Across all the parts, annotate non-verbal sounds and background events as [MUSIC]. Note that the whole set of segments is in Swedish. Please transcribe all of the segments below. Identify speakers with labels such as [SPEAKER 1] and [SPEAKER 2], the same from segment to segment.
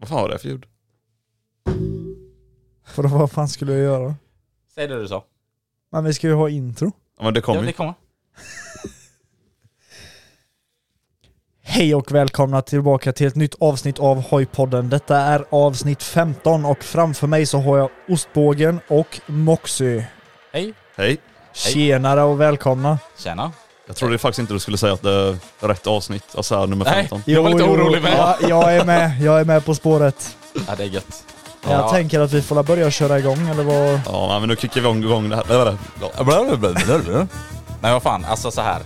[SPEAKER 1] Vad fan var det för ljud?
[SPEAKER 2] För då, vad fan skulle jag göra?
[SPEAKER 3] Säg det du sa.
[SPEAKER 2] Men vi ska ju ha intro.
[SPEAKER 1] Ja men det kom
[SPEAKER 3] Ja,
[SPEAKER 1] ju.
[SPEAKER 3] det kommer.
[SPEAKER 2] Hej och välkomna tillbaka till ett nytt avsnitt av Hojpodden. Detta är avsnitt 15 och framför mig så har jag Ostbågen och Moxie.
[SPEAKER 3] Hej.
[SPEAKER 1] Hej.
[SPEAKER 2] Tjenare och välkomna.
[SPEAKER 3] Tjena.
[SPEAKER 1] Jag trodde faktiskt inte du skulle säga att det är rätt avsnitt, alltså här, nummer
[SPEAKER 3] Nej.
[SPEAKER 1] 15.
[SPEAKER 3] Jag var lite orolig med.
[SPEAKER 2] Ja, jag är med. Jag är med på spåret.
[SPEAKER 3] Ja, det är gött.
[SPEAKER 2] Jag tänker att vi får väl börja köra igång eller vad?
[SPEAKER 1] Ja nej, men nu kickar vi igång- igång det här. Det var det.
[SPEAKER 3] Men vad fan, alltså så här.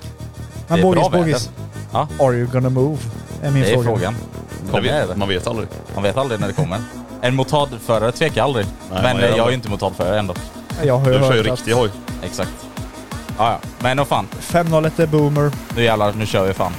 [SPEAKER 2] Men
[SPEAKER 3] är
[SPEAKER 2] Bogis,
[SPEAKER 3] bra
[SPEAKER 2] Bogis.
[SPEAKER 3] Ja.
[SPEAKER 2] Are you gonna move? Är min
[SPEAKER 3] Det är
[SPEAKER 2] fråga.
[SPEAKER 3] frågan.
[SPEAKER 1] Det
[SPEAKER 3] Kommer det?
[SPEAKER 1] vet, man vet aldrig.
[SPEAKER 3] Man vet aldrig när det kommer. En motardförare tvekar aldrig.
[SPEAKER 1] man
[SPEAKER 3] men
[SPEAKER 1] gör
[SPEAKER 3] eh, jag är
[SPEAKER 1] aldrig.
[SPEAKER 3] ju inte motardförare ändå.
[SPEAKER 2] Jag har
[SPEAKER 1] Du
[SPEAKER 2] ju
[SPEAKER 1] kör ju
[SPEAKER 2] hört att
[SPEAKER 1] riktig hoj.
[SPEAKER 3] Exakt. Ja, ja. Men vad fan.
[SPEAKER 2] 501 är boomer.
[SPEAKER 3] Nu jävlar, nu kör vi fan.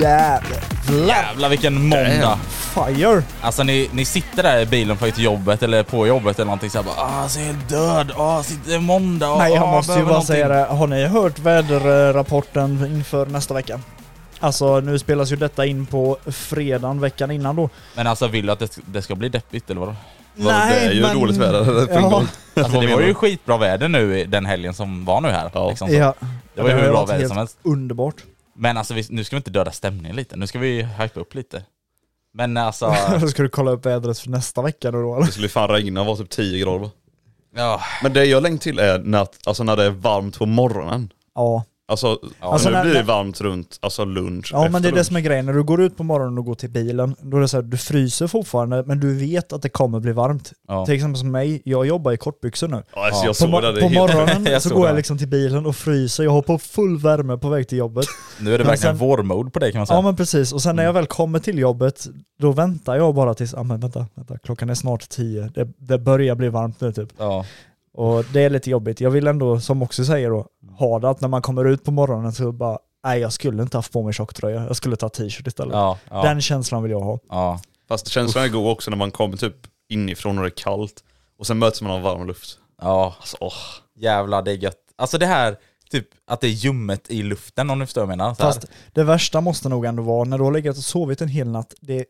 [SPEAKER 2] Jävlar.
[SPEAKER 3] Jävlar vilken måndag.
[SPEAKER 2] Fire.
[SPEAKER 3] Alltså ni, ni sitter där i bilen på väg till jobbet eller på jobbet eller någonting såhär bara ah, så är jag död, ah, sitter, det är måndag, ah,
[SPEAKER 2] Nej, jag
[SPEAKER 3] ah,
[SPEAKER 2] måste ju bara
[SPEAKER 3] behöver någonting."
[SPEAKER 2] säga det. Har ni hört väderrapporten inför nästa vecka? Alltså, nu spelas ju detta in på fredagen veckan innan då.
[SPEAKER 3] Men alltså vill du att det, det ska bli deppigt eller vadå?
[SPEAKER 1] det är ju dåligt väder. [LAUGHS] Det är
[SPEAKER 2] Ja,
[SPEAKER 1] pingpong.
[SPEAKER 3] Alltså det
[SPEAKER 1] menar
[SPEAKER 3] var ju
[SPEAKER 1] du?
[SPEAKER 3] skitbra väder nu i den helgen som var nu här.
[SPEAKER 1] Ja.
[SPEAKER 3] Liksom så.
[SPEAKER 2] ja.
[SPEAKER 3] Det var ju
[SPEAKER 2] har
[SPEAKER 3] hur bra
[SPEAKER 2] varit
[SPEAKER 3] väder
[SPEAKER 2] helt
[SPEAKER 3] som helst.
[SPEAKER 2] Underbart.
[SPEAKER 3] Men alltså vi, nu ska vi inte döda stämningen lite, nu ska vi hypa upp lite.
[SPEAKER 2] [LAUGHS]
[SPEAKER 3] Men alltså,
[SPEAKER 2] Ska du kolla upp vädret för nästa vecka nu då eller?
[SPEAKER 1] Det skulle ju fan regna och vara typ 10 grader bara.
[SPEAKER 3] ja,
[SPEAKER 1] Men det jag längtar till är när, alltså när det är varmt på morgonen.
[SPEAKER 2] Ja.
[SPEAKER 1] Alltså,
[SPEAKER 2] Alltså
[SPEAKER 1] nu
[SPEAKER 2] när-
[SPEAKER 1] blir det
[SPEAKER 2] när-
[SPEAKER 1] varmt runt alltså lunch,
[SPEAKER 2] Ja men det är
[SPEAKER 1] efter
[SPEAKER 2] det som är
[SPEAKER 1] lunch.
[SPEAKER 2] grejen, när du går ut på morgonen och går till bilen, då är det så här, du fryser fortfarande men du vet att det kommer bli varmt.
[SPEAKER 3] Ja.
[SPEAKER 2] Till exempel som mig, jag jobbar i kortbyxor nu.
[SPEAKER 1] Ja, alltså, jag
[SPEAKER 2] På,
[SPEAKER 1] såg
[SPEAKER 2] mo-
[SPEAKER 1] det, det är
[SPEAKER 2] på
[SPEAKER 3] [LAUGHS]
[SPEAKER 1] helt-
[SPEAKER 2] morgonen
[SPEAKER 3] Jag
[SPEAKER 2] så
[SPEAKER 3] såg
[SPEAKER 2] går
[SPEAKER 3] det.
[SPEAKER 2] jag liksom till bilen och fryser, jag har på full värme på väg till
[SPEAKER 3] [LAUGHS]
[SPEAKER 2] jobbet.
[SPEAKER 3] nu är det
[SPEAKER 2] Men
[SPEAKER 3] verkligen
[SPEAKER 2] sen-
[SPEAKER 3] vårmode på dig kan man säga.
[SPEAKER 2] Ja men precis, och sen när jag
[SPEAKER 3] Mm.
[SPEAKER 2] väl kommer till jobbet, då väntar jag bara tills, ja men vänta, vänta, klockan är snart tio, det, det börjar bli varmt nu typ.
[SPEAKER 3] Ja.
[SPEAKER 2] Och det är lite jobbigt. Jag vill ändå, som också säger då, ha det att när man kommer ut på morgonen så bara, nej jag skulle inte haft på mig tjocktröja, jag skulle ta t-shirt istället.
[SPEAKER 3] Ja, ja,
[SPEAKER 2] Den känslan vill jag ha.
[SPEAKER 3] ja.
[SPEAKER 1] Fast känslan är god också när man kommer typ inifrån och det är kallt. Och sen möts man av varm luft.
[SPEAKER 3] ja.
[SPEAKER 1] Alltså åh.
[SPEAKER 3] Jävlar det är gött. Alltså det här, typ att det är ljummet i luften om du förstår vad jag menar. Så här.
[SPEAKER 2] Fast det värsta måste nog ändå vara när du har legat och sovit en hel natt, det är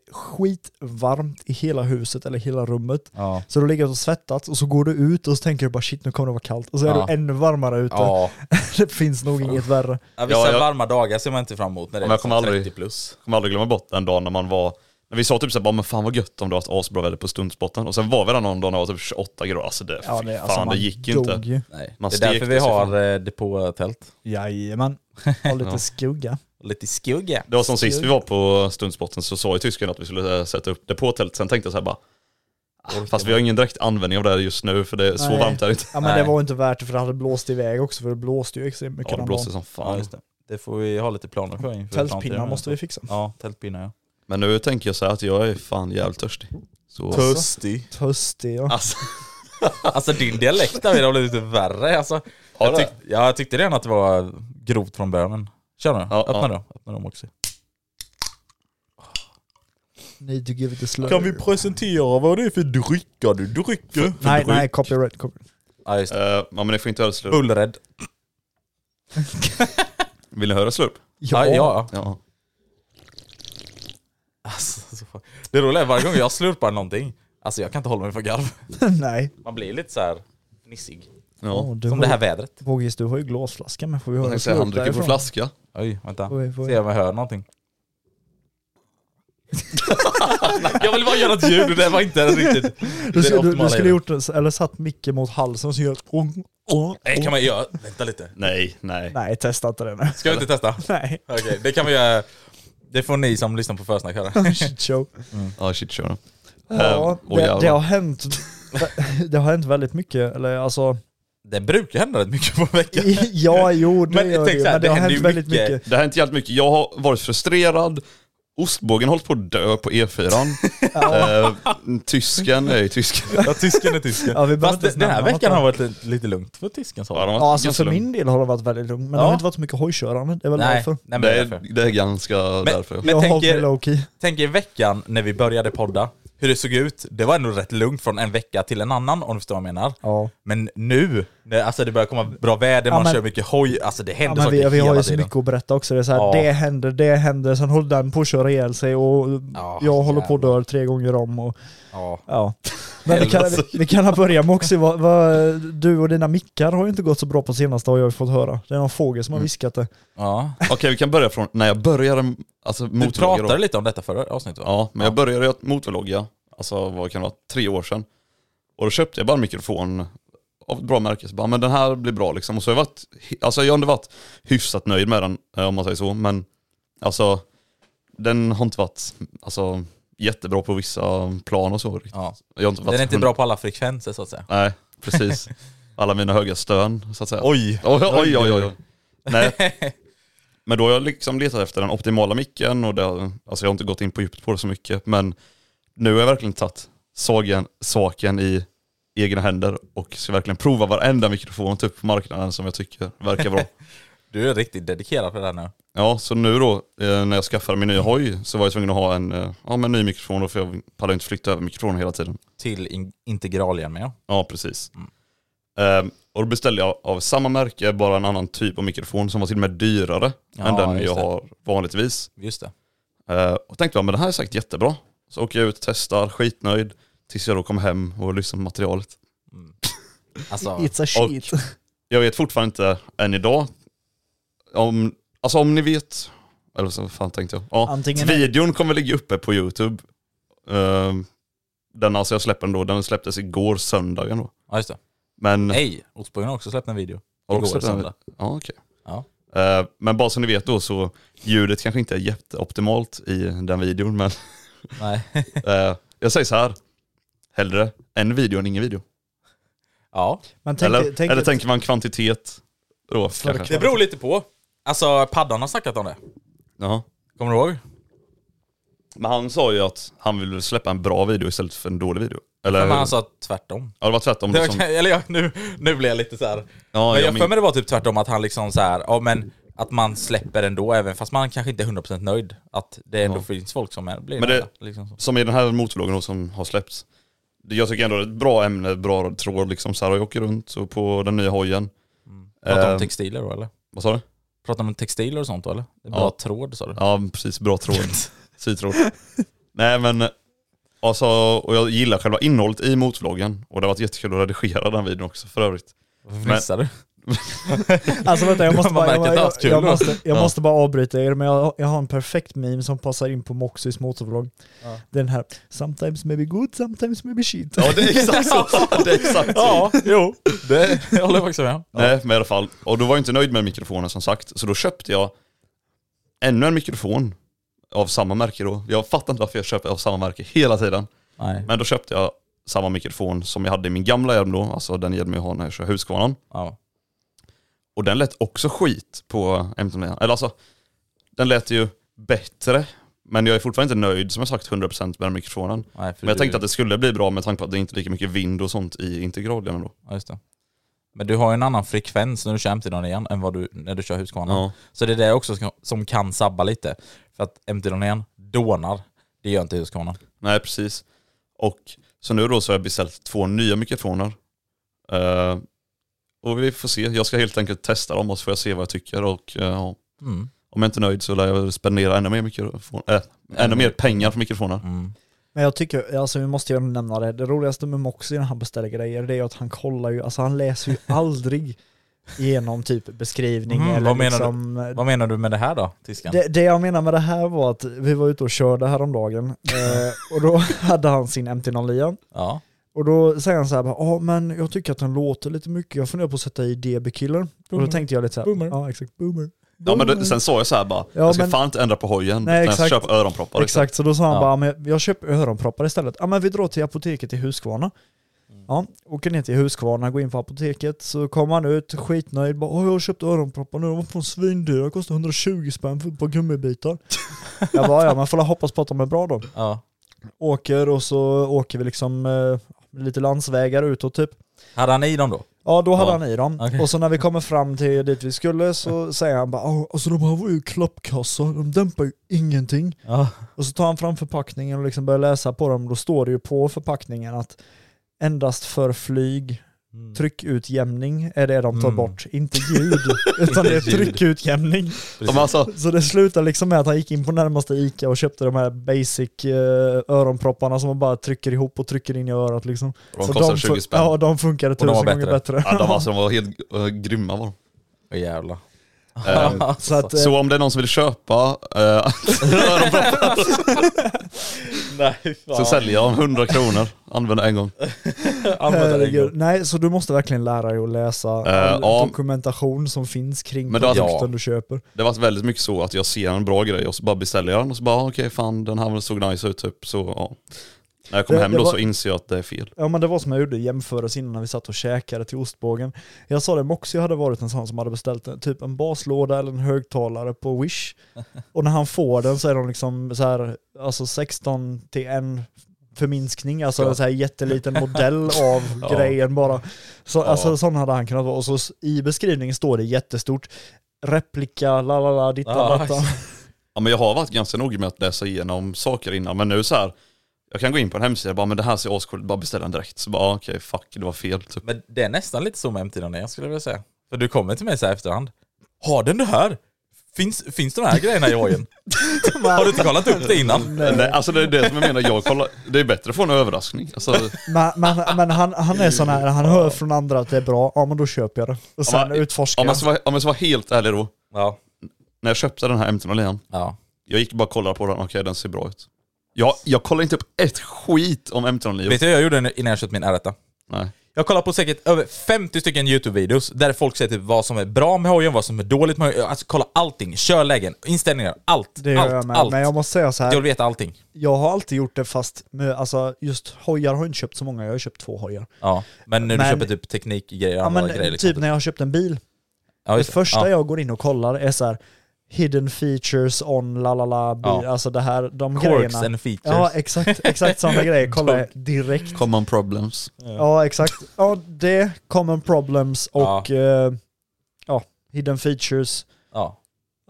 [SPEAKER 2] skitvarmt i hela huset eller hela rummet.
[SPEAKER 3] Ja.
[SPEAKER 2] Så du har legat och svettats och så går du ut och så tänker du bara shit nu kommer det vara kallt och så är
[SPEAKER 3] Ja.
[SPEAKER 2] du ännu varmare ute.
[SPEAKER 3] Ja.
[SPEAKER 2] [LAUGHS] det finns nog inget värre.
[SPEAKER 3] ja vissa
[SPEAKER 1] Ja, jag-
[SPEAKER 3] varma dagar ser man inte fram emot när det är
[SPEAKER 1] Men jag kommer
[SPEAKER 3] liksom
[SPEAKER 1] aldrig-
[SPEAKER 3] 30 plus.
[SPEAKER 1] kommer aldrig glömma bort den dagen när man var, när vi sa typ såhär, bara, men fan vad gött om du har haft asbra väder på stundsbotten. Och sen var vi där någon dag när det var typ 28 grader, alltså det,
[SPEAKER 2] Ja,
[SPEAKER 1] fy
[SPEAKER 2] det,
[SPEAKER 1] fan
[SPEAKER 2] alltså, man
[SPEAKER 1] det gick ju
[SPEAKER 2] dog
[SPEAKER 1] inte.
[SPEAKER 2] Ju.
[SPEAKER 3] Nej.
[SPEAKER 1] Man
[SPEAKER 3] det är därför
[SPEAKER 1] stekte
[SPEAKER 3] vi
[SPEAKER 1] sig
[SPEAKER 3] har
[SPEAKER 1] fan.
[SPEAKER 3] eh, depåtält.
[SPEAKER 2] Jajamän. Ha lite
[SPEAKER 1] Ja.
[SPEAKER 2] skugga.
[SPEAKER 3] Lite skugga.
[SPEAKER 1] Det var som sist vi var på stundsbotten så sa ju tysken att vi skulle eh, sätta upp det på tält. Sen tänkte jag såhär bara, Fast vi har ingen direkt användning av det här just nu för det är så
[SPEAKER 2] Nej.
[SPEAKER 1] varmt här
[SPEAKER 2] [LAUGHS]
[SPEAKER 1] inte.
[SPEAKER 2] Ja men
[SPEAKER 3] Nej.
[SPEAKER 2] det var inte värt det för det hade blåst iväg också för det blåste ju extremt mycket
[SPEAKER 1] Ja det
[SPEAKER 2] den
[SPEAKER 1] blåser
[SPEAKER 2] dagen.
[SPEAKER 1] som
[SPEAKER 3] Ja,
[SPEAKER 1] fan.
[SPEAKER 3] just det. Det får vi ha lite planer för inför
[SPEAKER 2] Tältpinnar
[SPEAKER 3] framtiden.
[SPEAKER 2] måste vi fixa.
[SPEAKER 3] Ja, tältpinnar ja.
[SPEAKER 1] Men nu tänker jag så här att jag är fan jävligt törstig. Så...
[SPEAKER 3] Törstig.
[SPEAKER 2] Törstig ja.
[SPEAKER 1] Alltså,
[SPEAKER 3] Alltså din dialekt David har blivit lite värre alltså.
[SPEAKER 1] Har
[SPEAKER 3] jag,
[SPEAKER 1] det?
[SPEAKER 3] tyck- ja, jag tyckte redan att det var grovt från början men kör nu.
[SPEAKER 1] Ja,
[SPEAKER 3] öppna
[SPEAKER 1] ja.
[SPEAKER 3] då. Öppna dem också.
[SPEAKER 2] Need to give it a slur.
[SPEAKER 3] presentera vad det är för drycker du dricker?
[SPEAKER 2] Nej nej, copyright. copyright. [LAUGHS]
[SPEAKER 3] Ja just det.
[SPEAKER 1] eh, ja men ni får inte höra slurp.
[SPEAKER 3] Bullrädd.
[SPEAKER 1] Vill ni höra slurp?
[SPEAKER 3] Ja. ja, ja.
[SPEAKER 1] Ja.
[SPEAKER 3] Alltså, så fan. det roliga är varje gång jag slurpar någonting, alltså jag kan inte hålla mig för garv.
[SPEAKER 2] nej.
[SPEAKER 3] Man blir lite så här nissig.
[SPEAKER 1] ja.
[SPEAKER 2] Åh, du
[SPEAKER 3] Som
[SPEAKER 2] har
[SPEAKER 3] det här
[SPEAKER 2] ju-
[SPEAKER 3] vädret.
[SPEAKER 2] Bogis, du har ju glasflaska men får vi
[SPEAKER 1] Jag
[SPEAKER 2] höra
[SPEAKER 1] tänkte säga han
[SPEAKER 2] slurp
[SPEAKER 1] dricker på
[SPEAKER 2] därifrån?
[SPEAKER 1] flaska.
[SPEAKER 3] Oj, vänta.
[SPEAKER 2] Oj, oj.
[SPEAKER 3] Se om jag hör någonting. [LAUGHS] jag vill bara göra ett ljud och det var inte riktigt det
[SPEAKER 2] Du,
[SPEAKER 3] är det
[SPEAKER 2] skulle- du,
[SPEAKER 3] optimala
[SPEAKER 2] du skulle
[SPEAKER 3] ljudet.
[SPEAKER 2] gjort, det- eller satt Micke mot halsen och så gör... Ong, ong,
[SPEAKER 3] Nej,
[SPEAKER 2] ong.
[SPEAKER 3] kan man göra? Vänta lite.
[SPEAKER 1] Nej, nej.
[SPEAKER 2] Nej, testa inte det nu. [LAUGHS]
[SPEAKER 3] Ska vi inte testa?
[SPEAKER 2] Nej.
[SPEAKER 3] [LAUGHS] Okej, det kan vi göra. Det får ni som lyssnar på försnack höra.
[SPEAKER 2] Shit
[SPEAKER 3] Ehm,
[SPEAKER 2] show.
[SPEAKER 1] Ja shit kör då.
[SPEAKER 2] Ja,
[SPEAKER 1] Ehm, åh,
[SPEAKER 2] det,
[SPEAKER 1] jävlar.
[SPEAKER 2] det har hänt... [LAUGHS] Det har hänt väldigt mycket, eller alltså...
[SPEAKER 3] [LAUGHS]
[SPEAKER 2] [LAUGHS]
[SPEAKER 3] Det brukar hända rätt mycket på veckan.
[SPEAKER 2] Ja, jo det
[SPEAKER 3] Men
[SPEAKER 2] gör det
[SPEAKER 3] tänk
[SPEAKER 2] ju,
[SPEAKER 3] så här,
[SPEAKER 2] men det,
[SPEAKER 3] det
[SPEAKER 2] har
[SPEAKER 3] händer
[SPEAKER 2] hänt
[SPEAKER 3] ju
[SPEAKER 2] väldigt mycket.
[SPEAKER 3] mycket.
[SPEAKER 1] Det har hänt jävligt mycket. Jag har varit frustrerad. Ostbågen håller på att dö på
[SPEAKER 2] [LAUGHS]
[SPEAKER 1] E4. Eh, tysken, nej tysken.
[SPEAKER 3] Ja, tysken är tysken.
[SPEAKER 2] Ja, vi behöver
[SPEAKER 3] Fast
[SPEAKER 2] inte
[SPEAKER 3] det-
[SPEAKER 2] ens
[SPEAKER 3] den här
[SPEAKER 2] nämna
[SPEAKER 3] veckan
[SPEAKER 2] något,
[SPEAKER 3] har varit lite, lite lugnt för tysken sa
[SPEAKER 1] Ja, de har
[SPEAKER 2] Ja,
[SPEAKER 1] ganska
[SPEAKER 2] alltså för
[SPEAKER 1] lugnt.
[SPEAKER 2] min del har det varit väldigt lugnt, men det
[SPEAKER 3] Ja.
[SPEAKER 2] har inte varit så mycket hojkörande. Det är väl
[SPEAKER 3] Nej,
[SPEAKER 2] därför.
[SPEAKER 3] nej men
[SPEAKER 1] det, är,
[SPEAKER 3] därför.
[SPEAKER 1] det är ganska därför.
[SPEAKER 3] men-
[SPEAKER 2] jag har
[SPEAKER 3] tänker-
[SPEAKER 2] hållit mig low key.
[SPEAKER 3] Tänk er veckan när vi började podda, hur det såg ut. Det var ändå rätt lugnt från en vecka till en annan om du förstår vad jag menar.
[SPEAKER 2] Ja.
[SPEAKER 3] Men nu, när, alltså det börjar komma bra väder,
[SPEAKER 2] Ja,
[SPEAKER 3] man
[SPEAKER 2] men-
[SPEAKER 3] kör mycket hoj, alltså det
[SPEAKER 2] Ja,
[SPEAKER 3] händer
[SPEAKER 2] men
[SPEAKER 3] saker
[SPEAKER 2] vi, vi har
[SPEAKER 3] hela
[SPEAKER 2] ju så
[SPEAKER 3] tiden.
[SPEAKER 2] mycket att berätta också. Det, är så här,
[SPEAKER 3] Ja.
[SPEAKER 2] det händer, det händer, sen håller den på att köra ihjäl sig och
[SPEAKER 3] Ja,
[SPEAKER 2] jag håller på att
[SPEAKER 3] jävlar.
[SPEAKER 2] dö tre gånger om. Och,
[SPEAKER 3] Ja.
[SPEAKER 2] ja. Men vi kan,
[SPEAKER 3] Helvete.
[SPEAKER 2] vi, vi kan börja med också, vad, vad, du och dina mickar har ju inte gått så bra på senaste har jag ju fått höra. Det är någon fågel
[SPEAKER 3] Mm.
[SPEAKER 2] som har viskat det.
[SPEAKER 3] ja.
[SPEAKER 1] Okej vi kan börja från när jag började alltså,
[SPEAKER 3] Du
[SPEAKER 1] motorlogga.
[SPEAKER 3] pratade
[SPEAKER 1] då.
[SPEAKER 3] lite om detta förra avsnittet va?
[SPEAKER 1] Ja, men jag började att motorlogga, alltså vad kan det vara, tre år sedan. Och då köpte jag bara en mikrofon av ett bra märke. Så bara, men den här blir bra liksom. Och så har jag varit, alltså jag har ändå varit hyfsat nöjd med den eh, om man säger så. Men alltså den har inte varit alltså, jättebra på vissa plan och så. riktigt.
[SPEAKER 3] Ja.
[SPEAKER 1] Jag har inte
[SPEAKER 3] Den
[SPEAKER 1] varit
[SPEAKER 3] är inte
[SPEAKER 1] hund-
[SPEAKER 3] bra på alla frekvenser så att säga.
[SPEAKER 1] Nej, [LAUGHS] precis. Alla mina höga stön, så att säga.
[SPEAKER 3] Oj!
[SPEAKER 1] Oj, oj, oj, oj. [LAUGHS] Nej. Men då har jag liksom letat efter den optimala micken och det, har- alltså jag har inte gått in på djupet på det så mycket. Men nu har jag verkligen tagit saken, saken i egna händer och ska verkligen prova varenda mikrofon typ på marknaden som jag tycker verkar [LAUGHS] bra.
[SPEAKER 3] Du är riktigt dedikerad för det här nu.
[SPEAKER 1] Ja, så nu då eh, när jag skaffade min nya hoj så var jag tvungen att ha en eh, ja, men ny mikrofon då, för jag pallar ju inte flytta över mikrofonen hela tiden.
[SPEAKER 3] Till in- integraljärn med.
[SPEAKER 1] Ja, precis. Ehm, och då beställde jag av samma märke, bara en annan typ av mikrofon som var till och med dyrare
[SPEAKER 3] Ja,
[SPEAKER 1] än den
[SPEAKER 3] just
[SPEAKER 1] jag
[SPEAKER 3] det.
[SPEAKER 1] har vanligtvis.
[SPEAKER 3] Just det.
[SPEAKER 1] Ehm, och tänkte jag, men det här är säkert jättebra. Så åker jag ut, testar, skitnöjd. Tills jag då kom hem och lyssnade på materialet.
[SPEAKER 3] Mm.
[SPEAKER 2] [LAUGHS]
[SPEAKER 3] Alltså,
[SPEAKER 2] It's a
[SPEAKER 1] Och-
[SPEAKER 2] shit.
[SPEAKER 1] Jag vet fortfarande inte än idag, om, alltså om ni vet, eller så fan tänkte jag. Ja,
[SPEAKER 2] Antingen-
[SPEAKER 1] videon kommer ligga uppe på YouTube. Ehm, den alltså jag släpper den då, den släpptes igår söndagen då.
[SPEAKER 3] ja just det.
[SPEAKER 1] Men...
[SPEAKER 3] Nej, Ostbågen har också släppt en video.
[SPEAKER 1] Har
[SPEAKER 3] Igår
[SPEAKER 1] också den-
[SPEAKER 3] söndag.
[SPEAKER 1] Ja, okej.
[SPEAKER 3] Ja.
[SPEAKER 1] Eh, Men bara som ni vet då så ljudet kanske inte är jätteoptimalt i den videon
[SPEAKER 3] [LAUGHS]
[SPEAKER 1] men
[SPEAKER 3] Nej. [LAUGHS]
[SPEAKER 1] eh, jag säger så här. Hellre en video än ingen video.
[SPEAKER 3] Ja.
[SPEAKER 2] Men tänk,
[SPEAKER 1] eller,
[SPEAKER 2] tänk,
[SPEAKER 1] eller tänker man kvantitet då kanske?
[SPEAKER 3] Det beror lite på. Alltså paddan har snackat om det.
[SPEAKER 1] Ja.
[SPEAKER 3] Kommer du ihåg?
[SPEAKER 1] Men han sa ju att han ville släppa en bra video istället för en dålig video. Eller
[SPEAKER 3] Men
[SPEAKER 1] hur?
[SPEAKER 3] han sa tvärtom.
[SPEAKER 1] Ja det var tvärtom.
[SPEAKER 3] Det var,
[SPEAKER 1] liksom.
[SPEAKER 3] Eller jag, nu, nu blir jag lite så här.
[SPEAKER 1] Ja,
[SPEAKER 3] men
[SPEAKER 1] jag
[SPEAKER 3] jag
[SPEAKER 1] min-
[SPEAKER 3] för mig det var typ tvärtom att han liksom så här, ja men att man släpper ändå även fast man kanske inte är 100% nöjd. Att det ändå finns folk som är, blir
[SPEAKER 1] Men det-
[SPEAKER 3] nöjda, liksom så.
[SPEAKER 1] Som i den här motorvloggen då som har släppts. Det- Jag tycker ändå det är ett bra ämne, bra tråd liksom. Så här, jag åker runt och på den nya hojen.
[SPEAKER 3] Mm. Pratar om
[SPEAKER 1] Ehm,
[SPEAKER 3] textiler då eller?
[SPEAKER 1] Vad sa du?
[SPEAKER 3] Pratar om textiler och sånt då eller? Det är Bra
[SPEAKER 1] Ja.
[SPEAKER 3] tråd sa du?
[SPEAKER 1] Ja precis, bra
[SPEAKER 3] [LAUGHS]
[SPEAKER 1] tråd. Sytråd. [LAUGHS] Nej men, alltså, och jag gillar själva innehållet i motvloggen. Och det har varit jättekul att redigera den videon också för övrigt.
[SPEAKER 3] Varför fnissar du?
[SPEAKER 2] Alltså vänta,
[SPEAKER 3] [LAUGHS]
[SPEAKER 2] jag
[SPEAKER 3] Då
[SPEAKER 2] måste
[SPEAKER 3] har man
[SPEAKER 2] bara, jag,
[SPEAKER 3] märkt att det har
[SPEAKER 2] jag,
[SPEAKER 3] varit kul
[SPEAKER 2] jag,
[SPEAKER 3] då.
[SPEAKER 2] måste, jag
[SPEAKER 1] Ja.
[SPEAKER 2] måste bara avbryta er, men jag, jag har en perfekt meme som passar in på Moxys motorvlogg. Den här, sometimes maybe good, sometimes maybe
[SPEAKER 1] [LAUGHS]
[SPEAKER 2] shit.
[SPEAKER 1] Ja det är exakt så. det är exakt så.
[SPEAKER 3] Ja, jo. Det jag håller jag faktiskt med om.
[SPEAKER 1] Nej men i alla fall, och då var jag inte nöjd med mikrofonen som sagt. Så då köpte jag ännu en mikrofon av samma märke då. Jag fattar inte varför jag köper av samma märke hela tiden.
[SPEAKER 3] Nej.
[SPEAKER 1] Men då köpte jag samma mikrofon som jag hade i min gamla hjälm då, alltså den hjälm jag har när jag kör Husqvarnan.
[SPEAKER 3] Ja.
[SPEAKER 1] Och den lät också skit på M10. Eller alltså, den lät ju bättre. Men jag är fortfarande inte nöjd som jag sagt 100% med den mikrofonen.
[SPEAKER 3] Nej, för
[SPEAKER 1] Men jag
[SPEAKER 3] du-
[SPEAKER 1] tänkte att det skulle bli bra med tanke på att det inte är lika mycket vind och sånt i integralen då.
[SPEAKER 3] Ja, just det. Men du har ju en annan frekvens när du kör MT-dagen igen än vad du, när du kör Husqvarna.
[SPEAKER 1] Ja.
[SPEAKER 3] Så det är det också som, som kan sabba lite. För att MT-dagen igen dånar. Det gör inte Husqvarna.
[SPEAKER 1] Nej precis. Och så nu då så har jag beställt två nya mikrofoner. Eh, och vi får se, jag ska helt enkelt testa dem och så får jag se vad jag tycker och eh, ja.
[SPEAKER 3] Mm.
[SPEAKER 1] om jag inte är nöjd så lär jag spendera ännu mer, mikrofon, äh, ännu mer pengar för mikrofoner.
[SPEAKER 3] Mm.
[SPEAKER 2] Men jag tycker, alltså vi måste ju ändå nämna det, det roligaste med Moxie när han beställer grejer det är ju att han kollar ju, alltså han läser ju
[SPEAKER 3] [LAUGHS]
[SPEAKER 2] aldrig igenom typ beskrivning
[SPEAKER 3] Mm,
[SPEAKER 2] eller
[SPEAKER 3] vad menar du?
[SPEAKER 2] liksom...
[SPEAKER 3] Vad menar du med det här då, Tiskan?
[SPEAKER 2] Det, det jag menar med det här var att vi var ute och körde
[SPEAKER 3] [LAUGHS]
[SPEAKER 2] häromdagen eh, och då hade han sin MT-09
[SPEAKER 3] Ja.
[SPEAKER 2] och då säger han så här, bara, ja men jag tycker att den låter lite mycket, jag funderar på att sätta i DB-killer. Och då
[SPEAKER 3] Boomer.
[SPEAKER 2] tänkte jag lite så här,
[SPEAKER 3] Boomer.
[SPEAKER 2] ja exakt, boomer.
[SPEAKER 1] Ja men det, sen sa jag så här bara, jag ska
[SPEAKER 2] men-
[SPEAKER 1] fan inte ändra på hojen,
[SPEAKER 2] Nej,
[SPEAKER 1] utan jag ska
[SPEAKER 2] exakt.
[SPEAKER 1] köpa öronproppar. liksom.
[SPEAKER 2] Exakt, så då sa han
[SPEAKER 3] Ja.
[SPEAKER 2] bara, men jag köper öronproppar istället. Ja men vi drar till apoteket i Huskvarna.
[SPEAKER 3] Mm.
[SPEAKER 2] Ja, åker ner till Huskvarna, går in på apoteket, så kommer han ut skitnöjd, bara "Åh, jag har köpt öronproppar nu, de var från svindyra, kostar 120 spänn för ett par
[SPEAKER 3] [LAUGHS]
[SPEAKER 2] gummibitar. jag bara, ja man får väl hoppas på att de är bra då.
[SPEAKER 3] ja.
[SPEAKER 2] Åker och så åker vi liksom eh, lite landsvägar utåt typ.
[SPEAKER 3] Hade han i dem då?
[SPEAKER 2] Ja då hade
[SPEAKER 3] Ja.
[SPEAKER 2] han i dem.
[SPEAKER 3] Okej.
[SPEAKER 2] Och så när vi kommer fram till dit vi skulle så säger han bara "Ja, alltså de här var ju klappkassar, de dämpar ju ingenting.
[SPEAKER 3] Ja.
[SPEAKER 2] Och så tar han fram förpackningen och liksom börjar läsa på dem. Då står det ju på förpackningen att endast för flyg,
[SPEAKER 3] Mm.
[SPEAKER 2] tryckutjämning är det de tar
[SPEAKER 3] Mm.
[SPEAKER 2] bort. Inte
[SPEAKER 3] [LAUGHS]
[SPEAKER 2] ljud, utan det är
[SPEAKER 3] Inte ljud.
[SPEAKER 2] tryckutjämning.
[SPEAKER 1] De, alltså,
[SPEAKER 2] Så det slutar liksom med att han gick in på närmaste Ica och köpte de här basic eh, öronpropparna som man bara trycker ihop och trycker in i örat liksom.
[SPEAKER 1] de
[SPEAKER 2] Så
[SPEAKER 1] kostar
[SPEAKER 2] fun-
[SPEAKER 1] 20 spänn.
[SPEAKER 2] Ja, de funkade
[SPEAKER 3] de var
[SPEAKER 2] tusen gånger
[SPEAKER 3] bättre.
[SPEAKER 2] bättre.
[SPEAKER 1] [LAUGHS] Ja, de, alltså, de var helt uh, grymma var de.
[SPEAKER 3] Åh jävlar.
[SPEAKER 1] Ehm,
[SPEAKER 2] Så att, eh,
[SPEAKER 1] Så om det är någon som vill köpa eh, [LAUGHS] öronproppar
[SPEAKER 3] Nej
[SPEAKER 1] så säljer jag dem 100 kronor, använd en gång.
[SPEAKER 2] herregud. Nej, så du måste verkligen lära dig att läsa all
[SPEAKER 1] Eh, ja.
[SPEAKER 2] dokumentation som finns kring
[SPEAKER 1] Men då-
[SPEAKER 2] produkten
[SPEAKER 3] Ja.
[SPEAKER 2] du köper.
[SPEAKER 1] Det har varit väldigt mycket så att jag ser en bra grej och så bara beställer jag den och så bara okej fan den här såg nice ut typ så ja. När jag kom
[SPEAKER 2] Det-
[SPEAKER 1] hem
[SPEAKER 2] det
[SPEAKER 1] då
[SPEAKER 2] var-
[SPEAKER 1] så inser jag att det är fel.
[SPEAKER 2] Ja men det var som jag gjorde i jämförelse innan när vi satt och käkade till ostbågen. Jag sa det, Moxie hade varit en sån som hade beställt en- typ en baslåda eller en högtalare på Wish. Och när han får den så är de liksom så här, alltså 16 till en förminskning, alltså
[SPEAKER 3] Ja.
[SPEAKER 2] en så här jätteliten
[SPEAKER 1] [LAUGHS]
[SPEAKER 2] modell av
[SPEAKER 1] Ja.
[SPEAKER 2] grejen bara. Så,
[SPEAKER 1] Ja.
[SPEAKER 2] Alltså sån hade han kunnat vara. Och så s- i beskrivningen står det jättestort, replika, la la la, ditta
[SPEAKER 1] Ah,
[SPEAKER 3] Ja,
[SPEAKER 2] datta.
[SPEAKER 1] Ja men jag har varit ganska noga med att läsa igenom saker innan men nu så här jag kan gå in på en hemsida och bara men det här ser ascoolt ut, bara beställa den direkt. Så bara okej fuck det var fel typ.
[SPEAKER 3] Men det är nästan lite så med MT-dagen igen skulle jag vilja säga. För du kommer till mig så här efterhand. Har den det här? Finns, finns de här grejerna
[SPEAKER 2] [LAUGHS]
[SPEAKER 3] i hojen? Har du inte kollat upp det innan?
[SPEAKER 1] Nej, alltså det är det som jag menar, jag kollar, det är bättre att få en överraskning. Alltså,
[SPEAKER 2] [LAUGHS] Men, men, men han, han är sån här, han hör från andra att det är bra, ja men då köper jag det. Och sen
[SPEAKER 1] men-
[SPEAKER 2] utforskar
[SPEAKER 1] om,
[SPEAKER 2] jag.
[SPEAKER 1] jag ska vara, om jag ska vara helt ärlig då,
[SPEAKER 3] Ja.
[SPEAKER 1] när jag köpte den här MT-09
[SPEAKER 3] Ja.
[SPEAKER 1] Jag gick bara och kollade på den, okej den ser bra ut. Jag, jag kollade inte upp ett skit om M109.
[SPEAKER 3] Vet du vad jag gjorde innan jag köpte min R1?
[SPEAKER 1] Nej.
[SPEAKER 3] Jag kollar på säkert över 50 stycken YouTube-videos där folk säger typ vad som är bra med hojen, vad som är dåligt med hojen. Alltså kolla allting, körlägen, inställningar, allt.
[SPEAKER 2] Det gör
[SPEAKER 3] allt,
[SPEAKER 2] jag med,
[SPEAKER 3] allt.
[SPEAKER 2] men jag måste säga så
[SPEAKER 3] jag
[SPEAKER 2] här.
[SPEAKER 3] vill veta allting.
[SPEAKER 2] jag har alltid gjort det fast med, alltså just hojar har jag inte köpt så många, jag har köpt två hojar.
[SPEAKER 3] Ja. Men när du
[SPEAKER 2] Men-
[SPEAKER 3] köper typ teknikgrejer och
[SPEAKER 2] Ja,
[SPEAKER 3] andra
[SPEAKER 2] men
[SPEAKER 3] grejer. liksom.
[SPEAKER 2] typ när jag har köpt en bil,
[SPEAKER 3] ja,
[SPEAKER 2] det
[SPEAKER 3] just
[SPEAKER 2] första
[SPEAKER 3] ja.
[SPEAKER 2] jag går in och kollar är så här hidden features on la la la, bil,
[SPEAKER 3] Ja.
[SPEAKER 2] alltså det här, de
[SPEAKER 3] Quirks
[SPEAKER 2] grejerna.
[SPEAKER 3] and features.
[SPEAKER 2] Ja exakt, exakt
[SPEAKER 3] [LAUGHS]
[SPEAKER 2] sådana grejer kollar jag direkt.
[SPEAKER 1] Common problems.
[SPEAKER 2] Ja exakt, ja det, common problems och ja, ja hidden features.
[SPEAKER 3] ja.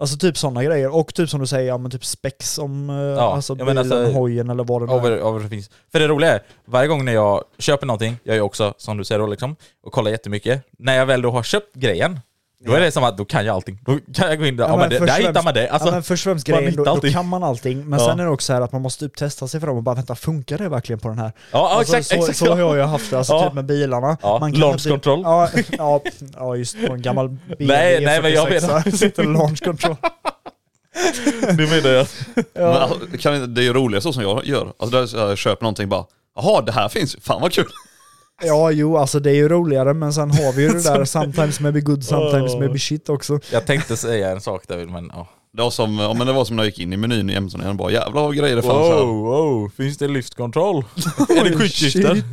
[SPEAKER 2] Alltså typ sådana grejer, och typ som du säger, ja men typ specs om eh, alltså bilen,
[SPEAKER 3] ja, men alltså-
[SPEAKER 2] hojen eller vad det nu
[SPEAKER 3] Av,
[SPEAKER 2] är.
[SPEAKER 3] av det finns. För det roliga är, varje gång när jag köper någonting, jag är också som du säger då liksom, och kollar jättemycket. När jag väl då har köpt grejen, då är det som att då kan jag allting. Då kan jag gå in där, ja, men det,
[SPEAKER 2] först
[SPEAKER 3] där
[SPEAKER 2] främst-
[SPEAKER 3] hittar man det. Alltså,
[SPEAKER 2] ja, men först och främst
[SPEAKER 3] man
[SPEAKER 2] grejen, då,
[SPEAKER 3] hittar
[SPEAKER 2] då
[SPEAKER 3] allting.
[SPEAKER 2] kan man allting, men
[SPEAKER 3] Ja.
[SPEAKER 2] sen är det också så här att man måste typ testa sig fram och bara vänta, funkar det verkligen på den här?
[SPEAKER 3] ja, ja,
[SPEAKER 2] alltså,
[SPEAKER 3] exakt,
[SPEAKER 2] så,
[SPEAKER 3] exakt.
[SPEAKER 2] så har jag ju haft det, alltså
[SPEAKER 3] Ja.
[SPEAKER 2] typ med bilarna.
[SPEAKER 3] Ja, launch control.
[SPEAKER 2] Ja, ja, ja, just på en gammal BMW
[SPEAKER 3] [LAUGHS] Nej, nej, men jag
[SPEAKER 2] 46,
[SPEAKER 3] menar-
[SPEAKER 2] så sitter launch
[SPEAKER 3] [LAUGHS]
[SPEAKER 2] control.
[SPEAKER 3] [LAUGHS] Du menar jag?
[SPEAKER 1] Men, alltså, kan, inte- det är ju roligare så som jag gör. Alltså där så här, jag köper någonting bara, jaha det här finns ju, fan vad kul.
[SPEAKER 2] Ja, jo, alltså det är ju roligare, men sen
[SPEAKER 3] [LAUGHS]
[SPEAKER 2] har vi ju det där sometimes maybe good, sometimes maybe shit också.
[SPEAKER 3] Jag tänkte säga en sak där men ja.
[SPEAKER 1] Det var som, ja, men det var som när jag gick in i menyn i Jämtland igen, bara jävlar vad grejer det fanns här.
[SPEAKER 3] Wow, wow, finns det lyftkontroll? är det quickshifter?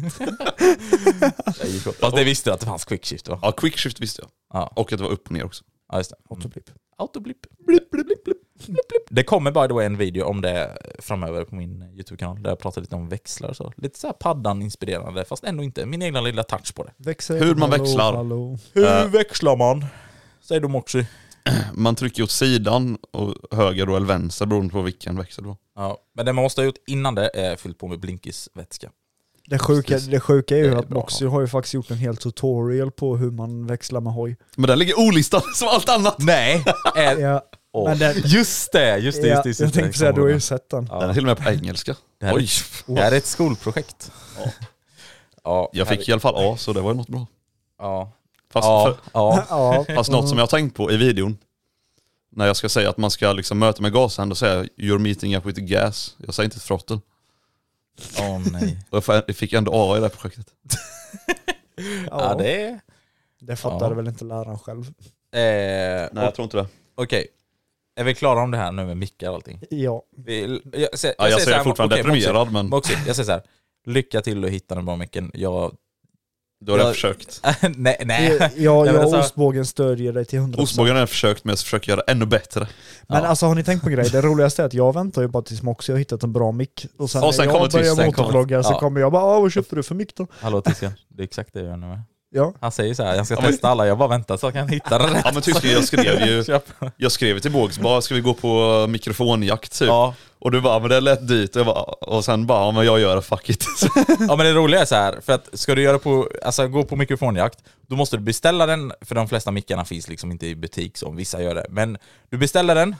[SPEAKER 3] [LAUGHS] Fast det visste jag att det fanns quickshift va?
[SPEAKER 1] Ja, quickshift visste jag.
[SPEAKER 3] Ja,
[SPEAKER 1] Och att det var upp och ner också.
[SPEAKER 3] ja just det.
[SPEAKER 2] Autoblip.
[SPEAKER 3] Autoblip. Blip, blip, blip, blip, blip, blip. Det kommer by the way en video om det framöver på min eh, YouTube-kanal där jag pratar lite om växlar och så. Lite så här paddan-inspirerande fast ändå inte. Min egna lilla touch på det. Eh,
[SPEAKER 2] Växer,
[SPEAKER 1] Hur man
[SPEAKER 2] hallå,
[SPEAKER 1] växlar.
[SPEAKER 2] Hallå.
[SPEAKER 3] Hur växlar man? Säger du Moxie.
[SPEAKER 1] Man trycker åt sidan, och höger då eller vänster beroende på vilken växel det var.
[SPEAKER 3] Ja, men det man måste ha gjort innan det är fyllt på med Blinkis-vätska.
[SPEAKER 2] Det sjuka,
[SPEAKER 1] Precis.
[SPEAKER 2] det sjuka är
[SPEAKER 3] Det
[SPEAKER 2] ju
[SPEAKER 3] är
[SPEAKER 2] att
[SPEAKER 3] bra.
[SPEAKER 2] Moxie har ju faktiskt gjort en hel tutorial på hur man växlar med hoj.
[SPEAKER 1] Men där ligger olistan [LAUGHS] som allt annat.
[SPEAKER 3] [LAUGHS] Nej! Är,
[SPEAKER 2] Ja,
[SPEAKER 3] Åh,
[SPEAKER 2] men den-
[SPEAKER 3] Just det, just det,
[SPEAKER 2] ja,
[SPEAKER 3] just det. Just det
[SPEAKER 2] jag tänkte säga, du har ju sett den.
[SPEAKER 3] Ja.
[SPEAKER 1] Den är till och med på engelska.
[SPEAKER 3] Det här,
[SPEAKER 1] Oj.
[SPEAKER 3] Är, det här är ett skolprojekt. Ja,
[SPEAKER 1] Jag fick i
[SPEAKER 3] ja.
[SPEAKER 1] alla fall A så det var ju något bra.
[SPEAKER 3] Ja,
[SPEAKER 1] Fast,
[SPEAKER 3] ja, ja.
[SPEAKER 2] Ja,
[SPEAKER 1] för, fast något som jag har tänkt på i videon, när jag ska säga att man ska liksom möta med gasen, då säger jag you're meeting up with the gas. Jag säger inte throttle. [LAUGHS]
[SPEAKER 3] Åh nej.
[SPEAKER 1] Och jag får- jag fick ändå A i det här projektet.
[SPEAKER 3] [LAUGHS] Ja,
[SPEAKER 2] det,
[SPEAKER 3] det är...
[SPEAKER 2] fattade
[SPEAKER 3] ja.
[SPEAKER 2] väl inte läraren själv.
[SPEAKER 3] Eh, och-
[SPEAKER 1] tror inte det.
[SPEAKER 3] Okej. Är vi klara om det här nu med mickar och allting?
[SPEAKER 2] Ja,
[SPEAKER 3] Vi, jag, jag,
[SPEAKER 1] Ja, jag, säger jag är fortfarande
[SPEAKER 3] okej, Moxie,
[SPEAKER 1] deprimerad men
[SPEAKER 3] Moxie, jag säger så här. Lycka till att hitta den bra micken. Jag... [LAUGHS]
[SPEAKER 1] då har jag
[SPEAKER 3] jag-
[SPEAKER 1] försökt.
[SPEAKER 3] nej, [LAUGHS] nej.
[SPEAKER 2] jag, jag,
[SPEAKER 3] men
[SPEAKER 2] jag
[SPEAKER 3] alltså-
[SPEAKER 2] och ostbågen stödjer dig till 100%.
[SPEAKER 1] Ostbågarna har jag försökt men jag försöker göra ännu bättre.
[SPEAKER 2] Men
[SPEAKER 3] Ja.
[SPEAKER 2] alltså har ni tänkt på en grej? Det roligaste är att jag väntar ju bara tills Moxie har hittat en bra mick. Och sen,
[SPEAKER 1] Och sen
[SPEAKER 2] när
[SPEAKER 1] kommer
[SPEAKER 2] jag börjar
[SPEAKER 1] twisten, kommer-
[SPEAKER 2] motorvlogga så
[SPEAKER 3] ja.
[SPEAKER 2] kommer jag bara "Ah, vad köpte du för mick då?”
[SPEAKER 3] Hallå tysken. Det är exakt det jag gör nu med.
[SPEAKER 2] Ja,
[SPEAKER 3] Han säger så här, jag ska
[SPEAKER 1] Ja, men-
[SPEAKER 3] testa alla, jag bara väntar så jag kan hitta den rätt.
[SPEAKER 1] Ja men tysken jag skrev ju,
[SPEAKER 3] Köp.
[SPEAKER 1] jag skrev ju till Bågs bara ska vi gå på mikrofonjakt typ?
[SPEAKER 3] Ja.
[SPEAKER 1] Och du bara men det lät dyrt och, jag bara, och sen bara ja, men jag gör det fuck it. [LAUGHS] Så-
[SPEAKER 3] ja men det roliga är så här, för att ska du göra på, alltså, gå på mikrofonjakt, då måste du beställa den, för de flesta mickarna finns liksom inte i butik som vissa gör det. Men du beställer den,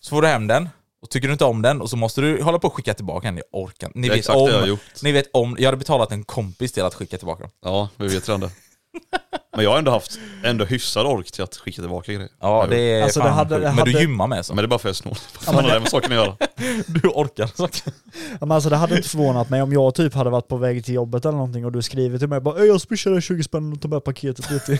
[SPEAKER 3] så får du hem den, och tycker du inte om den, och så måste du hålla på och skicka tillbaka den. Jag orkar inte.
[SPEAKER 1] Det
[SPEAKER 3] ni
[SPEAKER 1] är
[SPEAKER 3] vet,
[SPEAKER 1] exakt
[SPEAKER 3] om,
[SPEAKER 1] det jag har gjort.
[SPEAKER 3] ni vet om, jag hade betalat en kompis till att skicka tillbaka den.
[SPEAKER 1] Ja vi vet redan det. Men jag har ändå haft ändå hyfsad ork till att skicka tillbaka grejer.
[SPEAKER 3] Ja det är
[SPEAKER 2] Alltså,
[SPEAKER 3] fan
[SPEAKER 2] det hade-
[SPEAKER 3] sjukt.
[SPEAKER 2] det
[SPEAKER 3] Men du
[SPEAKER 2] hade-
[SPEAKER 3] gymmar med så.
[SPEAKER 1] Men det är bara för att jag är snål. [LAUGHS] Vad fan har det med saken att göra?
[SPEAKER 3] Du orkar saker.
[SPEAKER 2] Ja, men alltså det hade inte förvånat mig om jag typ hade varit på väg till jobbet eller någonting och du skriver till mig bara "Ey, “Jag swishar dig 20 spänn och tar med paketet dit till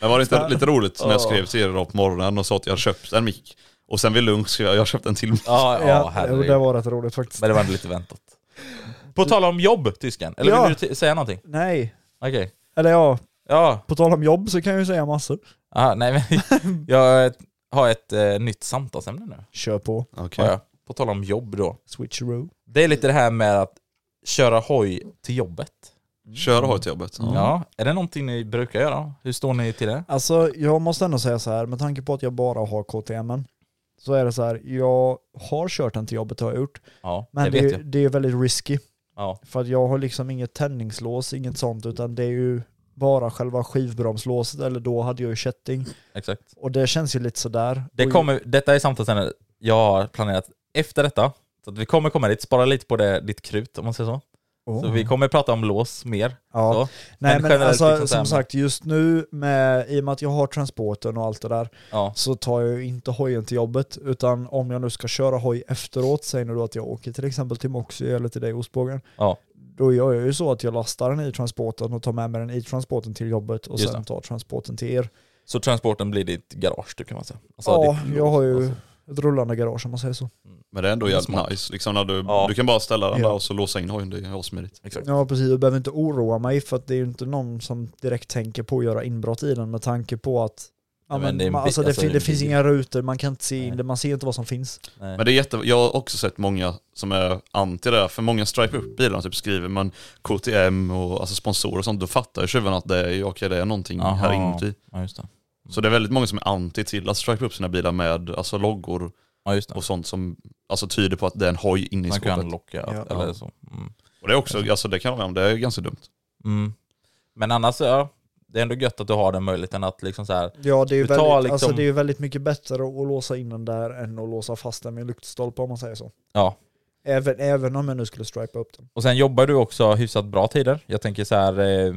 [SPEAKER 1] Men var det inte lite roligt när jag skrev till er idag på morgonen och sa att jag hade köpt en mick? Och sen vid lunch skrev jag jag har köpt en till mick.
[SPEAKER 3] Ja,
[SPEAKER 2] [LAUGHS]
[SPEAKER 3] ja,
[SPEAKER 2] Ja, jo,
[SPEAKER 3] herregud.
[SPEAKER 2] det var rätt roligt faktiskt.
[SPEAKER 3] Men det var ändå lite väntat. På tal om jobb, tysken. Eller
[SPEAKER 2] Ja.
[SPEAKER 3] vill du t- säga någonting?
[SPEAKER 2] Nej,
[SPEAKER 3] Okej.
[SPEAKER 2] eller ja,
[SPEAKER 3] Ja,
[SPEAKER 2] på tal om jobb så kan jag ju säga massor.
[SPEAKER 3] Aha, Ah, nej men [LAUGHS] jag har ett eh, nytt samtalsämne nu.
[SPEAKER 2] Kör på,
[SPEAKER 1] Okej.
[SPEAKER 3] Har jag. På tal om jobb då.
[SPEAKER 2] switcheroo.
[SPEAKER 3] Det är lite det här med att köra hoj till jobbet.
[SPEAKER 1] Kör och ha till jobbet.
[SPEAKER 2] Mm.
[SPEAKER 1] Ja.
[SPEAKER 3] Ja, är det någonting ni brukar göra? Hur står ni till det?
[SPEAKER 2] Alltså jag måste ändå säga så här, med tanke på att jag bara har KTM så är det så här, jag har kört den till jobbet har jag gjort,
[SPEAKER 3] Ja,
[SPEAKER 2] men
[SPEAKER 3] det
[SPEAKER 2] det,
[SPEAKER 3] vet
[SPEAKER 2] är-
[SPEAKER 3] jag.
[SPEAKER 2] det är väldigt risky.
[SPEAKER 3] Ja.
[SPEAKER 2] För att jag har liksom inget tändningslås, inget sånt, utan det är ju bara själva skivbromslåset, eller då hade jag ju kätting.
[SPEAKER 3] Exakt.
[SPEAKER 2] Och det känns ju lite sådär.
[SPEAKER 3] Det
[SPEAKER 2] Och-
[SPEAKER 3] kommer, detta är samtalsämne jag har planerat efter detta. Så att vi kommer komma dit, spara lite på det, ditt krut om man säger så.
[SPEAKER 2] Åh.
[SPEAKER 3] Så vi kommer prata om lås mer.
[SPEAKER 2] Oh. Ja.
[SPEAKER 3] Så.
[SPEAKER 2] Nej
[SPEAKER 3] Men
[SPEAKER 2] men
[SPEAKER 3] generellt
[SPEAKER 2] alltså
[SPEAKER 3] liksom så
[SPEAKER 2] som
[SPEAKER 3] här med-
[SPEAKER 2] sagt just nu med, i och med att jag har transporten och allt det där
[SPEAKER 3] Ja.
[SPEAKER 2] så tar jag ju inte hojen till jobbet utan om jag nu ska köra hoj efteråt, säg nu då att jag åker till exempel till Moxie eller till dig ostbågen,
[SPEAKER 3] Ja.
[SPEAKER 2] då gör jag ju så att jag lastar den i transporten och tar med mig den i transporten till jobbet och
[SPEAKER 3] Just
[SPEAKER 2] sen
[SPEAKER 3] det.
[SPEAKER 2] tar transporten till er.
[SPEAKER 3] Så transporten blir ditt garage då kan man säga. Alltså,
[SPEAKER 2] Ja,
[SPEAKER 3] ditt
[SPEAKER 2] jag har ju
[SPEAKER 3] alltså.
[SPEAKER 2] ett rullande garage om man säger så.
[SPEAKER 1] Men det är ändå jävligt
[SPEAKER 3] Smart.
[SPEAKER 1] nice. Liksom när du,
[SPEAKER 3] Ja.
[SPEAKER 1] du kan bara ställa den
[SPEAKER 2] Ja.
[SPEAKER 1] där och så låsa in hojen, det är assmidigt.
[SPEAKER 3] Exakt.
[SPEAKER 2] Ja precis, jag behöver inte oroa mig för att det är ju inte någon som direkt tänker på att göra inbrott i den med tanke på att Ja,
[SPEAKER 3] Nej,
[SPEAKER 2] men
[SPEAKER 3] men det är en
[SPEAKER 2] man-
[SPEAKER 3] bi-
[SPEAKER 2] alltså, det,
[SPEAKER 3] alltså,
[SPEAKER 2] fin-
[SPEAKER 3] det är
[SPEAKER 2] det
[SPEAKER 3] en
[SPEAKER 2] finns
[SPEAKER 3] bil.
[SPEAKER 2] inga rutor, man kan inte se in
[SPEAKER 3] Nej.
[SPEAKER 2] det, man ser inte vad som finns.
[SPEAKER 3] Nej.
[SPEAKER 1] Men det är jätte, jag har också sett många som är anti det där, för många stripar upp bilarna, typ skriver man KTM och alltså sponsorer och sånt, då fattar ju tjuvarna att det är, ju- okej, det är någonting här
[SPEAKER 3] Aha.
[SPEAKER 1] inuti.
[SPEAKER 3] Ja, just det.
[SPEAKER 1] Så det är väldigt många som är anti till att stripa upp sina bilar med alltså, loggor
[SPEAKER 3] Ja, just det.
[SPEAKER 1] och sånt som alltså, tyder på att det är en hoj inne i
[SPEAKER 3] Man
[SPEAKER 1] skåpet.
[SPEAKER 3] kan locka
[SPEAKER 2] Ja.
[SPEAKER 3] eller
[SPEAKER 1] Ja.
[SPEAKER 3] så. Mm.
[SPEAKER 1] Och det är också, alltså det kan vara, det är ganska dumt.
[SPEAKER 3] Mm. Men annars, ja, det är ändå gött att du har den möjligheten att liksom så här,
[SPEAKER 2] Ja det är ju
[SPEAKER 3] Du tar
[SPEAKER 2] väldigt,
[SPEAKER 3] liksom-
[SPEAKER 2] alltså, det är ju väldigt mycket bättre att låsa in den där än att låsa fast den med en lyktstolpe om man säger så.
[SPEAKER 3] ja.
[SPEAKER 2] Även, även om jag nu skulle stripa upp den.
[SPEAKER 3] Och sen jobbar du också hyfsat bra tider. Jag tänker så här, eh,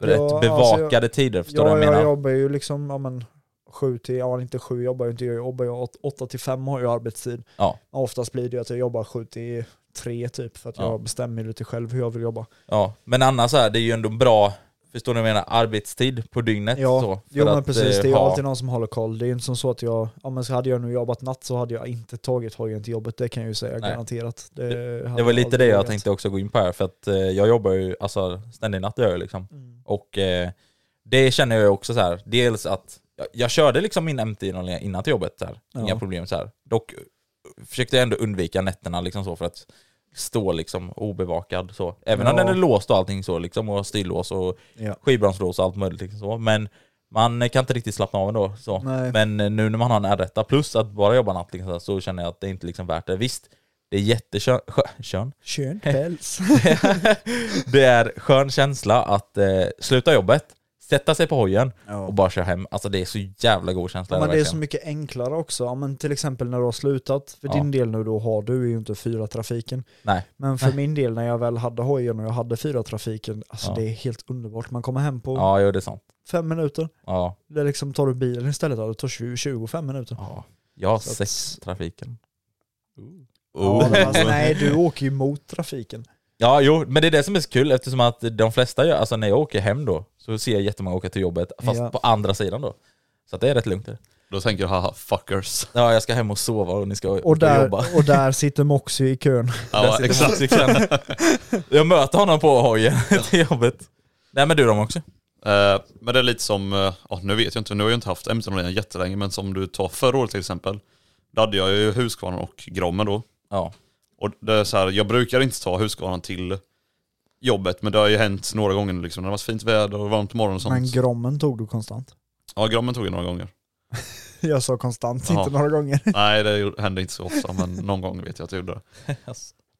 [SPEAKER 3] rätt
[SPEAKER 2] alltså,
[SPEAKER 3] bevakade tider, förstår du
[SPEAKER 2] Ja,
[SPEAKER 3] vad jag
[SPEAKER 2] jag
[SPEAKER 3] menar?
[SPEAKER 2] jobbar ju liksom, ja men sju till, ja inte sju jobbar jag inte, jag jobbar ju åt- åtta till fem har jag arbetstid.
[SPEAKER 3] Ja.
[SPEAKER 2] Oftast blir det ju att jag jobbar sju till tre typ för att
[SPEAKER 3] Ja.
[SPEAKER 2] jag bestämmer lite själv hur jag vill jobba.
[SPEAKER 3] Ja. Men annars så här, det är ju ändå bra Förstår ni vad jag menar? Arbetstid på dygnet.
[SPEAKER 2] Ja,
[SPEAKER 3] så,
[SPEAKER 2] jo
[SPEAKER 3] för
[SPEAKER 2] men
[SPEAKER 3] att,
[SPEAKER 2] precis.
[SPEAKER 3] eh,
[SPEAKER 2] Det är ju
[SPEAKER 3] ha-
[SPEAKER 2] alltid någon som håller koll. Det är ju inte som så att jag, ja men så hade jag nu jobbat natt så hade jag inte tagit hojen till jobbet. Det kan jag ju säga
[SPEAKER 3] Nej.
[SPEAKER 2] garanterat. Det, hade
[SPEAKER 3] Det var lite
[SPEAKER 2] aldrig
[SPEAKER 3] det jag
[SPEAKER 2] vågat.
[SPEAKER 3] tänkte också gå in på här, för att eh, jag jobbar ju alltså, ständig natt, det gör jag liksom.
[SPEAKER 2] Mm.
[SPEAKER 3] Och eh, det känner jag också så här, dels att jag, jag körde liksom min MT innan till jobbet, så här.
[SPEAKER 2] Ja.
[SPEAKER 3] inga problem så här. Dock eh, försökte jag ändå undvika nätterna liksom så för att stå liksom obevakad så. Även om
[SPEAKER 2] Ja.
[SPEAKER 3] den är låst och allting så liksom, och styllås och
[SPEAKER 2] Ja.
[SPEAKER 3] skivbromslås och allt möjligt liksom så. Men man kan inte riktigt slappna av ändå. Så.
[SPEAKER 2] Nej.
[SPEAKER 3] Men eh, nu när man har en R1 plus att bara jobba natt liksom, så här, så känner jag att det är inte liksom värt det. Visst, det är jätteskön skö- skön.
[SPEAKER 2] Schön [LAUGHS] päls.
[SPEAKER 3] det är skön känsla att eh, sluta jobbet, sätta sig på hojen och bara köra hem. Alltså det är så jävla god känsla.
[SPEAKER 2] Ja, men det är
[SPEAKER 3] verkligen.
[SPEAKER 2] så mycket enklare också. Ja, men till exempel när du har slutat, för
[SPEAKER 3] Ja.
[SPEAKER 2] din del nu då har du ju inte fyra trafiken.
[SPEAKER 3] Nej.
[SPEAKER 2] Men för min del när jag väl hade hojen och jag hade fyra trafiken, alltså
[SPEAKER 3] Ja.
[SPEAKER 2] det är helt underbart. Man kommer hem på
[SPEAKER 3] Ja, jo, det är sant.
[SPEAKER 2] fem minuter,
[SPEAKER 3] Ja,
[SPEAKER 2] det är liksom tar du bilen istället, ja, det tar 20, 25 minuter.
[SPEAKER 3] ja. Jag har
[SPEAKER 2] Så att-
[SPEAKER 3] sex trafiken. Oh.
[SPEAKER 2] Ja, men alltså, nej,
[SPEAKER 3] [LAUGHS]
[SPEAKER 2] du åker ju mot trafiken.
[SPEAKER 3] Ja, jo, men det är det som är så kul eftersom att de flesta gör, alltså när jag åker hem då, så ser jag jättemånga åka till jobbet, fast
[SPEAKER 2] Ja.
[SPEAKER 3] på andra sidan då. Så att det är rätt lugnt. det.
[SPEAKER 1] Då tänker jag haha fuckers.
[SPEAKER 3] Ja, jag ska hem och sova och ni ska
[SPEAKER 2] Och
[SPEAKER 3] ut och
[SPEAKER 2] där,
[SPEAKER 3] [LAUGHS] jobba.
[SPEAKER 2] och där sitter Moxie i kön.
[SPEAKER 1] Ja,
[SPEAKER 3] sitter
[SPEAKER 1] exakt.
[SPEAKER 3] Mats Wiklund.
[SPEAKER 2] [LAUGHS]
[SPEAKER 3] Jag möter honom på hojen [LAUGHS] till jobbet. Nej men du de också.
[SPEAKER 1] Eh, men det är lite som, eh, ja nu vet jag inte, nu har jag inte haft MC-nollningen jättelänge, men som du tar förra året till exempel. Då hade jag ju Husqvarna och Grommen då.
[SPEAKER 3] Ja.
[SPEAKER 1] Och det är så här, jag brukar inte ta Husqvarnan till jobbet, men det har ju hänt några gånger nu liksom. när Det var så fint väder och varmt på morgonen och sånt.
[SPEAKER 2] Men Grommen tog du konstant.
[SPEAKER 1] ja, Grommen tog jag några gånger.
[SPEAKER 2] Jag sa konstant,
[SPEAKER 1] Jaha.
[SPEAKER 2] inte några gånger.
[SPEAKER 1] Nej, det hände inte så ofta, men någon gång vet jag att jag gjorde det.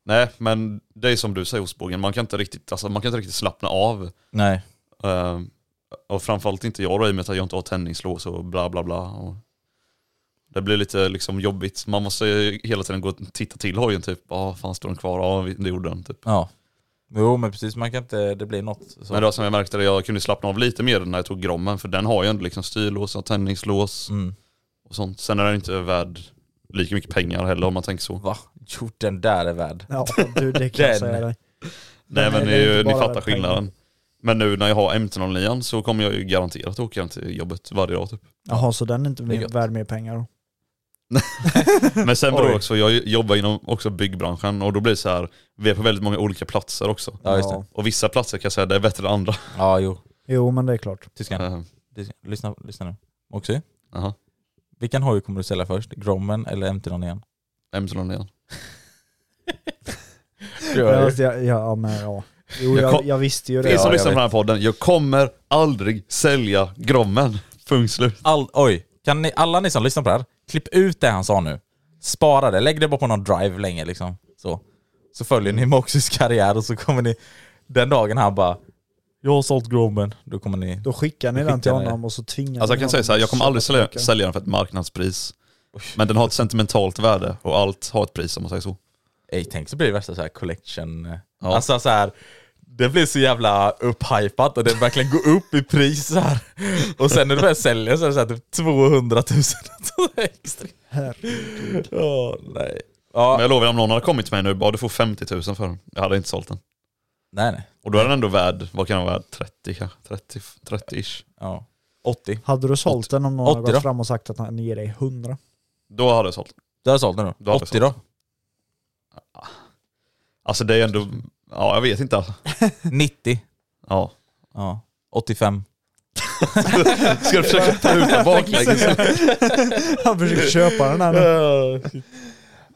[SPEAKER 1] Nej, men det är som du säger Ostbågen, man kan inte riktigt, alltså, man kan inte riktigt slappna av.
[SPEAKER 3] Nej.
[SPEAKER 1] Eh, och framförallt inte jag då, i och med att jag inte har tändningslås och bla bla bla. Och det blir lite liksom jobbigt. Man måste ju hela tiden gå och titta till hojen typ. Ja, fan står den kvar? Ja, vi- det gjorde den typ.
[SPEAKER 3] Ja. Jo men precis, man kan inte, det blir något. Så.
[SPEAKER 1] Men det var som jag märkte, det, jag kunde slappna av lite mer när jag tog Grommen, för den har ju ändå liksom styrlås och tändningslås
[SPEAKER 3] mm.
[SPEAKER 1] och sånt. Sen är den inte värd lika mycket pengar heller om man tänker så.
[SPEAKER 3] Va? Jo den där är värd.
[SPEAKER 2] Ja, du, det kan jag
[SPEAKER 3] Den.
[SPEAKER 2] säga dig.
[SPEAKER 1] Nej
[SPEAKER 2] Den
[SPEAKER 1] men
[SPEAKER 2] är-
[SPEAKER 1] ni,
[SPEAKER 2] den är [LAUGHS] inte
[SPEAKER 1] ni
[SPEAKER 2] bara
[SPEAKER 1] fattar
[SPEAKER 2] värd pengar.
[SPEAKER 1] skillnaden. Men nu när jag har MT-09 så kommer jag ju garanterat åka till jobbet varje dag typ.
[SPEAKER 2] Jaha, så den är inte
[SPEAKER 3] Det är gött.
[SPEAKER 2] värd mer pengar då?
[SPEAKER 1] Men sen beror
[SPEAKER 3] Oj.
[SPEAKER 1] det också, jag jobbar inom också byggbranschen och då blir det så här, vi är på väldigt många olika platser också.
[SPEAKER 3] Ja just det.
[SPEAKER 1] Och vissa platser kan jag säga det är bättre än andra.
[SPEAKER 3] Ja jo.
[SPEAKER 2] Jo, men det är klart.
[SPEAKER 3] Tyskan.
[SPEAKER 1] [LAUGHS] Eh,
[SPEAKER 3] Tyskan. Lyssna, lyssna nu. Också.
[SPEAKER 1] Jaha,
[SPEAKER 3] Vilken hoj kommer du sälja först? Grommen eller MT-någon igen?
[SPEAKER 1] MT-09.
[SPEAKER 2] Ja, fast Alltså, jag, ja, ja, men ja. Jo,
[SPEAKER 1] Jag
[SPEAKER 2] jag, jag,
[SPEAKER 1] kom-
[SPEAKER 2] visste ju
[SPEAKER 1] Ni
[SPEAKER 2] det.
[SPEAKER 1] som
[SPEAKER 3] jag
[SPEAKER 1] lyssnar på
[SPEAKER 3] vet.
[SPEAKER 1] den här podden, jag kommer aldrig sälja Grommen. [LAUGHS] Punkt slut.
[SPEAKER 3] All, oj, kan ni, alla ni som lyssnar på det här, klipp ut det han sa nu. Spara det, lägg det bara på någon drive länge liksom. Så, så följer ni Moxys karriär och så kommer ni den dagen han bara Jag har sålt Groben. Då kommer ni...
[SPEAKER 2] Då skickar ni
[SPEAKER 3] Då
[SPEAKER 2] den till
[SPEAKER 3] skickar ni-
[SPEAKER 2] honom och så tvingar
[SPEAKER 1] Alltså
[SPEAKER 2] ni
[SPEAKER 1] jag kan säga
[SPEAKER 2] honom
[SPEAKER 1] så här, jag kommer
[SPEAKER 2] att
[SPEAKER 1] aldrig
[SPEAKER 2] köpa
[SPEAKER 1] sälja,
[SPEAKER 2] tillbaka.
[SPEAKER 1] sälja den för ett marknadspris. Men den har ett sentimentalt värde och allt har ett pris om man säger så.
[SPEAKER 3] Ej, tänk så blir det värsta så här collection...
[SPEAKER 1] Ja.
[SPEAKER 3] Alltså så här. Det blir så jävla upphypat och det verkligen går upp i pris så här. Och sen när du väl säljer så är det så här typ 200 000 extra.
[SPEAKER 2] Herregud.
[SPEAKER 3] Åh nej. Ja,
[SPEAKER 1] Men jag lovar, om någon hade kommit till mig nu bara du får 50 000 för den. Jag hade inte sålt den.
[SPEAKER 3] nej nej.
[SPEAKER 1] Och då är den ändå värd, vad kan den vara värd? 30 kanske? 30, 30-ish.
[SPEAKER 3] Ja. 80.
[SPEAKER 2] Hade du sålt den om någon hade
[SPEAKER 3] 80
[SPEAKER 2] gått
[SPEAKER 3] då?
[SPEAKER 2] fram och sagt att han ger dig 100?
[SPEAKER 1] Då hade jag sålt.
[SPEAKER 3] Du har sålt den
[SPEAKER 1] Då
[SPEAKER 3] då?
[SPEAKER 1] har jag
[SPEAKER 3] 80 då?
[SPEAKER 1] Alltså det är ändå, ja jag vet inte.
[SPEAKER 3] 90.
[SPEAKER 1] Ja.
[SPEAKER 3] Ja. 85.
[SPEAKER 1] [LAUGHS] Ska du försöka ta ut den
[SPEAKER 3] [LAUGHS]
[SPEAKER 1] baklänges?
[SPEAKER 2] Han försöker köpa den här nu.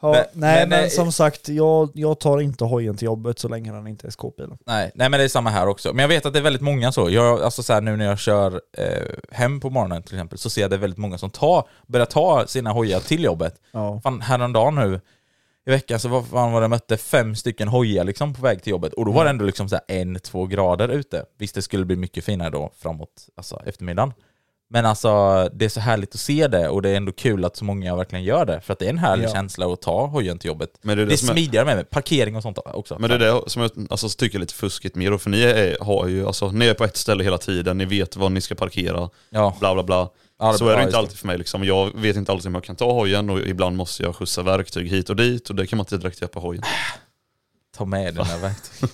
[SPEAKER 2] Ja,
[SPEAKER 3] Men-
[SPEAKER 2] nej,
[SPEAKER 3] men,
[SPEAKER 2] men,
[SPEAKER 3] eh,
[SPEAKER 2] som sagt, jag, jag tar inte hojen till jobbet så länge den inte är skåpbilen.
[SPEAKER 3] Nej, nej, men det är samma här också. Men jag vet att det är väldigt många så. Jag, alltså så här, nu när jag kör eh, hem på morgonen till exempel så ser jag att det är väldigt många som tar, börjar ta sina hojar till jobbet.
[SPEAKER 2] Ja.
[SPEAKER 3] Fan, häromdagen nu i veckan så var, fan var det jag mötte fem stycken hojar liksom på väg till jobbet och då var det
[SPEAKER 1] Mm.
[SPEAKER 3] ändå liksom så här en, två grader ute. Visst det skulle bli mycket finare då framåt alltså, eftermiddagen. Men alltså det är så härligt att se det och det är ändå kul att så många verkligen gör det för att det är en härlig
[SPEAKER 2] Ja.
[SPEAKER 3] känsla att ta hojen till jobbet.
[SPEAKER 1] Men det är det
[SPEAKER 3] det är
[SPEAKER 1] som är-
[SPEAKER 3] smidigare med, med parkering och sånt också.
[SPEAKER 1] Men det är det som jag alltså, tycker är lite fuskigt med er, för ni är, har ju, alltså, ni är på ett ställe hela tiden, ni vet var ni ska parkera,
[SPEAKER 3] Ja.
[SPEAKER 1] bla bla bla.
[SPEAKER 3] Ja, det-
[SPEAKER 1] så är
[SPEAKER 3] ja,
[SPEAKER 1] det
[SPEAKER 3] just
[SPEAKER 1] inte alltid för mig liksom. Jag vet inte alltid om jag kan ta hojen och ibland måste jag skjutsa verktyg hit och dit och det kan man inte direkt göra på hojen.
[SPEAKER 3] Ta med dina verktyg.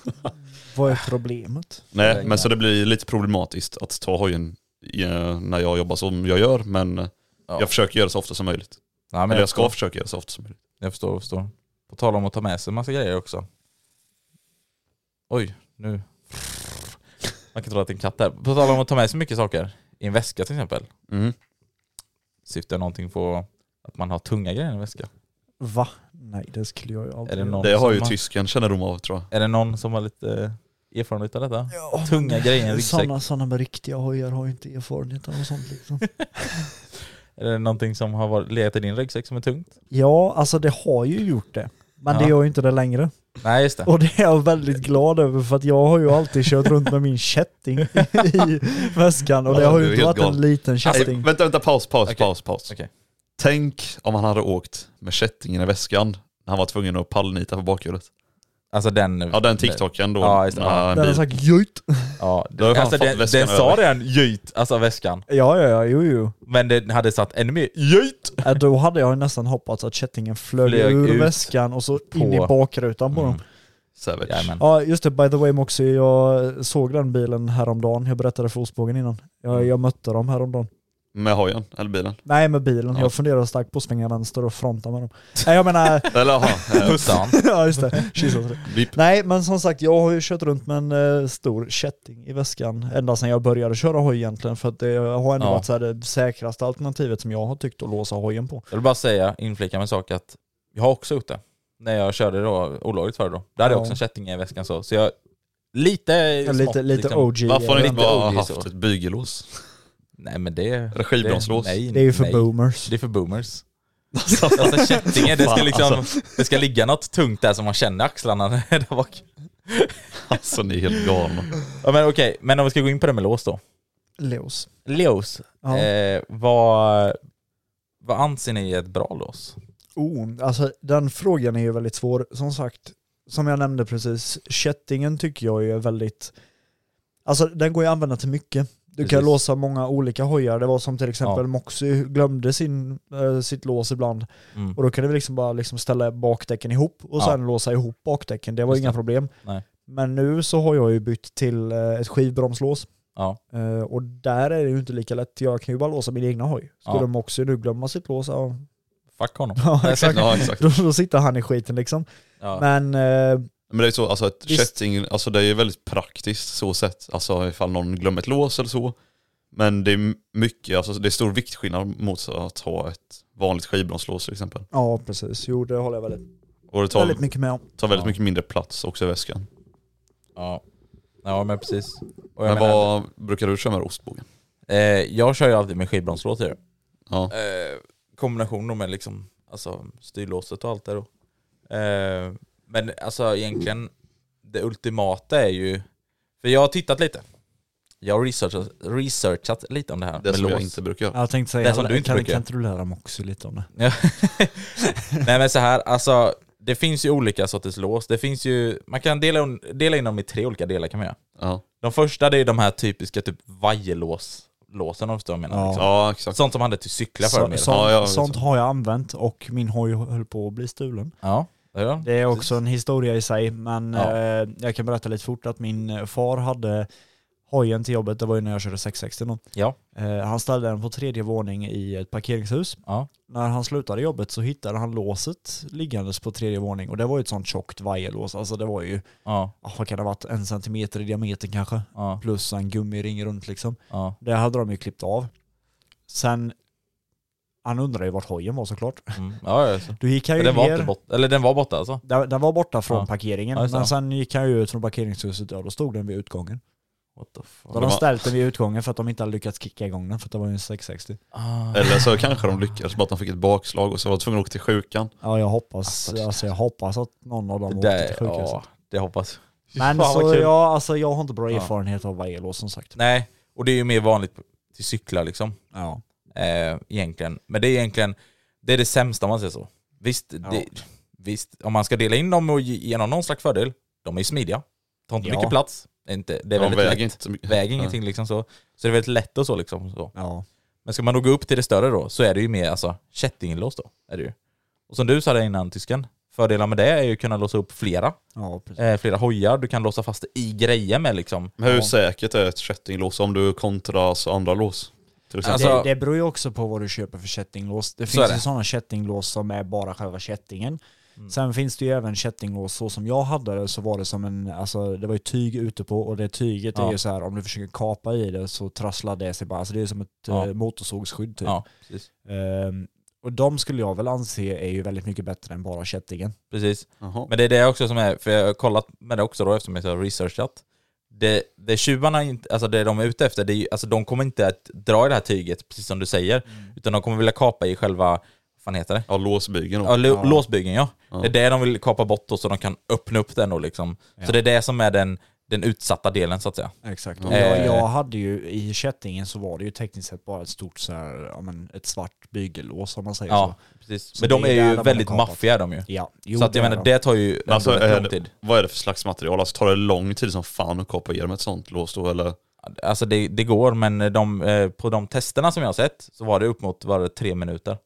[SPEAKER 2] Vad är problemet?
[SPEAKER 1] Nej, men så det blir lite problematiskt att ta hojen i, eh, när jag jobbar som jag gör, men eh,
[SPEAKER 3] Ja.
[SPEAKER 1] [LAUGHS] jag försöker göra så ofta som möjligt.
[SPEAKER 3] Nej, men
[SPEAKER 1] Eller jag
[SPEAKER 3] förstår.
[SPEAKER 1] ska försöka göra så ofta som möjligt.
[SPEAKER 3] Jag förstår, jag förstår. På tal om att ta med sig en massa grejer också. Oj, nu... Man kan tro att det är en katt där. På tal om att ta med sig mycket saker. I en väska till exempel.
[SPEAKER 1] Mm.
[SPEAKER 3] Syftar någonting på att man har tunga grejer i en väska?
[SPEAKER 2] Va? Nej det skulle jag ju aldrig
[SPEAKER 3] Är det
[SPEAKER 2] göra.
[SPEAKER 3] någon
[SPEAKER 1] Det har ju
[SPEAKER 3] som
[SPEAKER 1] tysken kännedom av tror jag.
[SPEAKER 3] Är det någon som har lite eh, erfarenhet av detta?
[SPEAKER 2] Ja,
[SPEAKER 3] Tunga
[SPEAKER 2] men
[SPEAKER 3] grejer i en ryggsäck.
[SPEAKER 2] Sådana, sådana med riktiga hojar har ju inte erfarenhet av sånt liksom.
[SPEAKER 3] Är det någonting som har varit- legat i din ryggsäck som är tungt?
[SPEAKER 2] ja, alltså det har ju gjort det. Men
[SPEAKER 3] Ja.
[SPEAKER 2] det gör ju inte det längre.
[SPEAKER 3] Nej just det.
[SPEAKER 2] Och det är jag väldigt glad över för att jag har ju alltid kört runt med min kätting i väskan och det
[SPEAKER 1] Ja,
[SPEAKER 2] har
[SPEAKER 1] du är
[SPEAKER 2] ju inte
[SPEAKER 1] helt
[SPEAKER 2] varit en
[SPEAKER 1] galen. Alltså,
[SPEAKER 2] liten
[SPEAKER 1] Nej,
[SPEAKER 2] kätting.
[SPEAKER 1] vänta, vänta, paus, paus,
[SPEAKER 3] Okej.
[SPEAKER 1] paus, paus.
[SPEAKER 3] Okej.
[SPEAKER 1] Tänk om han hade åkt med kättingen i väskan när han var tvungen att pallnita på bakhjulet.
[SPEAKER 3] Alltså den...
[SPEAKER 1] Ja den TikToken då.
[SPEAKER 3] Ja, just det.
[SPEAKER 1] när en
[SPEAKER 2] Där har
[SPEAKER 1] bil-
[SPEAKER 2] sagt jojt.
[SPEAKER 3] Ja,
[SPEAKER 1] Då har
[SPEAKER 3] den,
[SPEAKER 1] jag fan
[SPEAKER 3] alltså
[SPEAKER 1] fått
[SPEAKER 3] den,
[SPEAKER 1] väskan
[SPEAKER 3] den sa
[SPEAKER 1] över.
[SPEAKER 3] redan göjt, alltså väskan.
[SPEAKER 2] Ja, ja, ja, jo, jo.
[SPEAKER 3] Men den hade satt ännu mer göjt!
[SPEAKER 2] Äh, Då hade jag ju nästan hoppats att kättingen flög,
[SPEAKER 3] Flög
[SPEAKER 2] ur
[SPEAKER 3] ut.
[SPEAKER 2] väskan och så in
[SPEAKER 3] På.
[SPEAKER 2] i bakrutan på dem.
[SPEAKER 1] Mm. Savage.
[SPEAKER 3] Jajamän.
[SPEAKER 2] Ja just det, by the way Moxie, jag såg den bilen häromdagen. Jag berättade för Ostbågen innan.
[SPEAKER 1] Mm.
[SPEAKER 2] Jag, jag mötte dem häromdagen.
[SPEAKER 1] Med hojen, eller bilen.
[SPEAKER 2] Nej med bilen,
[SPEAKER 1] Ja.
[SPEAKER 2] jag funderar starkt på att svänga vänster och fronta med dem. Nej
[SPEAKER 1] [LAUGHS]
[SPEAKER 2] jag menar,
[SPEAKER 1] Eller
[SPEAKER 3] [LAUGHS]
[SPEAKER 1] aha, eh,
[SPEAKER 3] Pussade han.
[SPEAKER 2] ja just det, Jesus.
[SPEAKER 1] vipp.
[SPEAKER 3] Typ.
[SPEAKER 2] Nej men som sagt, jag har ju kört runt med en eh, stor kätting i väskan ända sedan jag började köra hoj egentligen. För att det har ändå
[SPEAKER 3] Ja.
[SPEAKER 2] varit så här, det säkraste alternativet som jag har tyckt att låsa hojen på.
[SPEAKER 3] Jag vill bara säga, inflika med en sak att jag har också gjort det. När jag körde då, olagligt för det då. Där hade jag
[SPEAKER 2] Ja.
[SPEAKER 3] också en kätting i väskan så. Så jag, lite
[SPEAKER 2] Ja,
[SPEAKER 3] smått,
[SPEAKER 2] lite lite
[SPEAKER 3] liksom.
[SPEAKER 2] OG.
[SPEAKER 1] Varför har ni inte
[SPEAKER 3] Lite
[SPEAKER 1] bara
[SPEAKER 3] OG
[SPEAKER 1] haft
[SPEAKER 3] så.
[SPEAKER 1] ett bygelås? [LAUGHS]
[SPEAKER 3] Nej men det...
[SPEAKER 1] Eller skivbromslås.
[SPEAKER 3] det- nej,
[SPEAKER 2] Det är ju för
[SPEAKER 3] nej.
[SPEAKER 2] boomers.
[SPEAKER 3] Det är för boomers. Alltså kättingen, det ska
[SPEAKER 1] Fan,
[SPEAKER 3] liksom...
[SPEAKER 1] alltså.
[SPEAKER 3] Det ska ligga något tungt där som man känner axlarna [LAUGHS] där bak.
[SPEAKER 1] Alltså ni är helt
[SPEAKER 2] [LAUGHS]
[SPEAKER 1] galna.
[SPEAKER 3] Ja, men okej, men om vi ska gå in på det med lås då.
[SPEAKER 2] Leos.
[SPEAKER 3] Lås.
[SPEAKER 2] Ja.
[SPEAKER 3] Eh, vad, vad anser ni är ett bra lås?
[SPEAKER 2] Oh, alltså den frågan är ju väldigt svår. Som sagt, som jag nämnde precis, kättingen tycker jag ju är väldigt... Alltså den går ju att använda till mycket. Du kan
[SPEAKER 3] Precis.
[SPEAKER 2] låsa många olika hojar. Det var som till exempel
[SPEAKER 3] Ja.
[SPEAKER 2] Moxie glömde sin, eh, sitt lås ibland.
[SPEAKER 3] Mm.
[SPEAKER 2] Och då kunde vi liksom bara liksom ställa bakdäcken ihop och
[SPEAKER 3] Ja.
[SPEAKER 2] sen låsa ihop bakdäcken. Det var
[SPEAKER 3] Just
[SPEAKER 2] inga
[SPEAKER 3] det.
[SPEAKER 2] problem.
[SPEAKER 3] Nej.
[SPEAKER 2] Men nu så har jag ju bytt till eh, ett skivbromslås.
[SPEAKER 3] Ja.
[SPEAKER 2] Eh, och där är det ju inte lika lätt. Jag kan ju bara låsa min egna hoj. Skulle
[SPEAKER 3] Ja.
[SPEAKER 2] Moxie nu glömma sitt lås, ja,
[SPEAKER 3] Fuck honom.
[SPEAKER 2] Ja,
[SPEAKER 3] Nej,
[SPEAKER 2] exakt.
[SPEAKER 1] Ja exakt.
[SPEAKER 2] då, då sitter han i skiten liksom.
[SPEAKER 3] Ja.
[SPEAKER 2] Men eh,
[SPEAKER 1] Men det är så, alltså ett
[SPEAKER 2] Visst.
[SPEAKER 1] kätting, alltså det är väldigt praktiskt så sett. Alltså ifall någon glömmer ett lås eller så. Men det är mycket, alltså det är stor viktskillnad mot att ha ett vanligt skivbromslås till exempel.
[SPEAKER 2] ja, precis. Jo, det håller jag väldigt,
[SPEAKER 1] Och det tar
[SPEAKER 2] väldigt
[SPEAKER 1] väldigt,
[SPEAKER 2] mycket med om.
[SPEAKER 1] tar väldigt
[SPEAKER 3] Ja.
[SPEAKER 1] mycket mindre plats också i väskan.
[SPEAKER 3] Ja. ja, men precis. Och jag,
[SPEAKER 1] Men
[SPEAKER 3] menar,
[SPEAKER 1] vad brukar du köra med ostbågen?
[SPEAKER 3] eh, jag kör ju alltid med skivbromslås ju.
[SPEAKER 1] Ja.
[SPEAKER 3] Eh, kombination då med liksom, alltså, styrlåset och allt det då. Eh, men alltså egentligen, det ultimata är ju... För jag har tittat lite. Jag har researchat, researchat lite om det här
[SPEAKER 1] Det
[SPEAKER 3] med
[SPEAKER 1] som jag
[SPEAKER 3] lås. [LAUGHS]
[SPEAKER 1] inte brukar göra.
[SPEAKER 2] Jag tänkte säga,
[SPEAKER 3] Det som du inte
[SPEAKER 2] kan,
[SPEAKER 3] brukar.
[SPEAKER 2] kan inte du lära Moxie lite om det?
[SPEAKER 3] Ja. Nej men så här, alltså det finns ju olika sorters lås. Det finns ju, man kan dela, un- dela in dem i tre olika delar kan man göra.
[SPEAKER 1] Ja,
[SPEAKER 3] De första det är de här typiska typ vajerlås, låsen om du förstår vad jag menar.
[SPEAKER 2] Ja.
[SPEAKER 3] Liksom.
[SPEAKER 1] ja exakt.
[SPEAKER 3] Sånt som man hade till cyklar förr
[SPEAKER 2] Så,
[SPEAKER 3] med.
[SPEAKER 2] sånt,
[SPEAKER 1] Ja, ja, visst.
[SPEAKER 2] sånt har jag använt och min hoj höll på att bli stulen.
[SPEAKER 3] Ja, det är de.
[SPEAKER 2] Det är också en historia i sig, men
[SPEAKER 3] Ja.
[SPEAKER 2] eh, jag kan berätta lite fort att min eh, far hade hojen till jobbet, det var ju när jag körde 660 då.
[SPEAKER 3] Ja.
[SPEAKER 2] Eh, han ställde den på tredje våning i ett parkeringshus.
[SPEAKER 3] Ja.
[SPEAKER 2] När han slutade jobbet så hittade han låset liggandes på tredje våning och det var ju ett sånt tjockt vajerlås, alltså det var ju
[SPEAKER 3] Ja,
[SPEAKER 2] ah, vad kan det ha varit, en centimeter i diameter kanske.
[SPEAKER 3] ja,
[SPEAKER 2] Plus en gummiring runt liksom.
[SPEAKER 3] ja.
[SPEAKER 2] Det hade de ju klippt av. Sen, han undrar ju vart hojen var såklart. [LAUGHS]
[SPEAKER 3] Mm. ja, ja så.
[SPEAKER 2] Då gick han
[SPEAKER 3] Men
[SPEAKER 2] ju
[SPEAKER 3] den, var
[SPEAKER 2] ner.
[SPEAKER 3] inte borta, eller den var borta alltså?
[SPEAKER 2] den, den var borta från
[SPEAKER 3] Ja.
[SPEAKER 2] parkeringen.
[SPEAKER 3] Ja, just det.
[SPEAKER 2] men sen gick han ju ut från parkeringshuset och då stod den vid utgången.
[SPEAKER 3] What the
[SPEAKER 2] Då
[SPEAKER 3] fuck?
[SPEAKER 2] hade de ställt den vid utgången för att de inte hade lyckats kicka igång den för att det var ju en 660.
[SPEAKER 3] Ah.
[SPEAKER 1] Eller så kanske de lyckades bara att de fick ett bakslag och så var de tvungna att åka till sjukan.
[SPEAKER 2] Ja jag hoppas,
[SPEAKER 3] Alltså, det-
[SPEAKER 2] alltså, jag hoppas att någon av dem
[SPEAKER 3] Det, alltså.
[SPEAKER 2] åkte
[SPEAKER 3] där,
[SPEAKER 2] till sjukhuset.
[SPEAKER 3] ja, det hoppas
[SPEAKER 2] Men
[SPEAKER 3] [LAUGHS] Fan, vad
[SPEAKER 2] så
[SPEAKER 3] kul.
[SPEAKER 2] jag, alltså, jag har inte bra
[SPEAKER 3] Ja.
[SPEAKER 2] erfarenhet av vajerlås som sagt.
[SPEAKER 3] Nej, och det är ju mer vanligt till cyklar liksom.
[SPEAKER 2] Ja.
[SPEAKER 3] eh, egentligen. Men det är egentligen det, är det sämsta om man säger så. Visst, det, visst, om man ska dela in dem och ge ge dem någon slags fördel, de är ju smidiga. Tar inte
[SPEAKER 2] Ja.
[SPEAKER 3] mycket plats. Det är, inte, det
[SPEAKER 1] De
[SPEAKER 3] är väldigt
[SPEAKER 1] väger
[SPEAKER 3] lätt.
[SPEAKER 1] inte så mycket.
[SPEAKER 3] Väger ingenting liksom så. Så det är väldigt lätt och så liksom. Så.
[SPEAKER 2] Ja.
[SPEAKER 3] Men ska man då gå upp till det större då, så är det ju mer alltså kättinglås då. Är det ju. Och som du sa där innan tysken, Fördelar med det är ju att kunna låsa upp flera,
[SPEAKER 4] Ja, precis.
[SPEAKER 3] eh, flera hojar. Du kan låsa fast det i grejer med liksom.
[SPEAKER 1] Men hur
[SPEAKER 3] Ja.
[SPEAKER 1] säkert är ett kättinglås om du kontrar alltså andra lås? Till exempel.
[SPEAKER 3] Alltså-
[SPEAKER 2] det, det beror ju också på vad du köper för kättinglås. Det
[SPEAKER 3] Så
[SPEAKER 2] finns
[SPEAKER 3] är
[SPEAKER 2] ju
[SPEAKER 3] det. Mm.
[SPEAKER 2] sådana kättinglås som är bara själva kättingen. Sen finns det ju även kättinglås, så som jag hade det så var det som en, alltså det var ju tyg ute på och det tyget
[SPEAKER 3] Ja.
[SPEAKER 2] är ju så här om du försöker kapa i det så trasslar det sig bara, alltså det är som ett
[SPEAKER 3] Ja.
[SPEAKER 2] eh, motorsågsskydd typ.
[SPEAKER 3] Ja, precis.
[SPEAKER 2] Ehm, och de skulle jag väl anse är ju väldigt mycket bättre än bara kättingen.
[SPEAKER 3] precis.
[SPEAKER 1] Jaha.
[SPEAKER 3] Men det är det också som är, för jag har kollat med det också då eftersom jag har researchat. Det, det tjuvarna, inte- alltså det de är ute efter, det är, ju- alltså de kommer inte att dra i det här tyget, precis som du säger, utan de kommer vilja kapa i själva, vad fan heter det?
[SPEAKER 1] Ja, låsbyggen
[SPEAKER 3] Ja,
[SPEAKER 1] då.
[SPEAKER 3] lo- låsbyggen ja. Det är det de vill kapa bort då, så de kan öppna upp den då liksom. Så det är det som är den, den utsatta delen så att säga.
[SPEAKER 2] Exakt.
[SPEAKER 3] Eh.
[SPEAKER 2] Jag, jag hade ju, i kättingen så var det ju tekniskt sett bara ett stort så här, ja, men ett svart bygellås om man säger
[SPEAKER 3] Ja,
[SPEAKER 2] så.
[SPEAKER 3] precis.
[SPEAKER 2] Så
[SPEAKER 3] Men de
[SPEAKER 2] det
[SPEAKER 3] är
[SPEAKER 2] är där de
[SPEAKER 3] ju
[SPEAKER 2] har
[SPEAKER 3] väldigt
[SPEAKER 2] kapat.
[SPEAKER 3] maffiga de ju.
[SPEAKER 2] Ja, jo,
[SPEAKER 3] så att jag
[SPEAKER 2] det är
[SPEAKER 3] menar,
[SPEAKER 2] de.
[SPEAKER 3] det tar ju ändå
[SPEAKER 1] Alltså,
[SPEAKER 3] rätt
[SPEAKER 1] är
[SPEAKER 3] lång tid.
[SPEAKER 1] det, vad är det för slags material? Alltså, tar det lång tid som fan att kapa igenom ett sånt lås då eller?
[SPEAKER 3] Alltså det, det går, men de, eh, på de testerna som jag har sett så var det upp mot var det tre minuter.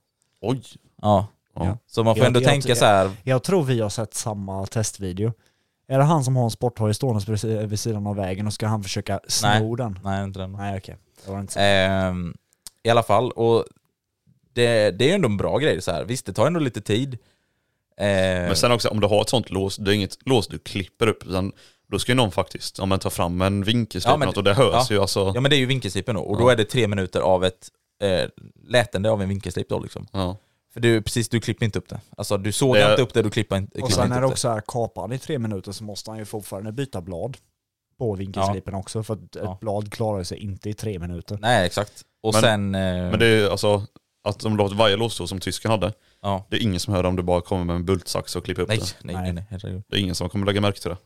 [SPEAKER 1] Oj!
[SPEAKER 3] Ja.
[SPEAKER 1] Ja.
[SPEAKER 3] Så man får
[SPEAKER 2] Jag-
[SPEAKER 3] ändå
[SPEAKER 2] jag-
[SPEAKER 3] tänka så här.
[SPEAKER 2] Jag tror vi har sett samma testvideo. Är det han som har en sporthoj stående precis vid sidan av vägen och ska han försöka sno den?
[SPEAKER 3] Nej, inte den.
[SPEAKER 2] Nej okej, det var inte så.
[SPEAKER 3] Ehm, I alla fall, och det, det är ju ändå en bra grej så här. Visst, det tar ändå lite tid. Ehm,
[SPEAKER 1] Men sen också om du har ett sånt lås, det är inget lås du klipper upp utan då ska ju någon faktiskt, om man tar fram en vinkelslip
[SPEAKER 3] Ja,
[SPEAKER 1] ja,
[SPEAKER 3] men-
[SPEAKER 1] något och det hörs
[SPEAKER 3] ja.
[SPEAKER 1] ju alltså.
[SPEAKER 3] Ja men det är ju vinkelslipet då, och då
[SPEAKER 1] Ja.
[SPEAKER 3] är det tre minuter av ett eh, lätande av en vinkelslip då liksom.
[SPEAKER 1] Ja.
[SPEAKER 3] För du, precis, du klipper inte upp det. Alltså du sågar
[SPEAKER 1] Det-
[SPEAKER 3] inte upp det, du klipper inte,
[SPEAKER 2] Och
[SPEAKER 3] klipper
[SPEAKER 2] sen
[SPEAKER 3] inte
[SPEAKER 2] är det
[SPEAKER 3] upp
[SPEAKER 2] också här, kapar han i tre minuter så måste han ju fortfarande byta blad på vinkelslipen också för att ett
[SPEAKER 3] Ja.
[SPEAKER 2] blad klarar sig inte i tre minuter.
[SPEAKER 3] det. Nej exakt. Och
[SPEAKER 1] Men-
[SPEAKER 3] sen... Eh,
[SPEAKER 1] Men det är ju, alltså, att de låter varje lås då, som tysken hade,
[SPEAKER 3] ja.
[SPEAKER 1] det är ingen som hör om du bara kommer med en bultsax och klipper upp
[SPEAKER 3] nej,
[SPEAKER 1] det.
[SPEAKER 3] nej, nej, nej, herregud.
[SPEAKER 1] Det är ingen som kommer lägga märke till det.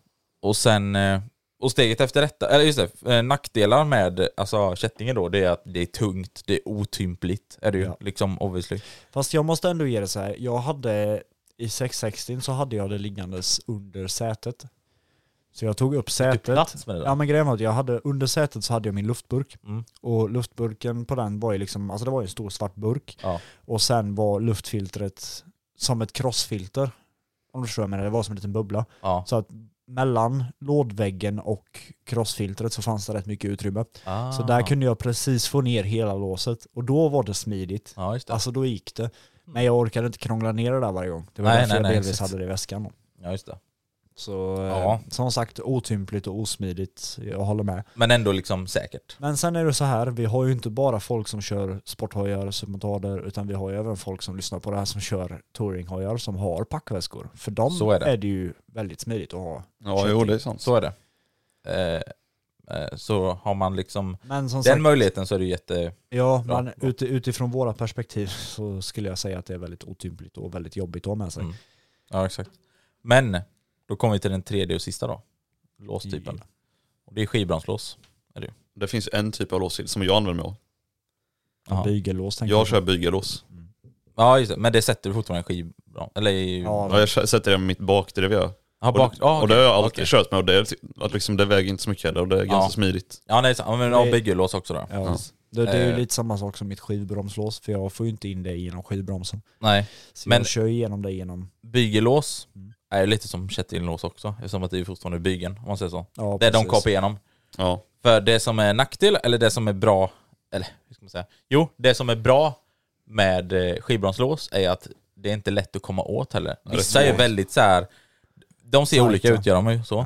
[SPEAKER 3] Och sen... Eh, och steget efter detta, eller just det, eh, nackdelar med alltså, kättingen då, det är att det är tungt, det är otympligt, är det ju.
[SPEAKER 2] Ja.
[SPEAKER 3] Liksom obviously.
[SPEAKER 2] Fast jag måste ändå ge det så här. Jag hade i 660 så hade jag det liggandes under sätet. Så jag tog upp
[SPEAKER 3] Du
[SPEAKER 2] sätet.
[SPEAKER 3] plats med det
[SPEAKER 2] Ja
[SPEAKER 3] där.
[SPEAKER 2] men grejen var att jag hade, under sätet så hade jag min luftburk.
[SPEAKER 3] Typ. Mm.
[SPEAKER 2] Och luftburken på den var ju liksom, alltså det var ju en stor svart burk.
[SPEAKER 3] Ja.
[SPEAKER 2] Och sen var luftfiltret som ett krossfilter. Om du förstår vad jag menar, det var som en liten bubbla.
[SPEAKER 3] Ja.
[SPEAKER 2] Så att mellan lådväggen och krossfiltret så fanns det rätt mycket utrymme.
[SPEAKER 3] Ah.
[SPEAKER 2] Så där kunde jag precis få ner hela låset. Och då var det smidigt.
[SPEAKER 3] Ja just det. Mm.
[SPEAKER 2] Alltså då gick det. Men jag orkade inte krångla ner det där varje gång. Det var
[SPEAKER 3] Nej,
[SPEAKER 2] därför
[SPEAKER 3] nej,
[SPEAKER 2] jag
[SPEAKER 3] nej,
[SPEAKER 2] delvis
[SPEAKER 3] exakt.
[SPEAKER 2] hade det i väskan. då.
[SPEAKER 3] Ja, just det.
[SPEAKER 2] Så eh,
[SPEAKER 3] Ja.
[SPEAKER 2] som sagt, otympligt och osmidigt. Jag håller med.
[SPEAKER 3] Men ändå liksom säkert.
[SPEAKER 2] Men sen är det så här, vi har ju inte bara folk som kör sporthojar, submotader, utan vi har ju även folk som lyssnar på det här som kör touringhojar som har packväskor. För dem
[SPEAKER 3] Så är
[SPEAKER 2] är
[SPEAKER 3] det.
[SPEAKER 2] det, ju väldigt smidigt att ha.
[SPEAKER 1] Ja, jo det är sant.
[SPEAKER 3] Så är det. Eh, eh, så har man liksom
[SPEAKER 2] Men som
[SPEAKER 3] Den
[SPEAKER 2] sagt,
[SPEAKER 3] möjligheten så är det jätte...
[SPEAKER 2] ja,
[SPEAKER 3] Bra,
[SPEAKER 2] men
[SPEAKER 3] bra.
[SPEAKER 2] uti- utifrån våra perspektiv så skulle jag säga att det är väldigt otympligt och väldigt jobbigt att ha med sig.
[SPEAKER 3] Mm. Ja, exakt. Men då kommer vi till den tredje och sista då. Låstypen. Och det är skivbranslås.
[SPEAKER 1] Det finns en typ av lås till som jag använder mig av.
[SPEAKER 3] Jaha.
[SPEAKER 2] Bygellås tänker
[SPEAKER 1] Jag kör bygelås.
[SPEAKER 3] Ja, just det. Men det sätter du fortfarande i skivbran... Eller i...
[SPEAKER 2] Ja,
[SPEAKER 1] Ja, jag kö- sätter det med mitt bakdrev jag.
[SPEAKER 3] Ja, bak...
[SPEAKER 1] och,
[SPEAKER 3] ja,
[SPEAKER 1] och det har jag alltid
[SPEAKER 3] okej.
[SPEAKER 1] kört med och det, är ty- att liksom, det väger inte så mycket heller och det är ganska
[SPEAKER 3] Ja.
[SPEAKER 1] smidigt.
[SPEAKER 3] Ja, nej, ja, men ja, byggelås också då.
[SPEAKER 2] Ja. Det, det är ju
[SPEAKER 3] Eh.
[SPEAKER 2] lite samma sak som mitt skivbromslås, för jag får ju inte in det genom skivbromsen.
[SPEAKER 3] Nej.
[SPEAKER 2] Så
[SPEAKER 3] Men-
[SPEAKER 2] jag Mm. kör ju igenom det genom...
[SPEAKER 3] Bygellås är lite som kättinglås också. Eftersom att det är fortfarande bygeln, om man säger så.
[SPEAKER 2] Ja,
[SPEAKER 3] det är de
[SPEAKER 2] precis.
[SPEAKER 3] kapar igenom.
[SPEAKER 1] Ja.
[SPEAKER 3] För det som är nackdel, eller det som är bra, eller hur ska man säga? Jo, det som är bra med eh, skivbranslås är att det är inte lätt att komma åt heller. Vissa är
[SPEAKER 1] svårt.
[SPEAKER 3] väldigt så här. de ser olika
[SPEAKER 2] Tajta.
[SPEAKER 3] ut gör de ju så.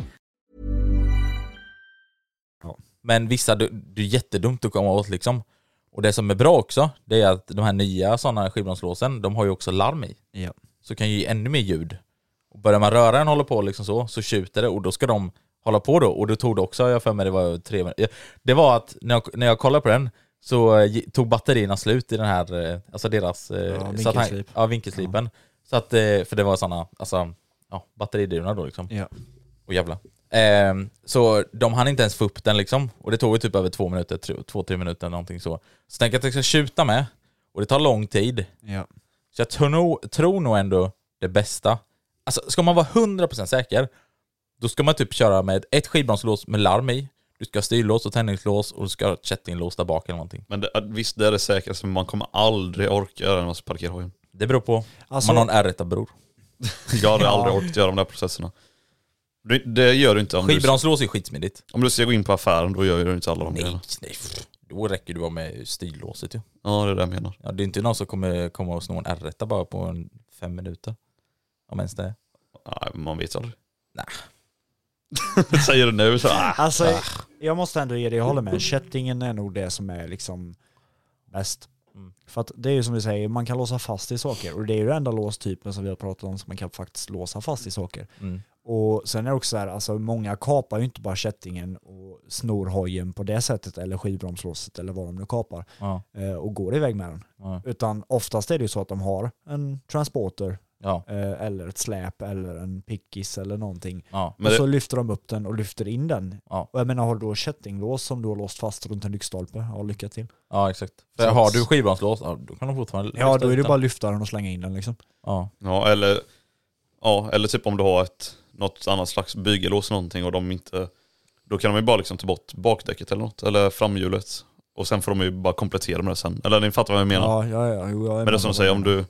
[SPEAKER 3] Men vissa, du- det är jättedumt att komma åt liksom. Och det som är bra också, det är att de här nya sådana skivbromslåsen, de har ju också larm i.
[SPEAKER 2] Ja.
[SPEAKER 3] Så kan ge ännu mer ljud. Och börjar man röra den håller på liksom så, så tjuter det och då ska de hålla på då. Och då tog det också, jag har för mig det var tre minuter. Det var att när jag, när jag kollade på den så eh, gi- tog batterierna slut i den här, eh, alltså deras... eh,
[SPEAKER 2] Ja,
[SPEAKER 3] så att han-
[SPEAKER 2] vinkelslip.
[SPEAKER 3] Ja, vinkelslipen. Så att, eh, för det var sådana, alltså, ja, batteridrivna då liksom.
[SPEAKER 2] Ja.
[SPEAKER 3] Och jävla. Ehm, så de hann inte ens få upp den liksom. Och det tog ju typ över två minuter, tr- två, tre minuter någonting så. Så tänk att jag ska tjuta med. Och det tar lång tid.
[SPEAKER 2] Ja.
[SPEAKER 3] Så jag tror nog, tror nog ändå det bästa. Alltså ska man vara 100% säker, då ska man typ köra med ett skivbromslås med larm i. Du ska ha styrlås och tändningslås och du ska ha ett kättinglås där bak eller någonting.
[SPEAKER 1] Men det, visst, det är det säkraste, men man kommer aldrig orka göra det när man ska parkera hojen.
[SPEAKER 3] Det beror på
[SPEAKER 2] Alltså-
[SPEAKER 3] om man har en R1 bror.
[SPEAKER 1] Jag hade aldrig orkat göra de där processerna. Det, det gör du inte om du,
[SPEAKER 3] Skivbromslås är skitsmidigt.
[SPEAKER 1] om du ska gå in på affären, då gör du inte alla de
[SPEAKER 3] Nej,
[SPEAKER 1] grejerna.
[SPEAKER 3] nej. pff. Då räcker det bara med styrlåset ju.
[SPEAKER 1] Ja, det är det jag menar.
[SPEAKER 3] Ja, det är inte någon som kommer komma och sno en R1 bara på en fem minuter. Om ens det.
[SPEAKER 1] Nej, man vet aldrig. [LAUGHS] Säger du nu så, ah.
[SPEAKER 2] Alltså, jag måste ändå ge dig, jag håller med. Kättingen är nog det som är liksom bäst.
[SPEAKER 3] Mm.
[SPEAKER 2] För att det är ju som du säger, man kan låsa fast i saker. Och det är ju den enda låstypen som vi har pratat om som man kan faktiskt låsa fast i saker.
[SPEAKER 3] Mm.
[SPEAKER 2] Och sen är det också så här, alltså många kapar ju inte bara kättingen och snor hojen på det sättet eller skivbromslåset eller vad de nu kapar
[SPEAKER 3] Ja,
[SPEAKER 2] eh, och går iväg med den.
[SPEAKER 3] ja,
[SPEAKER 2] Utan oftast är det ju så att de har en transporter
[SPEAKER 3] ja,
[SPEAKER 2] eh, eller ett släp eller en pickis eller någonting.
[SPEAKER 3] ja.
[SPEAKER 1] Men
[SPEAKER 2] och
[SPEAKER 1] det-
[SPEAKER 2] så lyfter de upp den och lyfter in den.
[SPEAKER 3] Ja.
[SPEAKER 2] Och jag menar, har du då kättinglås som du har låst fast runt en lyktstolpe, ja lycka till.
[SPEAKER 3] ja exakt. För har du skivbromslås, ja, då kan de fortfarande
[SPEAKER 2] Ja,
[SPEAKER 3] lyfta
[SPEAKER 2] då är
[SPEAKER 3] ut
[SPEAKER 2] det
[SPEAKER 3] den.
[SPEAKER 2] bara att lyfta den och slänga in den liksom.
[SPEAKER 3] Ja,
[SPEAKER 1] Ja, eller, ja, eller typ om du har ett, något annat slags bygelås eller någonting och de inte... Då kan de ju bara liksom ta bort bakdäcket eller något, eller framhjulet. Och sen får de ju bara komplettera med det sen. Eller ni fattar vad jag menar.
[SPEAKER 2] Ja, ja, ja. Jo, jag är
[SPEAKER 1] Men det
[SPEAKER 2] med
[SPEAKER 1] är som
[SPEAKER 2] på
[SPEAKER 1] du säger, om du...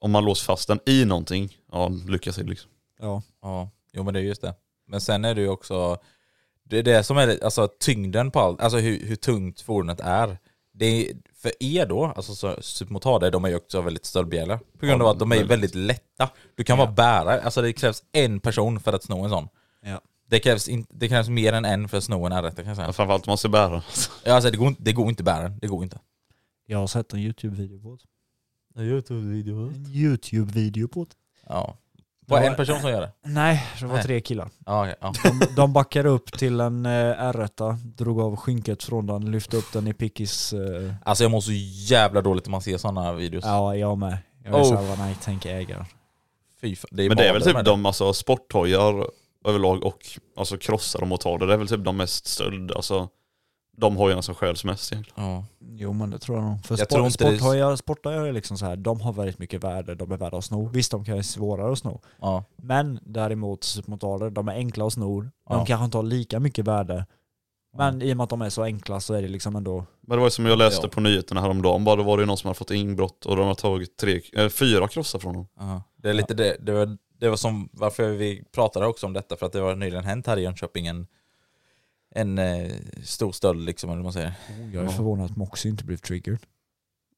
[SPEAKER 1] Om man låser fast den i någonting, ja, lycka till liksom.
[SPEAKER 2] Ja,
[SPEAKER 3] ja. Jo men det är just det. Men sen är det ju också, det är det som är alltså, tyngden på allt, alltså hur, hur tungt fordonet är. Det är, för er då, alltså så- supermotarder, de är ju också väldigt stöldbegärliga. På grund av att de är
[SPEAKER 1] väldigt.
[SPEAKER 3] väldigt lätta. Du kan vara bärare, alltså det krävs en person för att sno en sån.
[SPEAKER 2] ja.
[SPEAKER 3] Det krävs, in, det krävs mer än en för att sno en R1 kan jag säga.
[SPEAKER 1] Ja, framförallt om man ska bära.
[SPEAKER 3] Ja, Alltså det går, inte- det går inte bären, det går inte.
[SPEAKER 2] Jag har sett en YouTube-video på det.
[SPEAKER 3] Youtube-video.
[SPEAKER 2] En YouTube-video på det.
[SPEAKER 3] Ja. Bara
[SPEAKER 2] Ja.
[SPEAKER 3] en person som gör det?
[SPEAKER 2] Nej, det var
[SPEAKER 3] Nej.
[SPEAKER 2] tre killar.
[SPEAKER 3] Ja, okej,
[SPEAKER 1] [LAUGHS]
[SPEAKER 3] ja.
[SPEAKER 2] De, de backade upp till en eh, R1, drog av skynket från den, lyfte upp den i pickis. Eh,
[SPEAKER 3] Alltså jag mår så jävla dåligt när man ser sådana videos.
[SPEAKER 2] ja, jag med. Jag är
[SPEAKER 3] Oh.
[SPEAKER 2] såhär, vad nej, tänk ägaren.
[SPEAKER 3] Fy fan, det är
[SPEAKER 1] Men det är väl
[SPEAKER 3] bara
[SPEAKER 1] typ
[SPEAKER 3] med
[SPEAKER 1] de alltså, sporthojar överlag och alltså, krossar och motarder, det är väl typ de mest stöld, alltså de hojarna som stjäls mest egentligen.
[SPEAKER 3] Ja.
[SPEAKER 2] Jo men det tror jag nog. För
[SPEAKER 3] Jag
[SPEAKER 2] jag
[SPEAKER 3] tror
[SPEAKER 2] sport,
[SPEAKER 3] inte det är-
[SPEAKER 2] sporthojar, sporthojar är liksom så här, de har väldigt mycket värde, de är värda att sno. Visst, de kan vara svårare att sno.
[SPEAKER 3] Ja.
[SPEAKER 2] Men däremot supermodaler, de är enkla att sno. De
[SPEAKER 3] Ja.
[SPEAKER 2] kanske inte har lika mycket värde. Men i och med att de är så enkla så är det liksom ändå...
[SPEAKER 1] Men det var ju som jag läste
[SPEAKER 3] Ja.
[SPEAKER 1] på nyheterna häromdagen, bara då var det ju någon som hade fått inbrott och de har tagit tre, eh, fyra krossar från honom.
[SPEAKER 3] ja. Det är lite det, det var, det var som varför vi pratade också om detta, för att det var nyligen hänt här i Jönköping en, en eh, stor stöld liksom, eller vad man säger.
[SPEAKER 2] Jag är förvånad att Moxie inte blev triggered.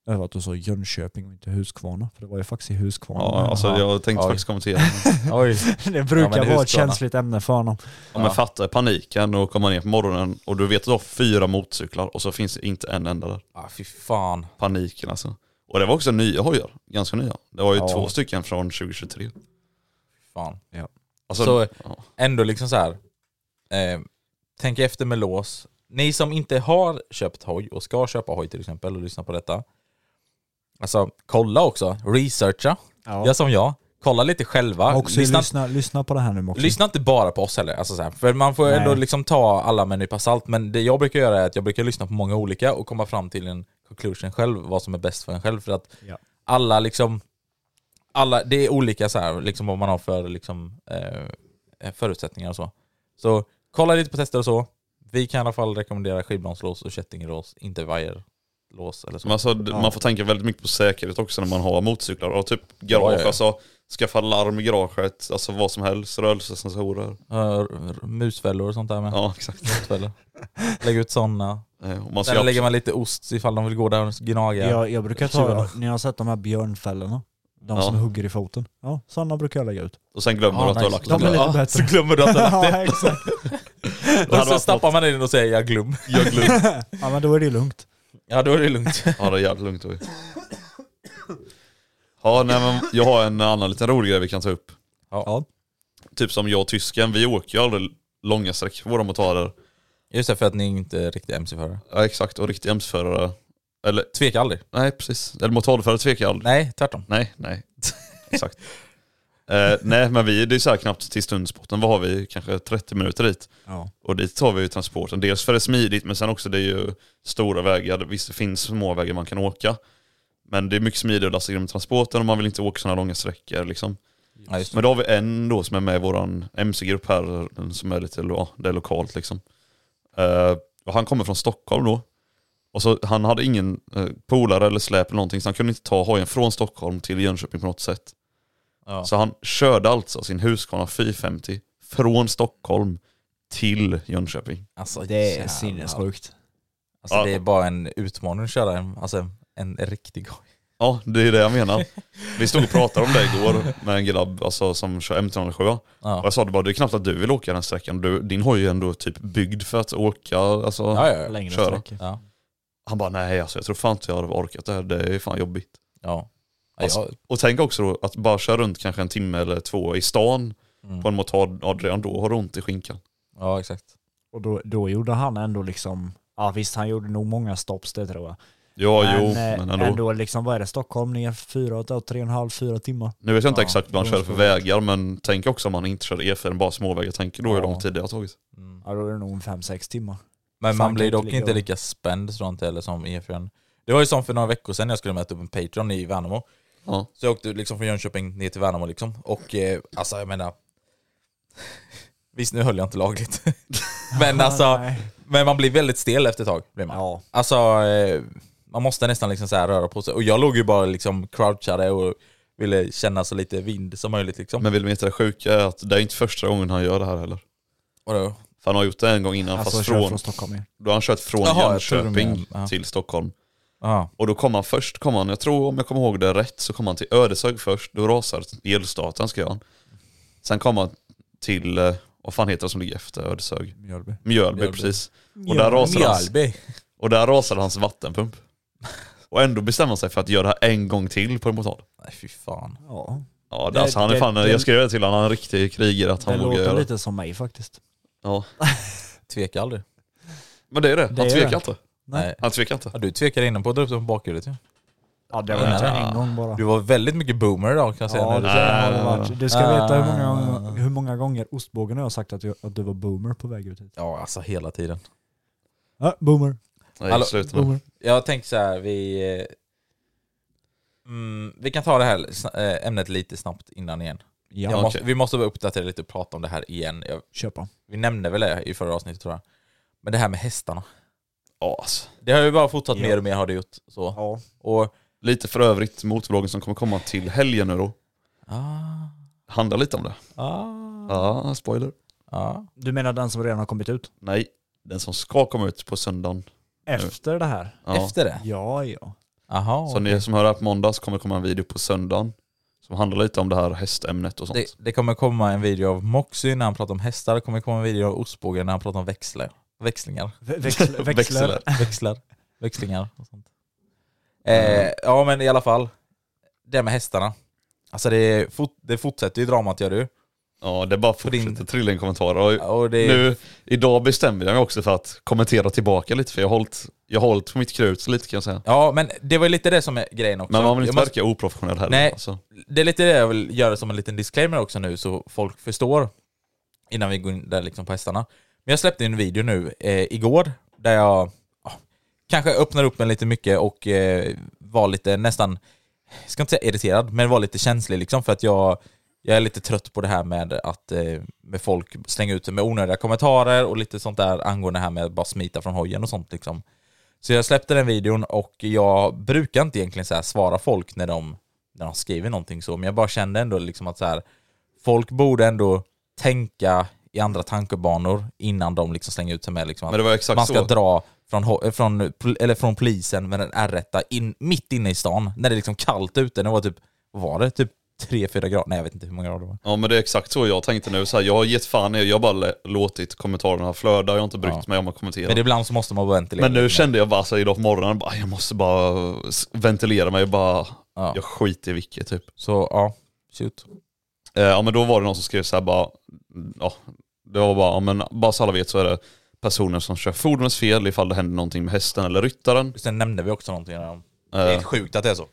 [SPEAKER 2] Över att du sa Jönköping och inte Huskvarna. För det var ju faktiskt i Huskvarna.
[SPEAKER 1] Ja, alltså jag tänkte
[SPEAKER 3] Oj.
[SPEAKER 1] faktiskt kommentera.
[SPEAKER 3] [LAUGHS] [LAUGHS] Oj.
[SPEAKER 2] [LAUGHS] det
[SPEAKER 3] Ja, men
[SPEAKER 2] brukar
[SPEAKER 3] det
[SPEAKER 2] vara
[SPEAKER 3] är Huskvarna.
[SPEAKER 2] ett känsligt ämne för honom.
[SPEAKER 1] Ja, men fatta paniken och komma ner på morgonen och du vet att du har fyra motorcyklar och så finns det inte en enda där.
[SPEAKER 3] Ah, fy fan.
[SPEAKER 1] Paniken alltså. Och det var också nya hojar, ganska nya. Det var ju
[SPEAKER 3] Ja.
[SPEAKER 1] två stycken från 2023.
[SPEAKER 3] fan.
[SPEAKER 1] Alltså,
[SPEAKER 3] Så-
[SPEAKER 1] ja.
[SPEAKER 3] ändå liksom så här. Eh, tänk efter med lås. Ni som inte har köpt hoj och ska köpa hoj till exempel och lyssna på detta. Alltså kolla också, researcha.
[SPEAKER 2] Ja.
[SPEAKER 3] Gör som jag. Kolla lite själva.
[SPEAKER 2] Moxie,
[SPEAKER 3] lyssna,
[SPEAKER 2] lyssna, lyssna, på det här nu Moxie.
[SPEAKER 3] lyssna inte bara på oss heller. Alltså så här, för man får
[SPEAKER 2] Nej.
[SPEAKER 3] ändå liksom ta alla med en nypa salt. Men det jag brukar göra är att jag brukar lyssna på många olika och komma fram till en conclusion själv, vad som är bäst för en själv. För att
[SPEAKER 2] Ja.
[SPEAKER 3] alla liksom, alla, det är olika så här, liksom vad man har för liksom, eh, förutsättningar och så. Så kolla lite på tester och så. Vi kan i alla fall rekommendera skivbromslås och kättinglås, inte vajer. lås eller så.
[SPEAKER 1] Men alltså, d- Man får tänka väldigt mycket på säkerhet också när man har motorcyklar. Och typ garage,
[SPEAKER 3] Ja, ja, ja.
[SPEAKER 1] alltså skaffa larm i garaget, alltså vad som helst, rörelsesensorer.
[SPEAKER 3] Ja, r- r- musfällor och sånt där med.
[SPEAKER 1] Ja
[SPEAKER 3] [LAUGHS]
[SPEAKER 1] exakt.
[SPEAKER 3] Musfällor. Lägg ut sådana.
[SPEAKER 1] Eh, Och man ska
[SPEAKER 3] Sen lägger man lite ost ifall de vill gå där och gnaga.
[SPEAKER 5] Jag, jag brukar ta, ni har sett de här björnfällorna? De
[SPEAKER 1] Ja.
[SPEAKER 5] som hugger i foten. Ja, sådana brukar jag lägga ut.
[SPEAKER 1] Och sen glömmer
[SPEAKER 3] Ja,
[SPEAKER 1] du att du har
[SPEAKER 3] nice.
[SPEAKER 1] lagt
[SPEAKER 5] De är
[SPEAKER 1] den.
[SPEAKER 5] lite
[SPEAKER 1] Ja,
[SPEAKER 5] bättre.
[SPEAKER 2] [LAUGHS]
[SPEAKER 3] glömmer du att den
[SPEAKER 5] ja, exakt.
[SPEAKER 1] hade
[SPEAKER 3] Och så
[SPEAKER 1] varit
[SPEAKER 3] stappar man in och säger jag glöm.
[SPEAKER 1] jag glömde.
[SPEAKER 5] Ja, men då är det lugnt.
[SPEAKER 3] Ja då är det lugnt.
[SPEAKER 1] Ja det är jävligt lugnt. oj. Ja nej men jag har en annan liten rolig grej vi kan ta upp.
[SPEAKER 3] [LAUGHS] Ja.
[SPEAKER 1] Typ som jag och tysken, vi åker ju aldrig långa sträckor på våra motorer.
[SPEAKER 3] Just det, för att ni inte är riktiga MC-förare.
[SPEAKER 1] Ja exakt, och riktiga MC-förare. Eller
[SPEAKER 3] Tveka aldrig.
[SPEAKER 1] nej precis, eller motorförare tvekar jag aldrig.
[SPEAKER 3] Nej, tvärtom.
[SPEAKER 1] Nej, nej. Exakt. Eh, nej, men vi, det är så här knappt till stundspotten. Vad har vi? Kanske 30 minuter dit.
[SPEAKER 5] Ja.
[SPEAKER 1] Och dit tar vi ju transporten. Dels för det är smidigt, men sen också det är ju stora vägar. Visst, det finns små vägar man kan åka. Men det är mycket smidigare att lasta in med transporten och man vill inte åka sådana långa sträckor. Liksom.
[SPEAKER 3] Ja, just det.
[SPEAKER 1] Men då har vi en då som är med i vår MC-grupp här, den som är lite lo- det är lokalt liksom. Eh, och han kommer från Stockholm då. Och så, han hade ingen eh, polare eller släp eller någonting så han kunde inte ta hojen från Stockholm till Jönköping på något sätt.
[SPEAKER 3] Ja.
[SPEAKER 1] Så han körde alltså sin Husqvarna 450 från Stockholm till Jönköping.
[SPEAKER 3] Alltså,
[SPEAKER 5] Det är
[SPEAKER 3] jävlar.
[SPEAKER 5] sinnessjukt.
[SPEAKER 3] Alltså
[SPEAKER 1] Ja.
[SPEAKER 3] det är bara en utmaning att köra en, alltså, en riktig hoj.
[SPEAKER 1] Ja, det är det jag
[SPEAKER 3] [LAUGHS]
[SPEAKER 1] menar. Vi stod och pratade om det igår med en grabb alltså, som kör M307. Och
[SPEAKER 3] Ja.
[SPEAKER 1] jag sa det bara, det är knappt att du vill åka den sträckan. Du, din hoj är ändå typ byggd för att åka. Alltså,
[SPEAKER 3] Ja, ja, ja.
[SPEAKER 5] Längre
[SPEAKER 1] Köra.
[SPEAKER 5] sträckor.
[SPEAKER 3] ja.
[SPEAKER 1] Han bara nej alltså jag tror fan inte jag hade orkat det här, det är fan jobbigt.
[SPEAKER 3] ja. ja.
[SPEAKER 1] Alltså, Och tänk också då att bara köra runt kanske en timme eller två i stan
[SPEAKER 3] Mm.
[SPEAKER 1] på en motard, Adrian då har du ont i skinkan.
[SPEAKER 3] ja, exakt.
[SPEAKER 5] Och då, då gjorde han ändå liksom, ja visst han gjorde nog många stops det tror jag.
[SPEAKER 1] Ja jo,
[SPEAKER 5] eh,
[SPEAKER 1] men ändå.
[SPEAKER 5] liksom, vad är det, Stockholm ner fyra, och ett- tre och en halv, fyra timmar.
[SPEAKER 1] Nu vet jag inte
[SPEAKER 3] Ja,
[SPEAKER 1] exakt vad han
[SPEAKER 5] det
[SPEAKER 1] kör
[SPEAKER 5] måste
[SPEAKER 1] för
[SPEAKER 5] vara
[SPEAKER 1] vägar men tänk också om han inte kör E4, bara småvägar, tänk då hur
[SPEAKER 3] Ja.
[SPEAKER 1] lång tid det har tagit.
[SPEAKER 3] Mm.
[SPEAKER 5] Ja då är det nog en fem, sex timmar.
[SPEAKER 3] Men
[SPEAKER 5] Fan,
[SPEAKER 3] man
[SPEAKER 5] kan
[SPEAKER 3] blir
[SPEAKER 5] inte
[SPEAKER 3] dock
[SPEAKER 5] ligga
[SPEAKER 3] inte
[SPEAKER 5] och-
[SPEAKER 3] lika spänd tror jag inte heller som E4. Det var ju som för några veckor sedan när jag skulle möta upp en Patreon i Värnamo.
[SPEAKER 1] Ja.
[SPEAKER 3] Så jag åkte liksom från Jönköping ner till Värnamo liksom. Och eh, alltså jag menar... [LAUGHS] Visst nu höll jag inte lagligt. [LAUGHS] men alltså,
[SPEAKER 5] Nej.
[SPEAKER 3] men man blir väldigt stel efter ett tag. Blir man.
[SPEAKER 5] Ja.
[SPEAKER 3] Alltså, eh, man måste nästan liksom så här röra på sig. Och jag låg ju bara liksom crouchade och ville känna så lite vind som möjligt liksom.
[SPEAKER 1] Men vill ni inte det sjuka är att det är inte första gången han gör det här heller.
[SPEAKER 3] Vadå?
[SPEAKER 1] För han har gjort det en gång innan
[SPEAKER 5] Alltså
[SPEAKER 1] fast
[SPEAKER 5] kör
[SPEAKER 1] från,
[SPEAKER 5] från Stockholm igen.
[SPEAKER 1] då har han kört från
[SPEAKER 3] Jaha, jag tror du
[SPEAKER 1] Jönköping
[SPEAKER 3] menar- ja.
[SPEAKER 1] till Stockholm.
[SPEAKER 3] Ja.
[SPEAKER 1] Och då kom han först, kom han, jag tror om jag kommer ihåg det rätt, så kom han till Ödeshög först, då rasar elstaten skrev han. Sen kom han till, eh, vad fan heter det som ligger efter Ödeshög?
[SPEAKER 5] Mjölby.
[SPEAKER 1] Mjölby,
[SPEAKER 3] Mjölby.
[SPEAKER 1] precis. Och där, rasade hans,
[SPEAKER 3] Mjölby.
[SPEAKER 1] och där rasade hans vattenpump. Och ändå bestämmer han sig för att göra det här en gång till på en motard.
[SPEAKER 3] Nej fy fan.
[SPEAKER 5] Ja.
[SPEAKER 1] Ja, det,
[SPEAKER 5] Det-
[SPEAKER 1] alltså han är
[SPEAKER 5] det-
[SPEAKER 1] fan,
[SPEAKER 5] det-
[SPEAKER 1] jag skrev det till honom, han är en riktig krigare att
[SPEAKER 5] Det
[SPEAKER 1] han vågar
[SPEAKER 5] låter
[SPEAKER 1] göra det.
[SPEAKER 5] lite som mig faktiskt.
[SPEAKER 1] Ja.
[SPEAKER 3] Tveka aldrig.
[SPEAKER 1] Men det är det, han
[SPEAKER 5] Det är
[SPEAKER 1] tvekar
[SPEAKER 5] det.
[SPEAKER 1] inte.
[SPEAKER 5] Nej.
[SPEAKER 3] Nej.
[SPEAKER 1] Han tvekar inte.
[SPEAKER 3] Ja, du tvekade innan på att dra upp den på bakhjulet ju.
[SPEAKER 5] Ja det
[SPEAKER 3] Ja,
[SPEAKER 5] var inte
[SPEAKER 3] nej.
[SPEAKER 5] en gång bara.
[SPEAKER 3] Du var väldigt mycket boomer idag kan jag säga.
[SPEAKER 5] Ja,
[SPEAKER 3] när
[SPEAKER 5] det
[SPEAKER 3] du-
[SPEAKER 5] har det
[SPEAKER 1] nej, Ah.
[SPEAKER 5] varit. Du ska
[SPEAKER 3] nej,
[SPEAKER 5] veta hur
[SPEAKER 3] nej,
[SPEAKER 5] många,
[SPEAKER 3] nej, nej.
[SPEAKER 5] hur många gånger ostbågen har jag sagt att, jag, att du var boomer på väg ut hit.
[SPEAKER 3] ja alltså hela tiden.
[SPEAKER 5] Ja, boomer,
[SPEAKER 1] Nej,
[SPEAKER 3] Hallå,
[SPEAKER 1] sluta nu.
[SPEAKER 5] boomer.
[SPEAKER 3] Jag tänkte så här, vi... eh, Mm, vi kan ta det här sna- eh, ämnet lite snabbt innan igen.
[SPEAKER 5] Ja,
[SPEAKER 3] jag måste,
[SPEAKER 1] okej.
[SPEAKER 3] vi måste bara uppdatera lite och prata om det här igen. Jag,
[SPEAKER 5] köpa.
[SPEAKER 3] vi nämnde väl det i förra avsnittet tror jag. Men det här med hästarna.
[SPEAKER 1] Ja, alltså.
[SPEAKER 3] Det har ju bara fortsatt
[SPEAKER 5] Ja.
[SPEAKER 3] mer och mer har det gjort. Så.
[SPEAKER 5] Ja.
[SPEAKER 3] Och,
[SPEAKER 1] Lite för övrigt, motorbloggen som kommer komma till helgen nu då,
[SPEAKER 3] ah,
[SPEAKER 1] handlar lite om det.
[SPEAKER 3] ah,
[SPEAKER 1] Ja, spoiler.
[SPEAKER 3] ah.
[SPEAKER 5] Du menar den som redan har kommit ut?
[SPEAKER 1] Nej, den som ska komma ut på söndagen.
[SPEAKER 5] Efter det här?
[SPEAKER 1] Ja.
[SPEAKER 3] Efter det?
[SPEAKER 5] Ja, ja.
[SPEAKER 3] Aha,
[SPEAKER 1] Så
[SPEAKER 3] okej.
[SPEAKER 1] ni som hör det här på måndag så kommer det komma en video på söndagen som handlar lite om det här hästämnet och sånt.
[SPEAKER 3] Det, det kommer komma en video av Moxie när han pratar om hästar, det kommer komma en video av Ostbågen när han pratar om växlar. växlingar.
[SPEAKER 5] Vä-
[SPEAKER 2] [LAUGHS]
[SPEAKER 5] Växlar. växlar.
[SPEAKER 3] Växlar. Växlingar och sånt. Eh, ja men i alla fall, det med hästarna. Alltså det, fort, det fortsätter ju dramat gör du.
[SPEAKER 1] Ja, det är bara fortsätter
[SPEAKER 3] din-
[SPEAKER 1] trilla in kommentarer. Och
[SPEAKER 3] Och det,
[SPEAKER 1] nu, idag bestämde jag mig också för att kommentera tillbaka lite för jag har hållit, jag har hållit på mitt krut lite kan jag säga.
[SPEAKER 3] Ja men det var ju lite det som är grejen också.
[SPEAKER 1] Men man vill
[SPEAKER 3] Jag
[SPEAKER 1] inte
[SPEAKER 3] måste-
[SPEAKER 1] verka oprofessionell heller.
[SPEAKER 3] Nej.
[SPEAKER 1] Alltså.
[SPEAKER 3] det är lite det jag vill göra som en liten disclaimer också nu så folk förstår innan vi går in där liksom på hästarna. Men jag släppte en video nu eh, igår där jag ja, kanske öppnar upp mig lite mycket och eh, var lite nästan, jag ska inte säga irriterad, men var lite känslig liksom för att jag, jag är lite trött på det här med att eh, med folk slänga ut sig med onödiga kommentarer och lite sånt där angående det här med att bara smita från hojen och sånt liksom. Så jag släppte den videon och jag brukar inte egentligen så här svara folk när de, när de skriver någonting så, men jag bara kände ändå liksom att så här, folk borde ändå tänka i andra tankebanor innan de liksom slänger ut sig med liksom att
[SPEAKER 1] Men det var exakt
[SPEAKER 3] man ska
[SPEAKER 1] så.
[SPEAKER 3] dra från, ho- eh, från, pol- eller från polisen med en r in, mitt inne i stan, när det är liksom kallt ute. Det var typ, vad var det typ 3-4 grader? Nej jag vet inte hur många grader det var.
[SPEAKER 1] Ja men det är exakt så jag tänkte nu. Så här, jag har gett fan i, jag har bara lä- låtit kommentarerna flöda, jag har inte brytt
[SPEAKER 3] Ja.
[SPEAKER 1] mig om att kommentera.
[SPEAKER 3] Men
[SPEAKER 1] Men,
[SPEAKER 3] ibland så måste man bara ventilera.
[SPEAKER 1] nu kände jag bara så här, idag på morgonen, bara, jag måste bara s- ventilera mig, bara,
[SPEAKER 3] Ja.
[SPEAKER 1] jag skiter i vilket typ.
[SPEAKER 3] Så ja, shoot.
[SPEAKER 1] Eh, ja men då var det någon som skrev så här bara, ja, det var bara, ja, men bara så alla vet så är det personer som kör fordonets fel ifall det händer någonting med hästen eller ryttaren.
[SPEAKER 3] Sen nämnde vi också någonting om... Det är
[SPEAKER 1] Eh,
[SPEAKER 3] helt sjukt att det är så.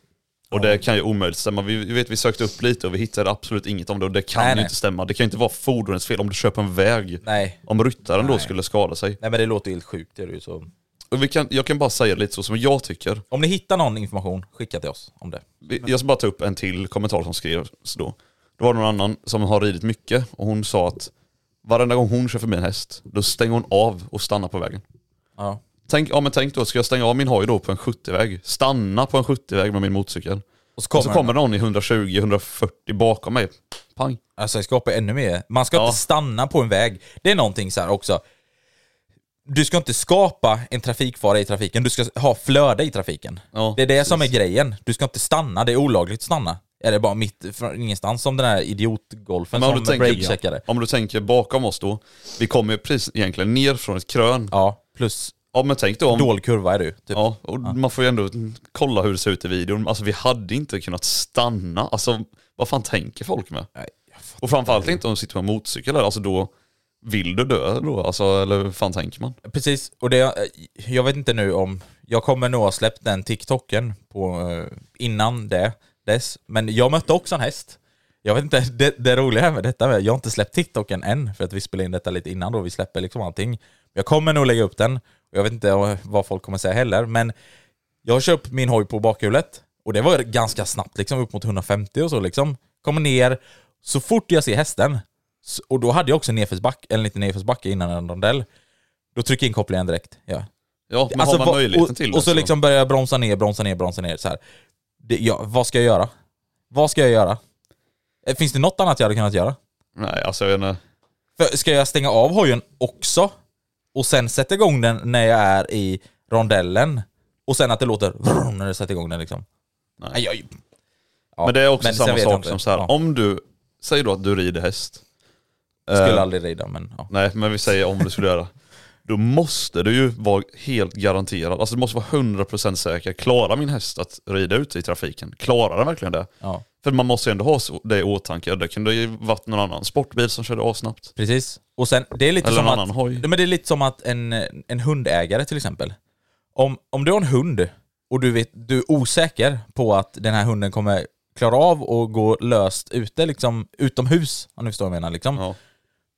[SPEAKER 1] och det kan ju omöjligt stämma. Vi, vi vet, vi sökte upp lite och vi hittade absolut inget om det och det kan
[SPEAKER 3] Nej,
[SPEAKER 1] ju
[SPEAKER 3] nej.
[SPEAKER 1] inte stämma. Det kan ju inte vara fordonets fel om du kör på en väg.
[SPEAKER 3] Nej.
[SPEAKER 1] Om ryttaren då
[SPEAKER 3] Nej.
[SPEAKER 1] skulle skada sig.
[SPEAKER 3] Nej men det låter ju helt sjukt. Det är det ju så.
[SPEAKER 1] Och vi kan, jag kan bara säga lite så som jag tycker.
[SPEAKER 3] Om ni hittar någon information, skicka till oss om det.
[SPEAKER 1] Vi- Jag ska bara ta upp en till kommentar som skrevs då. Det var någon annan som har ridit mycket och hon sa att varenda gång hon kör förbi en häst, då stänger hon av och stannar på vägen.
[SPEAKER 3] Ja.
[SPEAKER 1] Tänk, ja men tänk då, ska jag stänga av min hoj då på en 70-väg? Stanna på en 70-väg med min motorcykel.
[SPEAKER 3] Och så
[SPEAKER 1] och så
[SPEAKER 3] kommer,
[SPEAKER 1] kommer någon i 120-140 bakom mig. Pang.
[SPEAKER 3] Alltså det skapar ännu mer. Man ska
[SPEAKER 1] Ja.
[SPEAKER 3] inte stanna på en väg. Det är någonting så här också. Du ska inte skapa en trafikfara i trafiken, du ska ha flöde i trafiken.
[SPEAKER 1] Ja,
[SPEAKER 3] det är det som är
[SPEAKER 1] precis.
[SPEAKER 3] grejen. Du ska inte stanna, det är olagligt att stanna. Eller bara mitt från ingenstans som den här idiotgolfen
[SPEAKER 1] Men om
[SPEAKER 3] som
[SPEAKER 1] du, tänker,
[SPEAKER 3] breakcheckade.
[SPEAKER 1] om du tänker bakom oss då, vi kommer ju precis egentligen ner från ett krön. Ja,
[SPEAKER 3] Ja, plus
[SPEAKER 1] men tänk då om...
[SPEAKER 3] dold kurva är du. Typ.
[SPEAKER 1] Ja, och man får ju ändå kolla hur det ser ut i videon. Alltså vi hade inte kunnat stanna. Alltså vad fan tänker folk med?
[SPEAKER 3] Nej,
[SPEAKER 1] och framförallt inte om du sitter på en motorcykel där. Alltså då vill du dö då? Alltså eller hur fan tänker man?
[SPEAKER 3] Precis, och det, eh, jag vet inte nu om, jag kommer nog ha släppt den TikToken på, eh, innan det, dess. Men jag mötte också en häst. Jag vet inte, det, det roliga med detta, är- jag har inte släppt TikToken än, för att vi spelar in detta lite innan då, vi släpper liksom allting. Jag kommer nog lägga upp den, och jag vet inte eh, vad folk kommer säga heller, men jag kör upp min hoj på bakhjulet, och det var ganska snabbt liksom, upp mot 150 och så liksom. Kommer ner, så fort jag ser hästen, s- och då hade jag också en nedförsback, en liten nedförsbacke innan en rondell, då trycker jag in kopplingen direkt. Ja.
[SPEAKER 1] Ja, men har man
[SPEAKER 3] Alltså, vad-
[SPEAKER 1] möjligheten
[SPEAKER 3] och,
[SPEAKER 1] till det?
[SPEAKER 3] Och så liksom börjar jag bromsa ner, bromsa ner, bromsa ner. Så här. Det, ja, vad ska jag göra? Vad ska jag göra? Eh, Finns det något annat jag hade kunnat göra?
[SPEAKER 1] Nej, alltså jag vet inte.
[SPEAKER 3] För ska jag stänga av hojen också? Och sen sätta igång den när jag är i rondellen? Och sen att det låter vrrr när du sätter igång den liksom?
[SPEAKER 1] Nej.
[SPEAKER 3] Nej, jag- Ja,
[SPEAKER 1] men det är också
[SPEAKER 3] men sen
[SPEAKER 1] samma
[SPEAKER 3] vet jag
[SPEAKER 1] sak
[SPEAKER 3] inte.
[SPEAKER 1] som så här,
[SPEAKER 3] Ja.
[SPEAKER 1] om du, säg då att du rider häst.
[SPEAKER 3] Skulle
[SPEAKER 1] Eh,
[SPEAKER 3] aldrig rida men ja.
[SPEAKER 1] Nej, men vi säger om du skulle göra. Då måste du ju vara helt garanterad, alltså du måste vara 100% säker. Klarar min häst att rida ut i trafiken? Klarar den verkligen det?
[SPEAKER 3] ja.
[SPEAKER 1] För man måste ju ändå ha så- det i åtanke. Det kunde ju varit någon annan sportbil som körde avsnabbt.
[SPEAKER 3] Precis. Och sen, det är lite
[SPEAKER 1] Eller
[SPEAKER 3] som
[SPEAKER 1] en
[SPEAKER 3] att,
[SPEAKER 1] annan hoj.
[SPEAKER 3] Nej, men det är lite som att en, en hundägare till exempel. Om, om du har en hund och du, vet, du är osäker på att den här hunden kommer klara av och gå löst ute, liksom, utomhus, om du förstår vad jag menar, liksom,
[SPEAKER 1] Ja,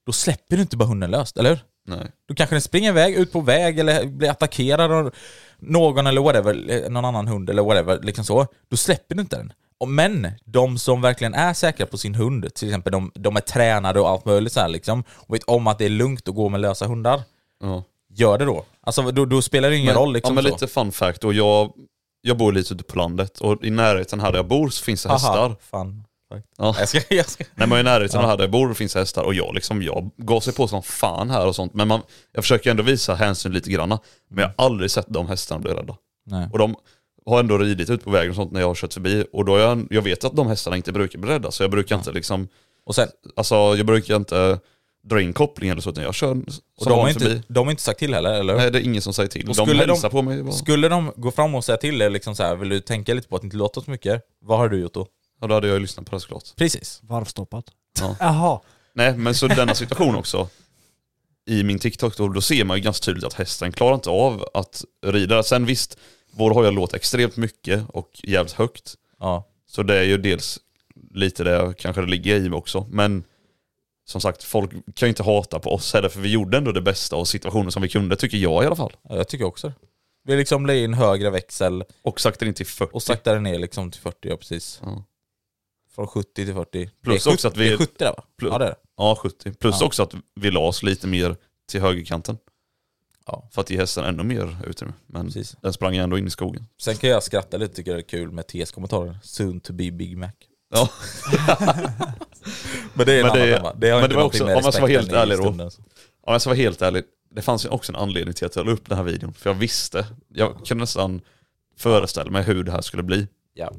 [SPEAKER 3] då släpper du inte bara hunden löst, eller hur?
[SPEAKER 1] nej.
[SPEAKER 3] Då kanske den springer iväg, ut på väg eller blir attackerad av någon eller whatever, eh, någon annan hund eller whatever, liksom så. Då släpper du inte den. Och Men de som verkligen är säkra på sin hund, till exempel de, de är tränade och allt möjligt så här liksom, och vet om att det är lugnt att gå med lösa hundar,
[SPEAKER 1] Ja.
[SPEAKER 3] gör det då. Alltså då, då spelar det ingen roll liksom
[SPEAKER 1] ja, men
[SPEAKER 3] så.
[SPEAKER 1] lite fun fact. Och jag, jag bor lite ute på landet och i närheten här där jag bor så finns det hästar.
[SPEAKER 3] Haha, fan. Nej,
[SPEAKER 1] Ja.
[SPEAKER 3] Jag ska, [LAUGHS] jag ska.
[SPEAKER 1] Nej men i närheten av här där jag bor finns hästar och jag liksom, jag gasar på som fan här och sånt. Men man, jag försöker ändå visa hänsyn lite granna. Men jag har aldrig sett de hästarna bli rädda.
[SPEAKER 3] Nej.
[SPEAKER 1] Och de har ändå ridit ut på vägen och sånt när jag har kört förbi. Och då har jag, jag vet att de hästarna inte brukar bli rädda så jag brukar inte liksom,
[SPEAKER 3] Och sen,
[SPEAKER 1] alltså jag brukar inte dra in kopplingen eller så utan jag kör
[SPEAKER 3] och
[SPEAKER 1] som
[SPEAKER 3] de, har
[SPEAKER 1] vanligt förbi.
[SPEAKER 3] inte, de har inte sagt till heller, eller hur?
[SPEAKER 1] Nej det är ingen som säger till.
[SPEAKER 3] Och
[SPEAKER 1] de
[SPEAKER 3] skulle de-
[SPEAKER 1] hälsar på mig bara.
[SPEAKER 3] Skulle de gå fram och säga till er liksom så här, vill du tänka lite på att inte låta så mycket? Vad har du gjort då?
[SPEAKER 1] Ja, då hade jag ju lyssnat på det såklart.
[SPEAKER 3] Precis.
[SPEAKER 5] Varvstoppat.
[SPEAKER 2] [LAUGHS]
[SPEAKER 1] Ja.
[SPEAKER 5] Jaha.
[SPEAKER 1] Nej men så denna situation också. I min TikTok då, då ser man ju ganska tydligt att hästen klarar inte av att rida. Sen visst, vår har jag låtit extremt mycket och jävligt högt.
[SPEAKER 3] Ja.
[SPEAKER 1] Så det är ju dels lite det kanske det ligger i mig också. Men som sagt, folk kan ju inte hata på oss heller för vi gjorde ändå det bästa av situationen som vi kunde, tycker jag i alla fall.
[SPEAKER 3] Ja, jag tycker också det. Vi liksom la in högre växel
[SPEAKER 1] Och sakta in till 40.
[SPEAKER 3] och saktade ner liksom till 40, ja precis.
[SPEAKER 1] Ja.
[SPEAKER 3] Från 70 till 40.
[SPEAKER 1] Plus
[SPEAKER 3] det är
[SPEAKER 1] också att vi-
[SPEAKER 3] Det är 70 där va?
[SPEAKER 1] Plus-
[SPEAKER 3] Ja det är det.
[SPEAKER 1] Ja, 70. Plus
[SPEAKER 3] Ja.
[SPEAKER 1] också att vi la oss lite mer till högerkanten.
[SPEAKER 3] Ja.
[SPEAKER 1] För att ge hästen ännu mer utrymme. Men
[SPEAKER 3] Precis.
[SPEAKER 1] den sprang ju ändå in i skogen.
[SPEAKER 3] Sen kan jag skratta lite, tycker det är kul med TS kommentarer. Soon to be Big Mac.
[SPEAKER 1] Ja.
[SPEAKER 3] [LAUGHS] Men det är en
[SPEAKER 1] Men
[SPEAKER 3] annan
[SPEAKER 1] det-
[SPEAKER 3] femma. Det
[SPEAKER 1] men det
[SPEAKER 3] har inte
[SPEAKER 1] var
[SPEAKER 3] någonting
[SPEAKER 1] också-
[SPEAKER 3] med
[SPEAKER 1] om man ska vara
[SPEAKER 3] respekten
[SPEAKER 1] helt
[SPEAKER 3] i
[SPEAKER 1] ärlig då.
[SPEAKER 3] stunden.
[SPEAKER 1] Om alltså, jag ska vara helt ärlig, det fanns ju också en anledning till att jag la upp den här videon. För jag visste, jag kunde nästan föreställa mig hur det här skulle bli.
[SPEAKER 3] Ja,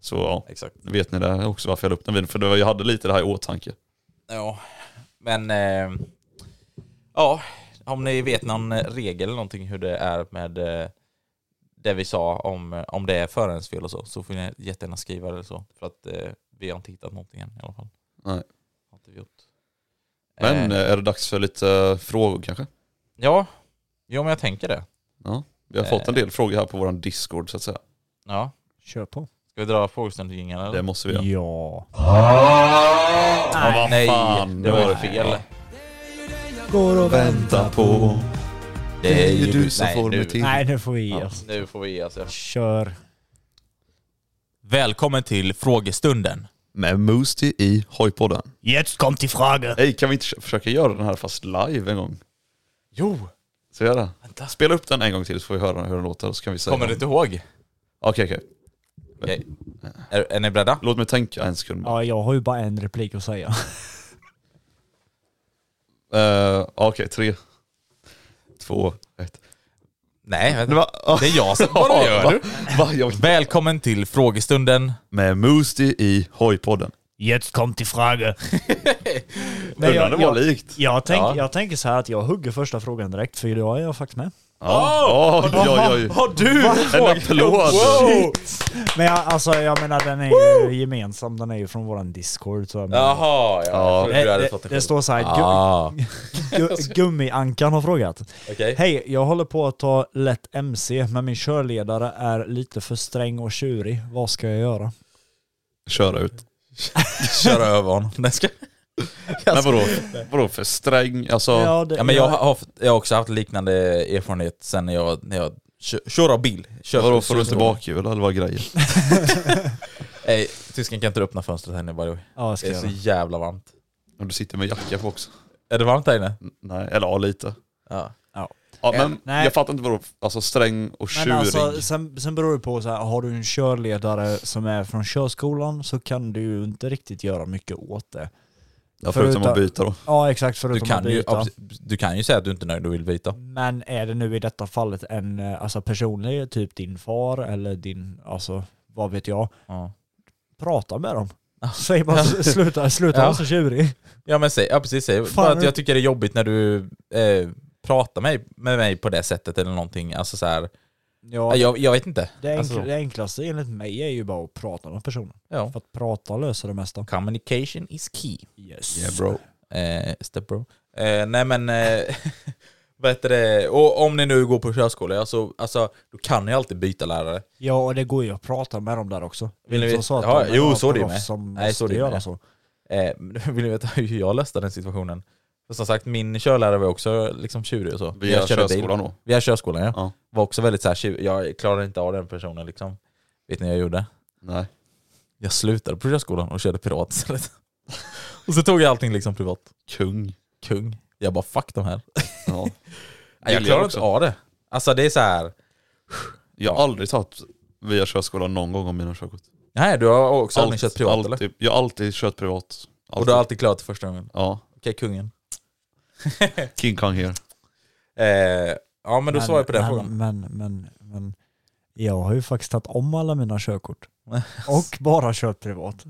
[SPEAKER 1] Så ja,
[SPEAKER 3] exakt.
[SPEAKER 1] vet ni det också varför jag la upp den videon? För det var, jag hade lite det här i åtanke.
[SPEAKER 3] Ja, men... Eh, ja, om ni vet någon regel eller någonting hur det är med eh, det vi sa om, om det är förarens fel och så, så får ni jättegärna skriva det eller så. För att eh, vi har inte hittat någonting än i alla fall.
[SPEAKER 1] Nej.
[SPEAKER 3] Har inte vi gjort.
[SPEAKER 1] Men
[SPEAKER 3] eh,
[SPEAKER 1] eh, är det dags för lite eh, frågor kanske?
[SPEAKER 3] ja, jo men jag tänker det.
[SPEAKER 1] Vi har
[SPEAKER 3] eh.
[SPEAKER 1] fått en del frågor här på vår Discord så att säga.
[SPEAKER 3] Ja.
[SPEAKER 2] Kör på.
[SPEAKER 3] Ska vi dra frågestundjingeln eller?
[SPEAKER 1] Det måste vi göra.
[SPEAKER 2] Ja.
[SPEAKER 1] Ja, vad
[SPEAKER 3] Nej,
[SPEAKER 1] fan,
[SPEAKER 3] det
[SPEAKER 1] nu
[SPEAKER 3] var
[SPEAKER 1] var
[SPEAKER 3] ju
[SPEAKER 1] det.
[SPEAKER 3] fel.
[SPEAKER 2] Går och
[SPEAKER 1] Vänta på...
[SPEAKER 3] Det är ju du som
[SPEAKER 1] får mig till.
[SPEAKER 2] Nej nu får vi ge
[SPEAKER 3] Ja,
[SPEAKER 2] oss.
[SPEAKER 3] nu får vi ge oss. ja.
[SPEAKER 2] Kör.
[SPEAKER 3] Välkommen till frågestunden.
[SPEAKER 1] Med Moosty i Hojpodden.
[SPEAKER 2] Jetzt kommt die Frage.
[SPEAKER 1] Hej, kan vi inte försöka göra den här fast live en gång?
[SPEAKER 3] Jo!
[SPEAKER 1] Så gör det.
[SPEAKER 3] Vänta.
[SPEAKER 1] Spela upp den en gång till så får vi höra hur den låter så kan vi säga.
[SPEAKER 3] Kommer du inte ihåg?
[SPEAKER 1] Okej, okej.
[SPEAKER 3] Okej. Är, är ni beredda?
[SPEAKER 1] Låt mig tänka en sekund.
[SPEAKER 2] Ja, jag har ju bara en replik att säga. [LAUGHS]
[SPEAKER 1] Eh, Okej, tre, två, ett.
[SPEAKER 3] Nej, vänta.
[SPEAKER 1] Va? [LAUGHS]
[SPEAKER 3] Det är jag som bara gör du.
[SPEAKER 1] Va? Jag...
[SPEAKER 3] Välkommen till frågestunden.
[SPEAKER 1] Med Moosty i Hojpodden.
[SPEAKER 2] Jetzt kommt die Frage. [LAUGHS] Nej,
[SPEAKER 1] Undrar
[SPEAKER 2] jag,
[SPEAKER 1] det var
[SPEAKER 2] jag,
[SPEAKER 1] likt.
[SPEAKER 2] jag, tänk,
[SPEAKER 3] Ja.
[SPEAKER 2] jag tänker så här att jag hugger första frågan direkt för idag är jag faktiskt med.
[SPEAKER 1] Ja. Oj, oj, oj.
[SPEAKER 3] Har du en
[SPEAKER 1] En applåd.
[SPEAKER 2] Men jag, alltså, jag menar den är ju gemensam, den är ju från våran discord. Så, men-
[SPEAKER 3] Jaha, ja. Jag trodde
[SPEAKER 2] det,
[SPEAKER 3] du hade
[SPEAKER 2] det,
[SPEAKER 3] fått en
[SPEAKER 2] det
[SPEAKER 3] själv.
[SPEAKER 2] står så här, gu,
[SPEAKER 3] Ah,
[SPEAKER 2] gu, gummiankan har frågat.
[SPEAKER 3] okej.
[SPEAKER 2] Hej, jag håller på att ta lätt MC men min körledare är lite för sträng och tjurig. Vad ska jag göra?
[SPEAKER 1] Köra ut.
[SPEAKER 3] Kör över honom. Nej, ska-
[SPEAKER 1] Men vadå, vadå för sträng? Alltså,
[SPEAKER 2] det,
[SPEAKER 3] Ja, men jag har, haft, jag har också haft liknande erfarenhet sen när jag, när jag kö- körde bil. Kör,
[SPEAKER 1] vadå får du inte
[SPEAKER 3] kör-
[SPEAKER 1] bakhjul eller vad är grejen?
[SPEAKER 3] Nej, tysken kan inte öppna fönstret här inne by the way.
[SPEAKER 2] Ja, jag
[SPEAKER 3] Det
[SPEAKER 2] ska
[SPEAKER 3] är så
[SPEAKER 2] göra.
[SPEAKER 3] jävla varmt.
[SPEAKER 1] Om du sitter med jacka på också.
[SPEAKER 3] Är det varmt där inne?
[SPEAKER 1] N- Nej, eller ja lite.
[SPEAKER 3] Ja.
[SPEAKER 1] Ja, men
[SPEAKER 2] Nej.
[SPEAKER 1] jag fattar inte vadå, alltså sträng och tjurig.
[SPEAKER 2] Men alltså, sen, sen beror det på så här, har du en körledare som är från körskolan så kan du ju inte riktigt göra mycket åt det.
[SPEAKER 1] ja, förutom att byta då.
[SPEAKER 2] Ja exakt,
[SPEAKER 3] Du,
[SPEAKER 2] förutom
[SPEAKER 3] kan
[SPEAKER 2] att
[SPEAKER 3] ju,
[SPEAKER 2] byta.
[SPEAKER 3] du kan ju säga att du inte är nöjd och vill byta.
[SPEAKER 2] Men är det nu i detta fallet en eh, alltså personlig, typ din far eller din, alltså vad vet jag,
[SPEAKER 3] Ja.
[SPEAKER 2] prata med dem. Säg bara sluta, sluta
[SPEAKER 3] Ja.
[SPEAKER 2] vara så tjurig.
[SPEAKER 3] Ja men säg, ja precis, säg.
[SPEAKER 2] Fan,
[SPEAKER 3] Bara att
[SPEAKER 2] nu-
[SPEAKER 3] jag tycker det är jobbigt när du eh, pratar med, med mig på det sättet eller någonting, alltså så här.
[SPEAKER 2] Ja,
[SPEAKER 3] Ja, jag, jag vet inte.
[SPEAKER 2] det, enkla,
[SPEAKER 3] alltså-
[SPEAKER 2] det enklaste enligt mig är ju bara att prata med personen.
[SPEAKER 3] Ja.
[SPEAKER 2] För att prata löser det mesta.
[SPEAKER 3] Communication is key.
[SPEAKER 2] Yes.
[SPEAKER 1] Yeah bro.
[SPEAKER 3] Eh, step bro. Eh, nej men, eh, [LAUGHS] vad heter det, och om ni nu går på körskola, alltså, alltså då kan ni alltid byta lärare.
[SPEAKER 2] Ja och det går ju att prata med dem där också.
[SPEAKER 3] Vill ni
[SPEAKER 2] Som
[SPEAKER 3] veta-
[SPEAKER 2] sa att
[SPEAKER 3] Ja,
[SPEAKER 2] de är
[SPEAKER 3] jo,
[SPEAKER 2] bara
[SPEAKER 3] så är det ju
[SPEAKER 2] proffs
[SPEAKER 3] med.
[SPEAKER 2] Som
[SPEAKER 3] Nej, så
[SPEAKER 2] måste
[SPEAKER 3] är det ju
[SPEAKER 2] göra
[SPEAKER 3] med.
[SPEAKER 2] så.
[SPEAKER 3] Eh, [LAUGHS] vill ni veta hur jag löste den situationen? För som sagt, min körlärare var också liksom tjurig och så.
[SPEAKER 1] Via
[SPEAKER 3] Jag körde bil.
[SPEAKER 1] körskolan då.
[SPEAKER 3] Via körskolan ja.
[SPEAKER 1] Ja.
[SPEAKER 3] Var också väldigt så här, tjurig. jag klarade inte av den personen liksom. Vet ni vad jag gjorde?
[SPEAKER 1] Nej.
[SPEAKER 3] Jag slutade på körskolan och körde pirat istället. [LAUGHS] och så tog jag allting liksom privat.
[SPEAKER 1] Kung.
[SPEAKER 3] Kung. Jag bara fuck de här.
[SPEAKER 1] Ja.
[SPEAKER 3] Nej, jag
[SPEAKER 1] Vill
[SPEAKER 3] klarar
[SPEAKER 1] också.
[SPEAKER 3] inte av det. Alltså det är så här.
[SPEAKER 1] Jag har aldrig tagit via körskolan någon gång om mina körkort.
[SPEAKER 3] Nej du har också aldrig kört privat
[SPEAKER 1] alltid,
[SPEAKER 3] eller?
[SPEAKER 1] typ- Jag har alltid kört privat.
[SPEAKER 3] Och du har alltid klarat det första gången.
[SPEAKER 1] Ja,
[SPEAKER 3] Okej kungen.
[SPEAKER 1] King Kong här.
[SPEAKER 3] Eh, ja men då svarar jag på den
[SPEAKER 2] men,
[SPEAKER 3] frågan.
[SPEAKER 2] Men, men, men jag har ju faktiskt tagit om alla mina
[SPEAKER 3] [LAUGHS]
[SPEAKER 2] körkort. Och bara kört privat.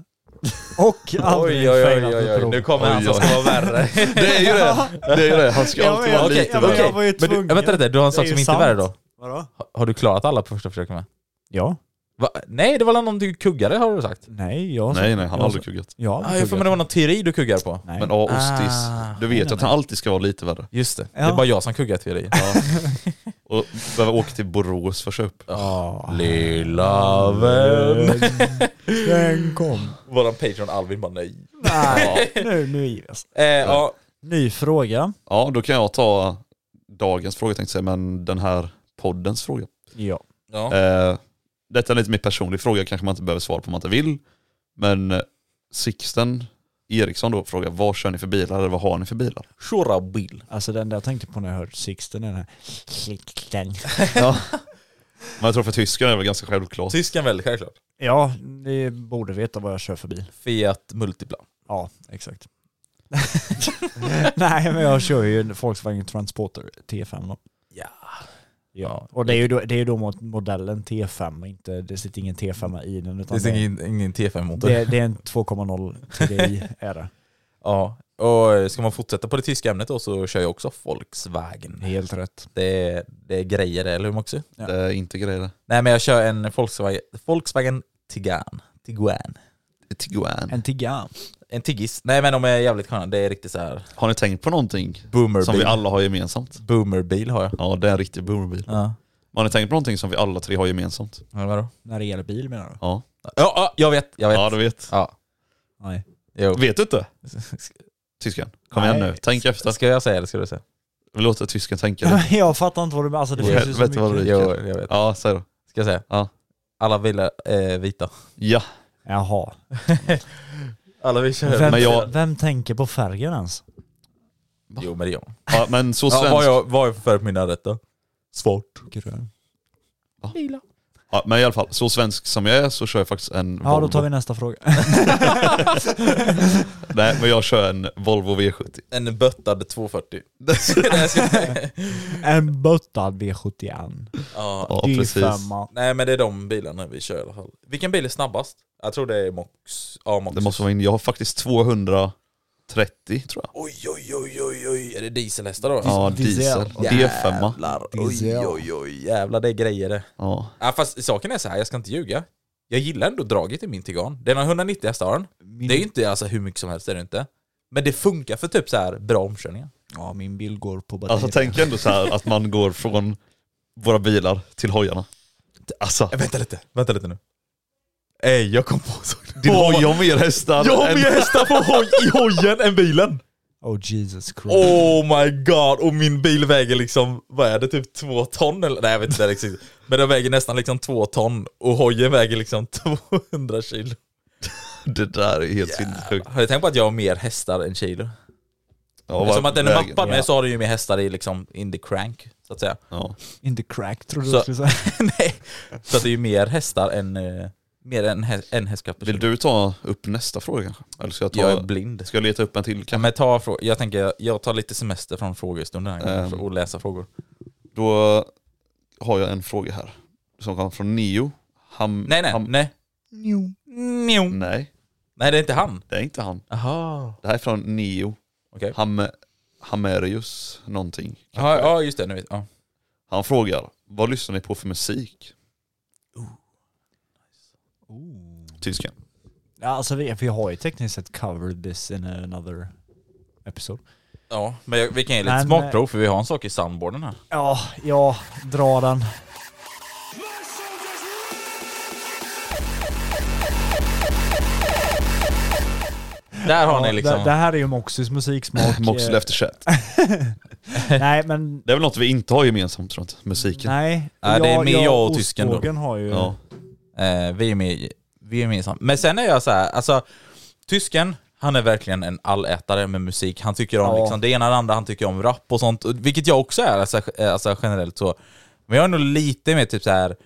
[SPEAKER 2] Och aldrig
[SPEAKER 3] Oj oj oj,
[SPEAKER 2] failat
[SPEAKER 3] oj,
[SPEAKER 2] ett
[SPEAKER 3] oj.
[SPEAKER 2] prov.
[SPEAKER 3] nu kommer han
[SPEAKER 1] Oj,
[SPEAKER 3] som
[SPEAKER 1] oj.
[SPEAKER 3] ska vara värre.
[SPEAKER 1] Det är ju det! [LAUGHS] Det är ju det, han ska
[SPEAKER 2] Jag
[SPEAKER 1] alltid vara
[SPEAKER 2] vet, jag
[SPEAKER 1] lite
[SPEAKER 2] vet,
[SPEAKER 1] värre.
[SPEAKER 2] jag var ju
[SPEAKER 3] Men du,
[SPEAKER 2] tvungen.
[SPEAKER 3] vänta lite, du har en
[SPEAKER 2] Det
[SPEAKER 3] sak
[SPEAKER 2] är
[SPEAKER 3] som
[SPEAKER 2] ju
[SPEAKER 3] inte är värre
[SPEAKER 2] sant.
[SPEAKER 3] då?
[SPEAKER 2] Vadå?
[SPEAKER 3] Har, har du klarat alla på första försöket med?
[SPEAKER 2] Ja.
[SPEAKER 3] Va? Nej det var någon du kuggade har du sagt.
[SPEAKER 2] Nej, jag
[SPEAKER 1] Nej nej, han
[SPEAKER 2] jag,
[SPEAKER 1] har aldrig kuggat.
[SPEAKER 2] Jag har
[SPEAKER 3] Ja,
[SPEAKER 2] aldrig
[SPEAKER 3] jag får mig det var någon teori du kuggade på.
[SPEAKER 2] Nej.
[SPEAKER 1] Men ja, ostis.
[SPEAKER 3] Ah.
[SPEAKER 1] Du vet ju att han alltid ska vara lite [LAUGHS] värre.
[SPEAKER 3] Just det, det
[SPEAKER 2] Ja.
[SPEAKER 3] är bara jag som kuggar teorier.
[SPEAKER 1] Ja. Och behöva åka till Borås för köp.
[SPEAKER 2] Ah.
[SPEAKER 3] Lilla vän. [LAUGHS]
[SPEAKER 2] Den kom.
[SPEAKER 3] Våran Patreon Alvin bara nej.
[SPEAKER 2] Nej, [LAUGHS] nu, nu ger vi oss.
[SPEAKER 3] Eh, ja.
[SPEAKER 2] Ny fråga.
[SPEAKER 1] Ja, då kan jag ta dagens fråga tänkte jag säga, men den här poddens fråga.
[SPEAKER 2] Ja.
[SPEAKER 3] Ja.
[SPEAKER 1] Eh, detta är lite mer personlig fråga, kanske man inte behöver svara på om man inte vill. Men eh, Sixten Eriksson då frågar vad kör ni för bilar eller vad har ni för bilar?
[SPEAKER 3] Shura bil.
[SPEAKER 2] Alltså den där jag tänkte på när jag hörde Sixten, den här Sixten.
[SPEAKER 1] Ja. Men jag tror för tyskarna är det väl ganska självklart.
[SPEAKER 3] Tyskan väldigt självklart.
[SPEAKER 2] [LAUGHS] Ja, ni borde veta vad jag kör för bil.
[SPEAKER 3] Fiat Multipla.
[SPEAKER 2] Ja, exakt. [LAUGHS] Nej men jag kör ju en Volkswagen Transporter T5 då.
[SPEAKER 3] Ja.
[SPEAKER 2] Ja. Och det är ju då, det är ju då mot- modellen T5, inte, det sitter ingen T5 i den utan
[SPEAKER 3] Det är ingen, ingen T5-motor.
[SPEAKER 2] det, det är en 2,0 [LAUGHS] TDI är det.
[SPEAKER 3] Ja. Och eh, ska man fortsätta på det tyska ämnet då så kör jag också Volkswagen.
[SPEAKER 2] Helt rätt.
[SPEAKER 3] Det är, det är grejer det, eller hur Moxie?
[SPEAKER 1] Det är Eh, inte grejer det.
[SPEAKER 3] Nej men jag kör en Volkswagen, Volkswagen Tiguan. Tiguan.
[SPEAKER 1] Tiguan.
[SPEAKER 2] En Tiguan.
[SPEAKER 3] En tiggis. Nej men de är jävligt sköna. Det är riktigt så här
[SPEAKER 1] Har ni tänkt på någonting som vi
[SPEAKER 3] boomerbil.
[SPEAKER 1] alla har gemensamt?
[SPEAKER 3] Boomerbil har jag.
[SPEAKER 1] Ja, det är en riktig boomerbil.
[SPEAKER 3] Ja.
[SPEAKER 1] Har ni tänkt på någonting som vi alla tre har gemensamt?
[SPEAKER 3] Ja, vadå?
[SPEAKER 2] När det gäller bil menar du?
[SPEAKER 1] Ja,
[SPEAKER 3] Ja, ja, jag vet. Jag vet.
[SPEAKER 1] ja du vet.
[SPEAKER 3] Ja.
[SPEAKER 2] Nej.
[SPEAKER 3] Jo.
[SPEAKER 1] Vet du inte? Tysken, kom igen
[SPEAKER 2] Nej.
[SPEAKER 1] nu. Tänk efter.
[SPEAKER 3] Ska jag säga eller ska du säga?
[SPEAKER 1] Vi låter tysken tänka
[SPEAKER 2] [LAUGHS]
[SPEAKER 1] lite.
[SPEAKER 2] jag fattar inte vad du menar, alltså det
[SPEAKER 1] Jo,
[SPEAKER 2] finns ju så
[SPEAKER 1] helvete vad
[SPEAKER 2] mycket.
[SPEAKER 1] du-
[SPEAKER 3] Jo, jag vet.
[SPEAKER 1] Ja, säg då.
[SPEAKER 3] Ska jag säga?
[SPEAKER 1] Ja.
[SPEAKER 3] Alla bilar är vita.
[SPEAKER 1] Ja,
[SPEAKER 2] Jaha.
[SPEAKER 3] Alla vi kör.
[SPEAKER 2] Vem,
[SPEAKER 1] Men jag-
[SPEAKER 2] vem tänker på färgen ens?
[SPEAKER 3] Jo men det är jag.
[SPEAKER 1] ja men så
[SPEAKER 3] Ja,
[SPEAKER 1] svensk.
[SPEAKER 3] vad, jag vad är för färg på mina rätt då? Svart.
[SPEAKER 2] Grön.
[SPEAKER 1] Ja, men i alla fall, så svensk som jag är så kör jag faktiskt en
[SPEAKER 2] Ja,
[SPEAKER 1] Volvo.
[SPEAKER 2] då tar vi nästa
[SPEAKER 3] [LAUGHS]
[SPEAKER 2] fråga.
[SPEAKER 1] Nej, men jag kör en Volvo V70.
[SPEAKER 3] En böttad 240. Nej, ska jag säga.
[SPEAKER 2] en buttad V71.
[SPEAKER 3] ja.
[SPEAKER 1] Ja,
[SPEAKER 2] Det är ju
[SPEAKER 1] precis.
[SPEAKER 2] femma.
[SPEAKER 3] Nej men det är de bilarna vi kör i alla fall. Vilken bil är snabbast? Jag tror det är Mox. Ja, Mox.
[SPEAKER 1] Det måste vara in. Jag har faktiskt 230 tror jag.
[SPEAKER 3] Oj oj oj oj oj. Är det dieselhästar då?
[SPEAKER 1] Ja,
[SPEAKER 2] diesel.
[SPEAKER 1] diesel. D5.
[SPEAKER 3] Jävlar. Oj
[SPEAKER 2] Diesel.
[SPEAKER 3] oj oj. Jävlar det är grejer det.
[SPEAKER 1] Ja.
[SPEAKER 3] Ja, fast saken är så här, jag ska inte ljuga. Jag gillar ändå draget i min Tiguan. Den har 190 hästar. har den. Det är ju inte alltså, hur mycket som helst, det är det inte. Men det funkar för typ så här bra omkörningar.
[SPEAKER 2] Ja, min bil går på batteri.
[SPEAKER 1] Alltså tänk ändå så här att man går från våra bilar till hojarna. Alltså,
[SPEAKER 3] Äh, vänta lite, vänta lite nu. Ey, jag kom på en sak.
[SPEAKER 1] din hoj har mer hästar
[SPEAKER 3] Jag har
[SPEAKER 1] än-
[SPEAKER 3] mer hästar på hoj, i hojen än bilen!
[SPEAKER 2] Oh Jesus Christ.
[SPEAKER 3] Oh my god, och min bil väger liksom, vad är det, typ två ton eller? Nej jag vet inte exakt. Men den väger nästan liksom två ton och hojen väger liksom 200 kilo.
[SPEAKER 1] [LAUGHS] Det där är helt sinnessjukt.
[SPEAKER 3] Har du tänkt på att jag har mer hästar än kilo?
[SPEAKER 1] Ja,
[SPEAKER 3] Som att den är
[SPEAKER 1] vägen-
[SPEAKER 3] mappad med så har den ju mer hästar i liksom in the crank, så
[SPEAKER 1] [LAUGHS]
[SPEAKER 3] att säga.
[SPEAKER 1] Ja.
[SPEAKER 2] Inte crack tror du
[SPEAKER 3] Så-
[SPEAKER 2] jag skulle säga.
[SPEAKER 3] Nej. Så att det är ju mer hästar än, eh, mer än, hä än hästkraft per
[SPEAKER 1] Vill
[SPEAKER 3] kilo.
[SPEAKER 1] du ta upp nästa fråga kanske? Eller ska jag ta...
[SPEAKER 3] Jag är blind.
[SPEAKER 1] Ska jag leta upp en till kanske?
[SPEAKER 3] Ja, men ta frå- jag tänker, jag tar lite semester från frågestunden här
[SPEAKER 1] Ehm.
[SPEAKER 3] för att läsa frågor.
[SPEAKER 1] Då har jag en fråga här. Som kommer från Neo. Ham,
[SPEAKER 3] Nej, nej,
[SPEAKER 1] ham,
[SPEAKER 3] nej. Njo.
[SPEAKER 1] nej.
[SPEAKER 3] Nej, det är inte han.
[SPEAKER 1] det är inte han.
[SPEAKER 3] Aha.
[SPEAKER 1] Det här är från Neo.
[SPEAKER 3] Okej.
[SPEAKER 1] Ham, Hamerius någonting.
[SPEAKER 3] Ja, ja, just det. Nu vet ja.
[SPEAKER 1] Han frågar, vad lyssnar ni på för musik? Tysken.
[SPEAKER 2] Ja, alltså vi, vi har ju tekniskt sett covered this in another episode.
[SPEAKER 3] ja, men jag, vi kan ge lite
[SPEAKER 2] Men,
[SPEAKER 3] smakprov för vi har en sak i soundboarden här.
[SPEAKER 2] Ja, ja, dra den.
[SPEAKER 3] Där har
[SPEAKER 2] Ja,
[SPEAKER 3] ni liksom...
[SPEAKER 2] det, det här är ju Moxys
[SPEAKER 3] [LAUGHS]
[SPEAKER 2] musiksmak.
[SPEAKER 1] Moxel efter chat.
[SPEAKER 2] Eh, Nej men,
[SPEAKER 1] Det är väl något vi inte har gemensamt tror jag inte, musiken.
[SPEAKER 2] nej.
[SPEAKER 3] Ja, det är med jag och tysken då.
[SPEAKER 2] ostbågen har ju...
[SPEAKER 1] Ja.
[SPEAKER 3] Eh, vi är med, vi är med Men sen är jag så här, alltså tysken, han är verkligen en allätare med musik. Han tycker om
[SPEAKER 2] Ja.
[SPEAKER 3] liksom det ena och det andra, han tycker om rap och sånt. och- Vilket jag också är, alltså, eh, alltså generellt så. Men jag är nog lite mer typ så här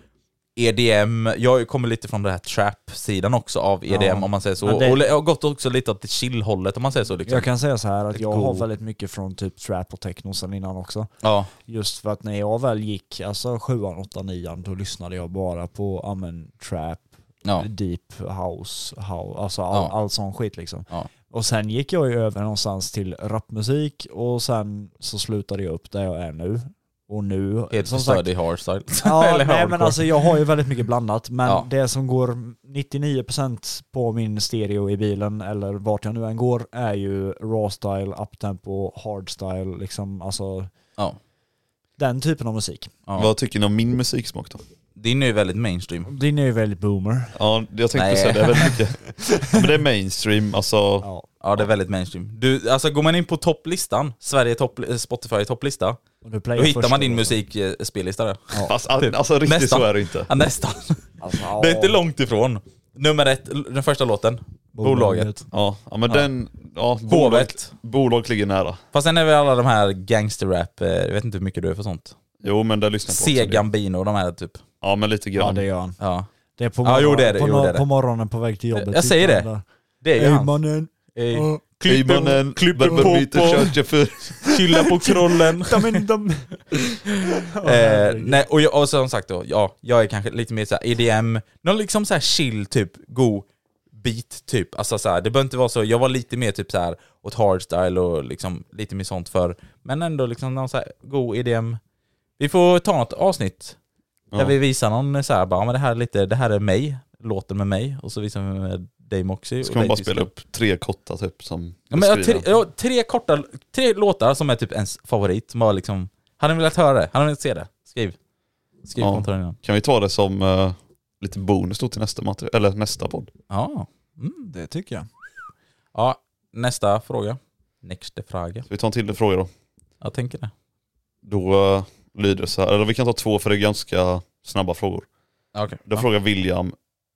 [SPEAKER 3] EDM, jag kommer lite från den här trap-sidan också av EDM om man säger så.
[SPEAKER 2] Men det-
[SPEAKER 3] Och jag har gått också lite åt det chill-hållet om man säger så. Liksom.
[SPEAKER 2] Jag kan säga så här att jag har
[SPEAKER 3] god-
[SPEAKER 2] väldigt mycket från typ trap och techno sen innan också.
[SPEAKER 3] Ja.
[SPEAKER 2] Just för att när jag väl gick, alltså sjuan, åttan, nian, då lyssnade jag bara på ja, men, trap,
[SPEAKER 3] Ja.
[SPEAKER 2] deep house, house alltså all,
[SPEAKER 3] Ja.
[SPEAKER 2] all sån skit liksom.
[SPEAKER 3] Ja.
[SPEAKER 2] Och sen gick jag ju över någonstans till rapmusik och sen så slutade jag upp där jag är nu. Och nu,
[SPEAKER 3] Helt
[SPEAKER 2] som
[SPEAKER 3] förstörd
[SPEAKER 2] sagt,
[SPEAKER 3] i hardstyle.
[SPEAKER 2] [LAUGHS] Ja,
[SPEAKER 3] [LAUGHS] Eller
[SPEAKER 2] nej men
[SPEAKER 3] hardcore.
[SPEAKER 2] alltså jag har ju väldigt mycket blandat, men
[SPEAKER 3] Ja.
[SPEAKER 2] det som går 99% på min stereo i bilen eller vart jag nu än går är ju raw style, uptempo, hardstyle, liksom alltså
[SPEAKER 3] Ja.
[SPEAKER 2] den typen av musik.
[SPEAKER 3] Ja.
[SPEAKER 1] Vad tycker ni om min musiksmak då?
[SPEAKER 3] Din är ju väldigt mainstream.
[SPEAKER 2] Din är ju väldigt boomer.
[SPEAKER 1] Ja, jag tänkte
[SPEAKER 3] Nej.
[SPEAKER 1] säga det är väldigt [LAUGHS] mycket. Men det är mainstream, alltså.
[SPEAKER 2] Ja.
[SPEAKER 3] Ja det är väldigt mainstream. Du, alltså går man in på topplistan, Sverige topp, eh, Spotify topplista,
[SPEAKER 2] Och du playar
[SPEAKER 3] Då hittar
[SPEAKER 2] första
[SPEAKER 3] man din
[SPEAKER 2] låten.
[SPEAKER 3] musikspellista där.
[SPEAKER 1] Fast, alltså riktigt
[SPEAKER 3] Nästan.
[SPEAKER 1] så är det inte.
[SPEAKER 3] Ja, nästan.
[SPEAKER 2] Alltså,
[SPEAKER 3] Det är inte långt ifrån. Nummer ett, l- den första låten. Bolaget.
[SPEAKER 1] Ja, ja men
[SPEAKER 3] Ja.
[SPEAKER 1] den... Ja,
[SPEAKER 3] Hovet.
[SPEAKER 1] Bolaget ligger nära.
[SPEAKER 3] Fast sen är väl alla de här gangsterrap, eh, jag vet inte hur mycket du är för sånt.
[SPEAKER 1] Jo men det lyssnar jag på
[SPEAKER 3] Se
[SPEAKER 1] också.
[SPEAKER 3] Gambino och de här typ.
[SPEAKER 1] Ja men lite
[SPEAKER 2] Ja
[SPEAKER 1] grann.
[SPEAKER 2] det gör han.
[SPEAKER 3] Ja.
[SPEAKER 2] Det är på
[SPEAKER 3] Ja,
[SPEAKER 2] morgonen,
[SPEAKER 3] jo, det är det,
[SPEAKER 2] på,
[SPEAKER 3] jo,
[SPEAKER 2] no-
[SPEAKER 3] det är det.
[SPEAKER 2] på morgonen på väg till jobbet.
[SPEAKER 3] Jag säger
[SPEAKER 2] Sitter
[SPEAKER 3] det.
[SPEAKER 2] han
[SPEAKER 3] Det
[SPEAKER 2] där.
[SPEAKER 3] är ju
[SPEAKER 2] Ey
[SPEAKER 3] han.
[SPEAKER 2] mannen.
[SPEAKER 3] Ey.
[SPEAKER 2] Ja. Typ,
[SPEAKER 1] Klippemannen, Berberbyte, [LAUGHS] Köttjefur.
[SPEAKER 3] chilla på krollen.
[SPEAKER 2] Ja, men de-
[SPEAKER 1] [LAUGHS]
[SPEAKER 3] eh, nej, och, jag, och som sagt då, ja, jag är kanske lite mer såhär EDM, någon liksom såhär chill typ, god beat typ. Alltså såhär, det behöver inte vara så, jag var lite mer typ såhär åt hardstyle och liksom lite mer sånt för Men ändå liksom någon såhär god EDM. Vi får ta något avsnitt där
[SPEAKER 1] Ja.
[SPEAKER 3] vi visar någon såhär bara, ja, men det här är lite, det här är mig, låten med mig, och så visar vi med dig Moxie. och
[SPEAKER 1] Ska man
[SPEAKER 3] dig
[SPEAKER 1] bara
[SPEAKER 3] Disco.
[SPEAKER 1] spela upp tre korta typ som
[SPEAKER 3] Ja, men jag har tre,
[SPEAKER 1] beskriver.
[SPEAKER 3] jag har tre korta, tre låtar som är typ ens favorit, som har liksom, hade ni velat höra det? Hade ni velat se det? Skriv. Skriv
[SPEAKER 1] Ja.
[SPEAKER 3] ja. kommentaren innan.
[SPEAKER 1] Kan vi ta det som eh, lite bonus då till nästa material, eller nästa podd?
[SPEAKER 3] Ja. Mm.
[SPEAKER 2] Det tycker jag.
[SPEAKER 3] ja. Nästa fråga. Nästa fråga.
[SPEAKER 1] Så vi tar en till fråga då.
[SPEAKER 3] Jag tänker det.
[SPEAKER 1] Då eh, lyder det så här, eller vi kan ta två för det är ganska snabba frågor.
[SPEAKER 3] Okej.
[SPEAKER 1] Då frågar William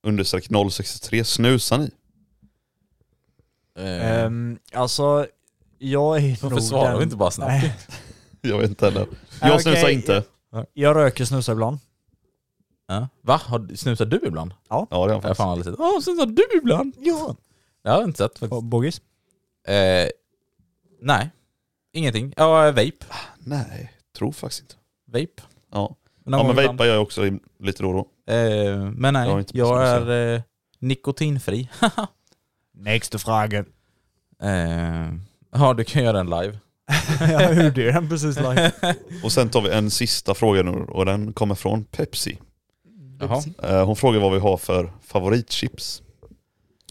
[SPEAKER 1] understreck 063, snusar ni?
[SPEAKER 3] [LAUGHS] Eh,
[SPEAKER 2] Ehm, alltså, jag är
[SPEAKER 3] Varför
[SPEAKER 2] nog
[SPEAKER 3] svarar
[SPEAKER 2] den-
[SPEAKER 3] vi inte bara snabbt?
[SPEAKER 2] Nej,
[SPEAKER 3] [LAUGHS]
[SPEAKER 1] Jag vet inte heller. Jag
[SPEAKER 2] Okej.
[SPEAKER 1] snusar inte.
[SPEAKER 2] jag röker snusar ibland.
[SPEAKER 3] Ja. Va? Har, du- snusar du ibland?
[SPEAKER 1] Ja det har jag
[SPEAKER 3] Jag har
[SPEAKER 1] faktiskt.
[SPEAKER 3] fan aldrig sett. Åh, snusar du ibland?
[SPEAKER 2] Ja.
[SPEAKER 3] Det har jag inte sett faktiskt.
[SPEAKER 2] Bogis?
[SPEAKER 3] Eh, nej. Ingenting. Ja, vape.
[SPEAKER 1] Nej, tror faktiskt inte.
[SPEAKER 3] Vape.
[SPEAKER 1] Ja,
[SPEAKER 3] Någon
[SPEAKER 1] ja men
[SPEAKER 3] gång ibland.
[SPEAKER 1] vejpar gör jag också i- lite då och då.
[SPEAKER 3] Eh, men nej,
[SPEAKER 1] Jag har
[SPEAKER 3] jag,
[SPEAKER 1] inte snusat.
[SPEAKER 3] är eh, nikotinfri.
[SPEAKER 2] Nästa fråga. [LAUGHS]
[SPEAKER 3] Eh, ja, du kan göra en live.
[SPEAKER 2] jag gjorde ju den precis
[SPEAKER 3] [LAUGHS]
[SPEAKER 2] live.
[SPEAKER 1] Och sen tar vi en sista fråga nu och den kommer från Pepsi.
[SPEAKER 3] Jaha.
[SPEAKER 1] Eh, Hon frågar vad vi har för favoritchips.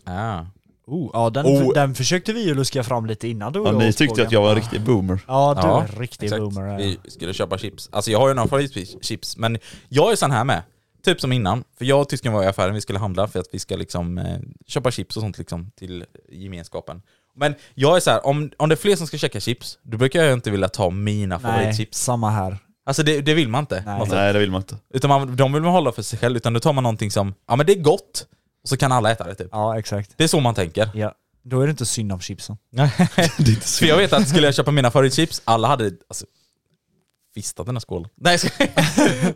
[SPEAKER 3] Ah.
[SPEAKER 2] Oh, ja, den,
[SPEAKER 1] Oh.
[SPEAKER 2] den försökte vi ju luska fram lite innan du och
[SPEAKER 1] Ja,
[SPEAKER 2] jag
[SPEAKER 1] ni
[SPEAKER 2] åt
[SPEAKER 1] tyckte
[SPEAKER 2] bågen.
[SPEAKER 1] att jag var en riktig boomer.
[SPEAKER 2] Ja, du
[SPEAKER 3] Ja,
[SPEAKER 2] är en riktig
[SPEAKER 3] Exakt.
[SPEAKER 2] boomer. ja.
[SPEAKER 3] Vi skulle köpa chips. Alltså jag har ju några favoritchips, men jag är sån här med. Typ som innan. För jag och tysken var i affären, vi skulle handla för att vi ska liksom eh, köpa chips och sånt liksom till gemenskapen. Men jag är så här, om, om det är fler som ska käka chips, då brukar jag inte vilja ta mina
[SPEAKER 2] Nej,
[SPEAKER 3] favoritchips.
[SPEAKER 2] samma här.
[SPEAKER 3] Alltså det, det vill man inte.
[SPEAKER 2] Nej.
[SPEAKER 3] på något sätt.
[SPEAKER 1] Nej det vill man inte.
[SPEAKER 3] Utan man, de vill man hålla för sig själv, utan då tar man någonting som, ja men det är gott, och så kan alla äta det typ.
[SPEAKER 2] Ja, exakt.
[SPEAKER 3] Det är så man tänker.
[SPEAKER 2] Ja. Då är det inte synd om chipsen.
[SPEAKER 3] För jag vet att skulle jag köpa mina favoritchips, alla hade alltså, fistat den här skålen. [LAUGHS] Nej, jag skojar.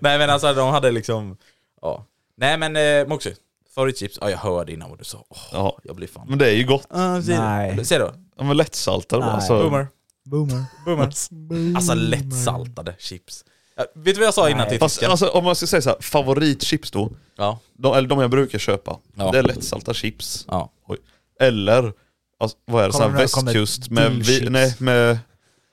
[SPEAKER 3] Nej men alltså de hade liksom, ja. Nej men eh, Moxie, favoritchips, ja jag hörde innan vad du sa. Åh,
[SPEAKER 1] Ja.
[SPEAKER 3] jag blir fan...
[SPEAKER 1] Men det är ju gott.
[SPEAKER 3] Säg
[SPEAKER 2] Nej.
[SPEAKER 3] då.
[SPEAKER 1] De är lättsaltade.
[SPEAKER 2] Nej.
[SPEAKER 1] Alltså,
[SPEAKER 3] Boomer.
[SPEAKER 2] Boomer.
[SPEAKER 3] Boomer. Alltså lättsaltade chips. Ja, vet du vad jag sa innan till
[SPEAKER 1] Fast
[SPEAKER 3] fisken?
[SPEAKER 1] alltså, om man ska säga så här, favoritchips då,
[SPEAKER 3] Ja.
[SPEAKER 1] de, eller de jag brukar köpa,
[SPEAKER 3] Ja.
[SPEAKER 1] det är lättsalta chips.
[SPEAKER 3] ja.
[SPEAKER 1] Oj. Eller, alltså, vad är det, så här,
[SPEAKER 2] Kommer det- kommer
[SPEAKER 1] västkust med, vi,
[SPEAKER 2] dillchips?
[SPEAKER 1] nej, med,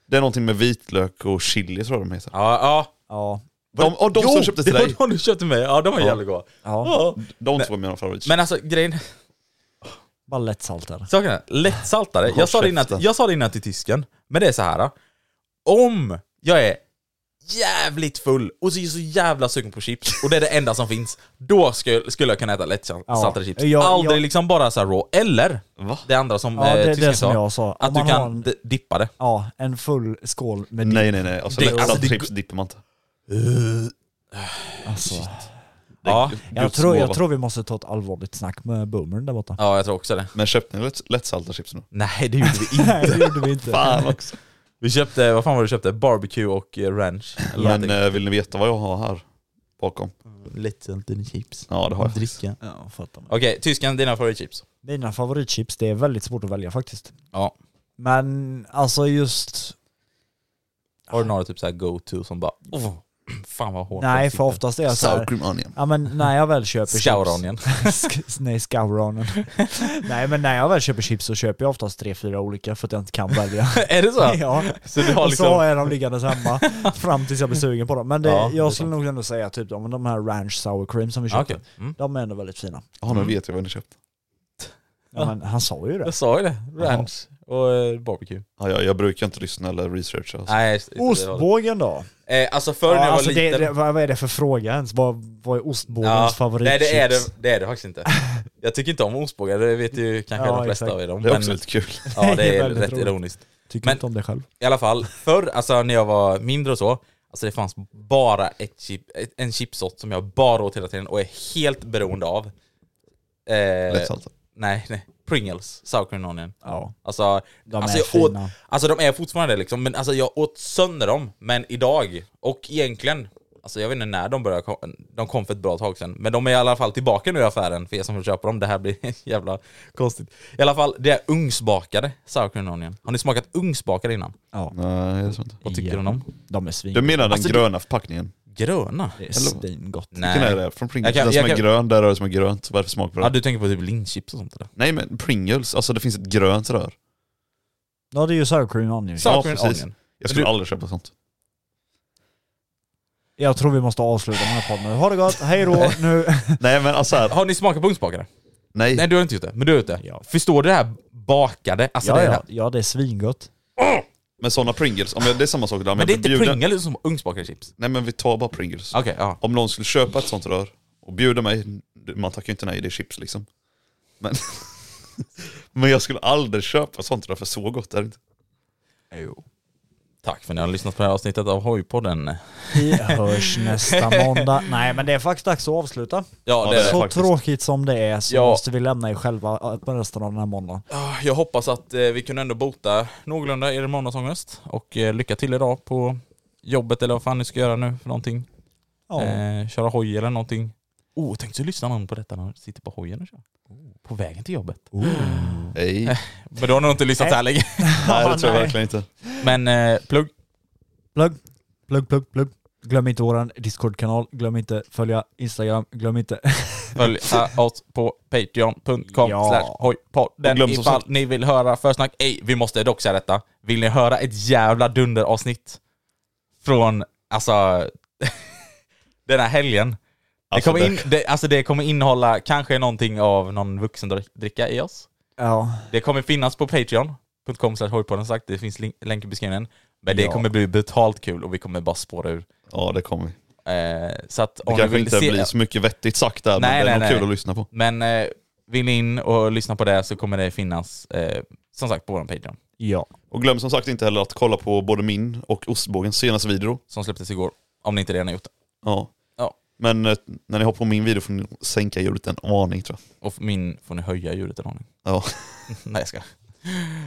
[SPEAKER 1] det är någonting med vitlök och chili tror jag de heter.
[SPEAKER 3] Ja, ja.
[SPEAKER 2] Ja.
[SPEAKER 1] De, och de
[SPEAKER 3] jo,
[SPEAKER 1] som köpte till
[SPEAKER 3] det
[SPEAKER 1] dig,
[SPEAKER 3] var de du köpte till mig. Ja, de var
[SPEAKER 1] Ja.
[SPEAKER 3] jävligt goda.
[SPEAKER 2] ja.
[SPEAKER 3] Ja.
[SPEAKER 1] de två är mina favoritchips.
[SPEAKER 3] Men alltså grejen,
[SPEAKER 2] Bara lättsaltare.
[SPEAKER 3] Saken är, lättsaltare.
[SPEAKER 1] Håll
[SPEAKER 3] Jag sa, det innan,
[SPEAKER 1] käften.
[SPEAKER 3] jag sa det innan till tysken, men det är så här. Om jag är jävligt full och så är jag så jävla sugen på chips och det är det enda som finns, då skulle, skulle jag kunna äta lättsaltade
[SPEAKER 2] Ja.
[SPEAKER 3] chips.
[SPEAKER 2] Jag-
[SPEAKER 3] Aldrig
[SPEAKER 2] jag-
[SPEAKER 3] liksom bara så här raw. Eller
[SPEAKER 1] Va?
[SPEAKER 3] det andra som
[SPEAKER 2] Ja,
[SPEAKER 3] eh,
[SPEAKER 2] det är det
[SPEAKER 3] tysken
[SPEAKER 2] som
[SPEAKER 3] sa,
[SPEAKER 2] jag sa. Om
[SPEAKER 3] att du
[SPEAKER 2] man har
[SPEAKER 3] kan
[SPEAKER 2] en-
[SPEAKER 3] d- dippa det.
[SPEAKER 2] Ja, en full skål med dipp.
[SPEAKER 1] nej nej nej, alltså,
[SPEAKER 3] Det-
[SPEAKER 1] lättsalta
[SPEAKER 3] alltså, det-
[SPEAKER 1] chips dippar man inte.
[SPEAKER 2] Alltså.
[SPEAKER 1] Det är
[SPEAKER 3] Ja,
[SPEAKER 1] Guds
[SPEAKER 2] Jag tror, jag
[SPEAKER 1] gåva.
[SPEAKER 2] tror vi måste ta ett allvarligt snack med boomern där borta.
[SPEAKER 3] Ja, jag tror också det.
[SPEAKER 1] Men köpte ni lätt, lättsalta chips nu?
[SPEAKER 3] Nej, det gjorde
[SPEAKER 2] [LAUGHS]
[SPEAKER 3] vi inte.
[SPEAKER 2] [LAUGHS] Nej, det gjorde vi inte.
[SPEAKER 1] Fan också.
[SPEAKER 3] Vi köpte, vad fan var det du köpte? Barbecue och eh, ranch. Eller
[SPEAKER 1] Men
[SPEAKER 3] någonting.
[SPEAKER 1] eh, vill ni veta vad jag har här bakom?
[SPEAKER 3] Mm, Lättsaltade chips.
[SPEAKER 1] Ja det har jag.
[SPEAKER 3] Dricka.
[SPEAKER 2] Ja, fattar mig.
[SPEAKER 3] Okej, tysken, dina favoritchips?
[SPEAKER 2] Mina favoritchips, det är väldigt svårt att välja faktiskt.
[SPEAKER 3] Ja.
[SPEAKER 2] Men alltså just,
[SPEAKER 3] Har du några typ såhär go-to som bara oh, fan vad hårt
[SPEAKER 2] nej för
[SPEAKER 3] det sitter."
[SPEAKER 2] oftast är jag såhär,
[SPEAKER 1] Sour cream onion.
[SPEAKER 2] ja men när jag väl köper
[SPEAKER 3] Scour
[SPEAKER 2] chips.
[SPEAKER 3] onion.
[SPEAKER 2] Sk-
[SPEAKER 1] [LAUGHS]
[SPEAKER 2] nej, scouronen. nej men när jag väl köper chips så köper jag oftast tre, fyra olika för att jag inte kan välja.
[SPEAKER 3] [LAUGHS] Är det så?
[SPEAKER 2] [LAUGHS] ja.
[SPEAKER 3] Så du har
[SPEAKER 2] Och
[SPEAKER 3] liksom...
[SPEAKER 2] så har jag dem liggandes hemma [LAUGHS] fram tills jag blir sugen på dem. Men det,
[SPEAKER 3] Ja, det är
[SPEAKER 2] jag skulle nog ändå säga typ de, de här ranch sour cream som vi
[SPEAKER 3] Ja,
[SPEAKER 2] köpte,
[SPEAKER 3] okej. mm.
[SPEAKER 2] de är ändå väldigt fina.
[SPEAKER 1] Ja nu vet jag vad ni köpt.
[SPEAKER 2] Ja, men han sa ju det.
[SPEAKER 3] Jag sa ju det. Ranch och eh, barbecue.
[SPEAKER 1] Ja, jag, jag brukar inte lyssna eller researcha. Alltså.
[SPEAKER 3] Nej, just- just det, det var det.
[SPEAKER 2] Ostbågen då?
[SPEAKER 3] Eh, alltså förr när
[SPEAKER 2] Ja,
[SPEAKER 3] jag var
[SPEAKER 2] alltså det,
[SPEAKER 3] liten...
[SPEAKER 2] det, vad vad är det för fråga ens? Vad, vad är ostbågens
[SPEAKER 3] nej
[SPEAKER 2] favoritchips?
[SPEAKER 3] det är det, det är det
[SPEAKER 2] [LAUGHS]
[SPEAKER 3] faktiskt inte. Jag tycker inte om ostbågar, det vet ju kanske
[SPEAKER 2] Ja,
[SPEAKER 3] de flesta
[SPEAKER 2] exakt.
[SPEAKER 3] av er om.
[SPEAKER 1] Det är
[SPEAKER 3] men-
[SPEAKER 1] också lite kul.
[SPEAKER 2] [LAUGHS]
[SPEAKER 3] Ja det
[SPEAKER 2] Det är
[SPEAKER 3] är
[SPEAKER 2] väldigt
[SPEAKER 3] rätt
[SPEAKER 2] roligt.
[SPEAKER 3] ironiskt.
[SPEAKER 2] Tycker
[SPEAKER 3] Men-
[SPEAKER 2] inte om det själv.
[SPEAKER 3] I alla fall, förr alltså när jag var mindre och så, alltså det fanns bara ett chip, ett, en chipsort som jag bara åt hela tiden och är helt beroende av. Eh,
[SPEAKER 1] Lättsalta.
[SPEAKER 3] Nej, nej. Pringles, sour cream and onion.
[SPEAKER 5] Ja.
[SPEAKER 3] Alltså,
[SPEAKER 5] De
[SPEAKER 3] alltså,
[SPEAKER 5] är
[SPEAKER 3] jag åt,
[SPEAKER 5] fina.
[SPEAKER 3] alltså de är fortfarande det liksom, men alltså jag åt sönder dem. Men idag, och egentligen, alltså jag vet inte när de började, kom- de kom för ett bra tag sedan. Men de är i alla fall tillbaka nu i affären för er som vill köpa dem. Det här blir [LAUGHS] jävla konstigt. I alla fall, det är ugnsbakade sour cream and onion. Har ni smakat ugnsbakade innan?
[SPEAKER 5] Ja.
[SPEAKER 1] Nej, det tror inte.
[SPEAKER 3] Vad tycker du om dem?
[SPEAKER 5] De är svin.
[SPEAKER 1] Du menar den
[SPEAKER 3] Alltså, det-
[SPEAKER 1] gröna förpackningen?
[SPEAKER 3] Gröna?
[SPEAKER 5] Det är
[SPEAKER 1] Eller-
[SPEAKER 5] svingott.
[SPEAKER 3] Nej.
[SPEAKER 1] Vilken är det? Från Pringles?
[SPEAKER 3] Jag kan-
[SPEAKER 1] den som
[SPEAKER 3] jag
[SPEAKER 1] är
[SPEAKER 3] kan-
[SPEAKER 1] grön, där är det som är grönt. Vad är det för smak på det?
[SPEAKER 3] Ja, du tänker på typ linschips och sånt där?
[SPEAKER 1] Nej men Pringles, alltså det finns ett grönt rör.
[SPEAKER 5] Ja det är ju sour cream and onion.
[SPEAKER 3] Sour cream and
[SPEAKER 1] precis.
[SPEAKER 3] onion.
[SPEAKER 1] Jag skulle
[SPEAKER 3] du-
[SPEAKER 1] aldrig köpa sånt.
[SPEAKER 5] Jag tror vi måste avsluta den här podden nu. Ha det gott,
[SPEAKER 3] [LAUGHS]
[SPEAKER 5] hej då nu.
[SPEAKER 1] Nej men alltså här,
[SPEAKER 3] Har ni smakat på ugnsbakade?
[SPEAKER 1] nej.
[SPEAKER 3] [LAUGHS] Nej du har inte gjort det, men du har gjort det.
[SPEAKER 5] Ja.
[SPEAKER 3] Förstår du det här bakade? Alltså
[SPEAKER 5] Ja,
[SPEAKER 3] det här.
[SPEAKER 5] ja. ja det är svingott.
[SPEAKER 1] Men sådana Pringles, om jag, det är samma sak där. om jag
[SPEAKER 3] Men det är
[SPEAKER 1] blir
[SPEAKER 3] inte
[SPEAKER 1] bjuden-
[SPEAKER 3] Pringles som ugnsbakade chips.
[SPEAKER 1] Nej men vi tar bara Pringles.
[SPEAKER 3] Okej, ja.
[SPEAKER 1] Om någon skulle köpa ett sånt rör och bjuda mig, man tackar ju inte nej, det är chips liksom. Men, [LAUGHS] men jag skulle aldrig köpa ett sånt rör för så gott är det inte.
[SPEAKER 3] Tack för att ni har lyssnat på det här avsnittet av Hojpodden.
[SPEAKER 5] Vi hörs nästa måndag. Nej men det är faktiskt dags att avsluta.
[SPEAKER 3] Ja,
[SPEAKER 1] det är
[SPEAKER 5] Så
[SPEAKER 1] faktiskt.
[SPEAKER 5] tråkigt som det är så
[SPEAKER 3] Ja.
[SPEAKER 5] måste vi lämna er själva eh, på resten av den här måndagen.
[SPEAKER 3] Jag hoppas att eh, vi kunde ändå bota någorlunda er måndagsångest. Och eh, lycka till idag på jobbet eller vad fan ni ska göra nu för någonting.
[SPEAKER 5] Ja.
[SPEAKER 3] Eh, köra hoj eller någonting. Oh, tänk så lyssnar någon på detta när de sitter på hojen och kör. På vägen till jobbet.
[SPEAKER 1] Nej,
[SPEAKER 3] Men då har nog inte lyssnat så här länge. [LAUGHS]
[SPEAKER 1] nej det tror jag verkligen inte.
[SPEAKER 3] Men eh, plugg.
[SPEAKER 5] Plugg, plugg, plugg, plugg. Glöm inte våran Discord-kanal, glöm inte följa Instagram, glöm inte... [LAUGHS]
[SPEAKER 3] Följ oss på patreon.com
[SPEAKER 5] Ja.
[SPEAKER 3] slash hojpodden
[SPEAKER 1] Och glöm som
[SPEAKER 3] ifall
[SPEAKER 1] sagt-
[SPEAKER 3] ni vill höra försnack. Ej, vi måste dock säga detta. Vill ni höra ett jävla dunderavsnitt från, alltså, [LAUGHS] den här helgen? Det
[SPEAKER 1] Alltså,
[SPEAKER 3] kommer, in,
[SPEAKER 1] det-
[SPEAKER 3] det, alltså det kommer innehålla kanske någonting av någon vuxendricka i oss.
[SPEAKER 5] Ja.
[SPEAKER 3] Det kommer finnas på patreon.com slash hojpodden sagt. Det finns link, länk i beskrivningen. Men det
[SPEAKER 5] Ja.
[SPEAKER 3] kommer bli betalt kul och vi kommer bara spåra ur.
[SPEAKER 1] Ja det kommer vi.
[SPEAKER 3] Eh, så att
[SPEAKER 1] Det
[SPEAKER 3] om ni
[SPEAKER 1] kanske
[SPEAKER 3] vill
[SPEAKER 1] inte
[SPEAKER 3] se...
[SPEAKER 1] blir så mycket vettigt sagt där,
[SPEAKER 3] Nej,
[SPEAKER 1] men det är
[SPEAKER 3] nej,
[SPEAKER 1] nog
[SPEAKER 3] nej.
[SPEAKER 1] kul att lyssna på.
[SPEAKER 3] Men eh, vill ni in och lyssna på det så kommer det finnas, eh, som sagt, på vår Patreon.
[SPEAKER 5] Ja.
[SPEAKER 1] Och glöm som sagt inte heller att kolla på både min och ostbågens senaste video.
[SPEAKER 3] Som släpptes igår. Om ni inte redan har gjort det.
[SPEAKER 1] Ja.
[SPEAKER 3] Ja.
[SPEAKER 1] Men eh, när ni har på min video får ni sänka ljudet en aning tror jag.
[SPEAKER 3] Och min får ni höja ljudet en aning.
[SPEAKER 1] Ja.
[SPEAKER 3] [LAUGHS] Nej jag ska.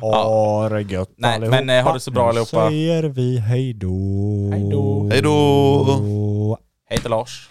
[SPEAKER 5] Ha det gött
[SPEAKER 3] Nej,
[SPEAKER 5] allihopa.
[SPEAKER 3] men, eh, ha det så bra
[SPEAKER 5] Nu
[SPEAKER 3] allihopa.
[SPEAKER 5] säger vi hej då.
[SPEAKER 3] Hej då.
[SPEAKER 1] Hej då!
[SPEAKER 3] Hej till Lars.